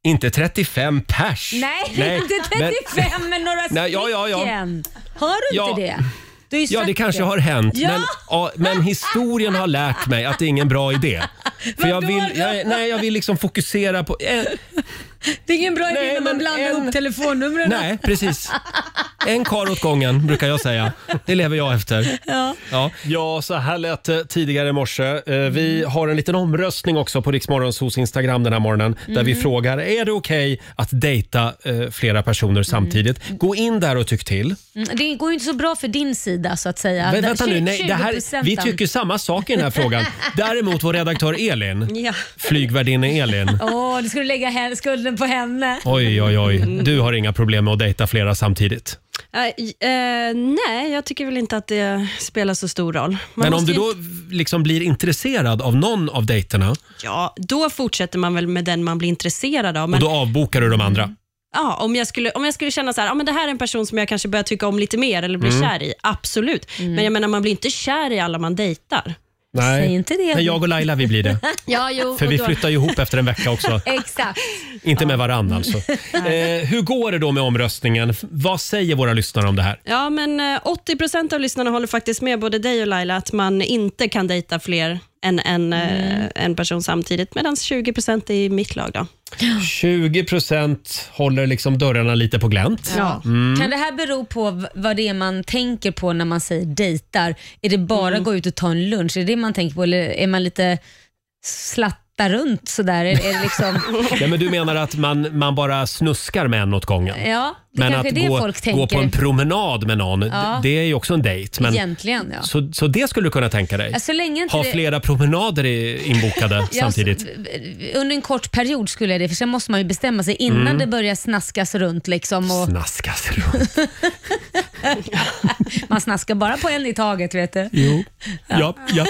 Speaker 1: inte 35 pers.
Speaker 2: Nej, inte
Speaker 1: men-
Speaker 2: 35 men, några
Speaker 1: Nej, ja, ja, ja.
Speaker 2: stycken. Har du
Speaker 1: Ja.
Speaker 2: inte det? Du har ju
Speaker 1: Ja,
Speaker 2: sagt
Speaker 1: det kanske har hänt.
Speaker 2: Ja.
Speaker 1: Men, ja, men historien har lärt mig att det är ingen bra idé. För jag vill, jag, nej, jag vill liksom fokusera på... eh,
Speaker 2: Det är ingen bra idé
Speaker 1: Nej,
Speaker 2: när man
Speaker 1: men
Speaker 2: blandar ihop telefonnumren.
Speaker 1: nej, precis. En kar åt gången, brukar jag säga. Det lever jag efter.
Speaker 2: Ja.
Speaker 1: Ja, ja så här lät det tidigare i morse. Eh, Vi har en liten omröstning också på Riksmorgonsos Instagram den här morgonen där
Speaker 17: Mm.
Speaker 1: vi frågar, är det okej att dejta eh, flera personer samtidigt? Gå in där och tyck till.
Speaker 2: Mm, Det går ju inte så bra för din sida så att säga.
Speaker 1: Men
Speaker 2: Där-
Speaker 1: vänta nu, nej, det här,
Speaker 2: 20%.
Speaker 1: vi tycker samma sak i den här frågan. Däremot vår redaktör Elin,
Speaker 2: Ja.
Speaker 1: flygvärdinna Elin.
Speaker 2: Åh, du skulle lägga he- skulden på henne.
Speaker 1: Oj, oj, oj. Du har inga problem med att dejta flera samtidigt.
Speaker 11: Eh, eh, nej, jag tycker väl inte att det spelar så stor roll. Man
Speaker 1: Men om
Speaker 11: måste
Speaker 1: du
Speaker 11: ju
Speaker 1: då
Speaker 11: inte-
Speaker 1: liksom blir intresserad av någon av dejterna
Speaker 11: Ja, då fortsätter man väl med den man blir intresserad av.
Speaker 1: och
Speaker 11: Men Mm.
Speaker 1: då avbokar du de andra.
Speaker 11: Ja, om jag skulle, om jag skulle känna så här, ja, men det här är en person som jag kanske börjar tycka om lite mer eller blir
Speaker 1: Mm.
Speaker 11: kär i, absolut. Men jag menar, man blir inte kär i alla man dejtar.
Speaker 1: Nej.
Speaker 11: Mm. Säg inte det.
Speaker 1: Men jag och Laila vi blir det.
Speaker 11: Ja, jo,
Speaker 1: För
Speaker 11: och
Speaker 1: vi
Speaker 11: då-
Speaker 1: flyttar ju ihop efter en vecka också.
Speaker 2: Exakt.
Speaker 1: Inte med varann alltså. Eh, hur går det då med omröstningen? Vad säger våra lyssnare om det här?
Speaker 11: Ja, men eh, 80 av lyssnarna håller faktiskt med både dig och Laila att man inte kan dejta fler än en, eh,
Speaker 2: Mm.
Speaker 11: en person samtidigt, medan 20 är i mitt lag. Då.
Speaker 1: 20 procent håller liksom dörrarna lite på glänt.
Speaker 2: Ja.
Speaker 1: Mm.
Speaker 2: Kan det här bero på v- vad det är man tänker på när man säger dejtar? Är det bara
Speaker 1: Mm.
Speaker 2: gå ut och ta en lunch? Är det det man tänker på eller är man lite slatta runt sådär? Är, är det liksom...
Speaker 1: Nej, men du menar att man, man bara snuskar med en åt gången?
Speaker 2: Ja, det
Speaker 1: men att
Speaker 2: kanske är det
Speaker 1: gå,
Speaker 2: folk
Speaker 1: gå
Speaker 2: tänker.
Speaker 1: på en promenad med någon, d-
Speaker 2: Ja.
Speaker 1: det är ju också en dejt. Men,
Speaker 2: Egentligen ja.
Speaker 1: så, så det skulle du kunna tänka dig?
Speaker 2: Ja, så länge inte
Speaker 1: ha
Speaker 2: det-
Speaker 1: flera promenader i- inbokade
Speaker 2: Ja,
Speaker 1: samtidigt?
Speaker 2: så- v- v- Under en kort period skulle jag det, för sen måste man ju bestämma sig innan
Speaker 1: Mm.
Speaker 2: det börjar snaskas runt. Liksom, och
Speaker 1: Snaskas runt.
Speaker 2: man snaskar bara på en i taget vet du.
Speaker 1: Jo. Ja, ja.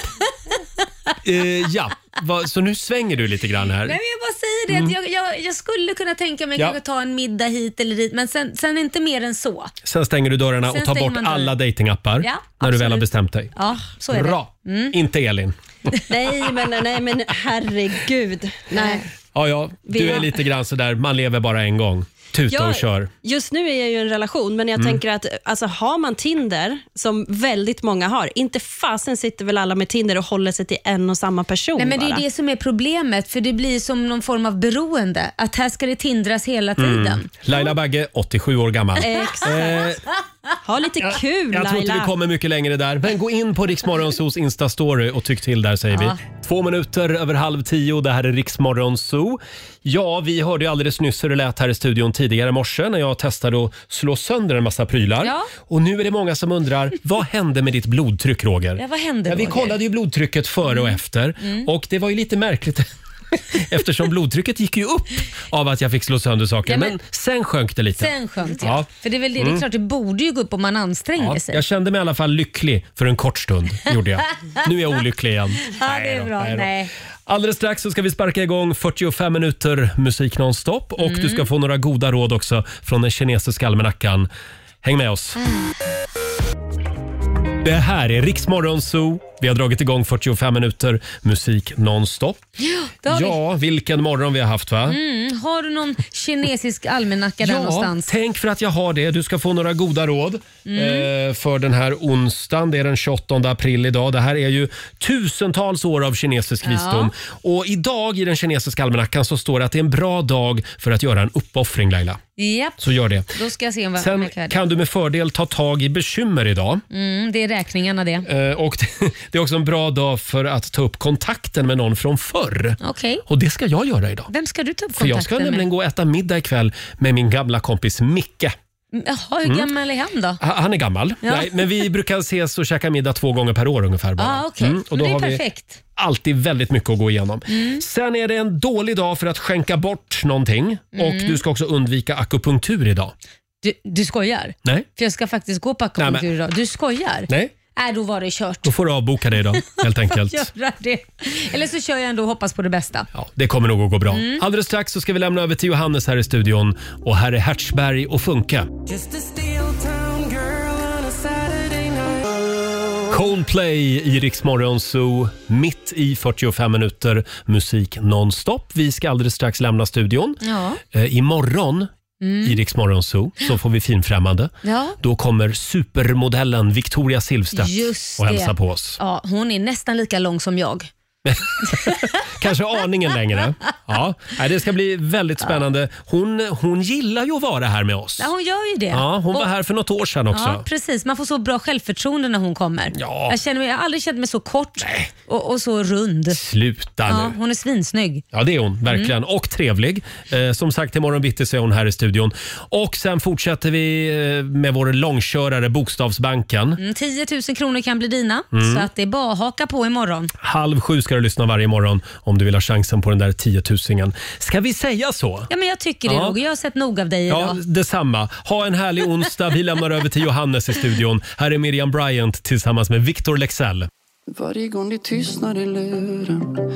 Speaker 1: Eh, ja. Va, så nu svänger du lite grann här.
Speaker 2: Nej, men jag bara säger det.
Speaker 1: Mm.
Speaker 2: Att jag, jag, jag skulle kunna tänka mig
Speaker 1: Ja.
Speaker 2: kanske ta en middag hit eller dit, men sen, sen inte mer än så.
Speaker 1: Sen stänger du dörrarna
Speaker 2: Sen
Speaker 1: och tar
Speaker 2: stänger
Speaker 1: bort
Speaker 2: man dörren.
Speaker 1: alla datingappar
Speaker 2: Ja,
Speaker 1: när du väl har
Speaker 2: absolut.
Speaker 1: bestämt dig.
Speaker 2: Ja, så är
Speaker 1: Bra.
Speaker 2: det. Mm.
Speaker 1: Inte Elin.
Speaker 11: Nej, men, eh, nej, men herregud. Nej.
Speaker 1: Ja, ja. Du
Speaker 11: Vill-
Speaker 1: är lite grann sådär, man lever bara en gång. Tuta och
Speaker 11: Jag-
Speaker 1: kör.
Speaker 11: Just nu är jag ju i en relation, men jag
Speaker 1: Mm.
Speaker 11: tänker att alltså, har man Tinder, som väldigt många har, inte fasen sitter väl alla med Tinder och håller sig till en och samma person
Speaker 2: Nej, men det är
Speaker 11: bara.
Speaker 2: ju det som är problemet, för det blir som någon form av beroende. Att här ska det tindras hela tiden.
Speaker 1: Mm. Laila Bagge, 87 år gammal.
Speaker 2: Exakt.
Speaker 1: Eh,
Speaker 11: Ha lite kul
Speaker 1: Jag tror inte vi kommer mycket längre där, men gå in på Riksmorgonsos Insta-story och tyck till där säger
Speaker 11: Ja.
Speaker 1: vi. Två minuter över halv tio, det här är Riksmorgonso. Ja, vi hörde ju alldeles nyss hur det lät här i studion tidigare i morse när jag testade att slå sönder en massa prylar.
Speaker 2: Ja.
Speaker 1: Och nu är det många som undrar, vad hände med ditt blodtryck Roger?
Speaker 2: Ja, vad hände
Speaker 1: ja, vi
Speaker 2: Roger?
Speaker 1: kollade ju blodtrycket före och efter
Speaker 2: Mm.
Speaker 1: och det var ju lite märkligt eftersom blodtrycket gick ju upp av att jag fick slå sönder saker.
Speaker 2: Ja,
Speaker 1: men...
Speaker 2: men-
Speaker 1: sen sjönk det lite.
Speaker 2: Sen sjönk det.
Speaker 1: Ja.
Speaker 2: För det är väl det, det
Speaker 1: Mm.
Speaker 2: är klart det borde ju gå upp om man anstränger
Speaker 1: Ja,
Speaker 2: sig.
Speaker 1: jag kände mig i alla fall lycklig för en kort stund. Gjorde jag. Nu är jag olycklig igen.
Speaker 2: Ja, det är bra.
Speaker 1: nej då.
Speaker 2: Nej.
Speaker 1: Alldeles strax så ska vi sparka igång 45 minuter musik nonstop och
Speaker 2: Mm.
Speaker 1: du ska få några goda råd också från den kinesiska almanackan. Häng med oss.
Speaker 2: Mm.
Speaker 1: Det här är Riksmorgon Zoo. Vi har dragit igång 45 minuter musik nonstop.
Speaker 2: Ja, det har vi.
Speaker 1: Ja, vilken morgon vi har haft va?
Speaker 2: Mm, har du någon kinesisk almanacka där någonstans?
Speaker 1: tänk för att jag har det. Du ska få några goda råd
Speaker 2: Mm.
Speaker 1: eh, för den här onsdagen. Det är den 28 april idag. Det här är ju tusentals år av kinesisk
Speaker 2: Ja.
Speaker 1: visdom. Och idag i den kinesiska almanackan så står det att det är en bra dag för att göra en uppoffring, Laila.
Speaker 2: Japp,
Speaker 1: Så gör det.
Speaker 2: då ska jag se om vad
Speaker 1: Sen
Speaker 2: almanacka är.
Speaker 1: kan du med fördel ta tag i bekymmer idag.
Speaker 2: Mm, det är räkningarna det.
Speaker 1: Eh, och det, det är också en bra dag för att ta upp kontakten med någon från förr.
Speaker 2: Okej.
Speaker 1: Och det ska jag göra idag.
Speaker 2: Vem ska du ta upp
Speaker 1: För jag ska
Speaker 2: kontakten
Speaker 1: nämligen
Speaker 2: med?
Speaker 1: gå och äta middag ikväll med min gamla kompis Micke.
Speaker 2: Jaha, hur
Speaker 1: Mm.
Speaker 2: gammal är han då?
Speaker 1: Ha- Han är gammal.
Speaker 2: Ja.
Speaker 1: Nej, men vi brukar ses och käka middag två gånger per år ungefär. Bara.
Speaker 2: Ah, okej.
Speaker 1: Mm, och då
Speaker 2: Men det är
Speaker 1: har
Speaker 2: perfekt.
Speaker 1: vi alltid väldigt mycket att gå igenom.
Speaker 2: Mm.
Speaker 1: Sen är det en dålig dag för att skänka bort någonting och
Speaker 2: Mm.
Speaker 1: du ska också undvika akupunktur idag.
Speaker 2: Du, du skojar?
Speaker 1: Nej,
Speaker 2: För jag ska faktiskt gå på
Speaker 1: Nej, men-
Speaker 2: akupunktur idag. Du skojar?
Speaker 1: nej.
Speaker 2: Äh, då var det kört.
Speaker 1: Då får du avboka det idag helt enkelt.
Speaker 2: Göra det. Eller så kör jag ändå och hoppas på det bästa.
Speaker 1: Det kommer nog att gå bra.
Speaker 2: Mm.
Speaker 1: Alldeles strax så ska vi lämna över till Johannes här i studion och här är Hertzberg och Funke.
Speaker 10: Just a steel town girl on a Saturday night.
Speaker 1: Coldplay i Rix Morgon Zoo, mitt i 45 minuter musik nonstop. Vi ska alldeles strax lämna studion.
Speaker 2: Ja.
Speaker 1: Eh, imorgon
Speaker 2: Mm.
Speaker 1: i Rix Morgon Zoo så får vi finfrämmande.
Speaker 2: Ja.
Speaker 1: Då kommer supermodellen Victoria Silvstedt
Speaker 2: Just
Speaker 1: och
Speaker 2: det.
Speaker 1: hälsa på oss.
Speaker 2: Ja, hon är nästan lika lång som jag.
Speaker 1: Kanske aningen längre. Ja. Nej, Det ska bli väldigt spännande. Hon, hon gillar ju att vara här med oss.
Speaker 2: Ja, hon gör ju det.
Speaker 1: Ja, hon var
Speaker 2: Och-
Speaker 1: här för något år sedan också.
Speaker 2: Ja, precis. Man får så bra självförtroende när hon kommer.
Speaker 1: Ja.
Speaker 2: Jag, känner mig, jag har aldrig känt mig så kort och, och så rund.
Speaker 1: Sluta
Speaker 2: Ja, Mm.
Speaker 1: nu.
Speaker 2: hon är svinsnygg.
Speaker 1: Ja, det är hon. Verkligen. Och trevlig. Eh, som sagt, imorgon bitti så är hon här i studion. Och sen fortsätter vi eh, med vår långkörare Bokstavsbanken.
Speaker 2: Mm, 10 000 kronor kan bli dina,
Speaker 1: Mm.
Speaker 2: så att det är bara att haka på imorgon.
Speaker 1: Halv sju ska du lyssna varje morgon om du vill ha chansen på den där tiotusingen. Ska vi säga så?
Speaker 2: Ja, men jag tycker det
Speaker 1: Ja.
Speaker 2: Roger. Jag har sett nog av dig
Speaker 1: Ja,
Speaker 2: idag.
Speaker 1: detsamma. Ha en härlig onsdag. Vi lämnar över till Johannes i studion. Här är Miriam Bryant tillsammans med Victor Lexell.
Speaker 3: Varje gång det tystnar i luren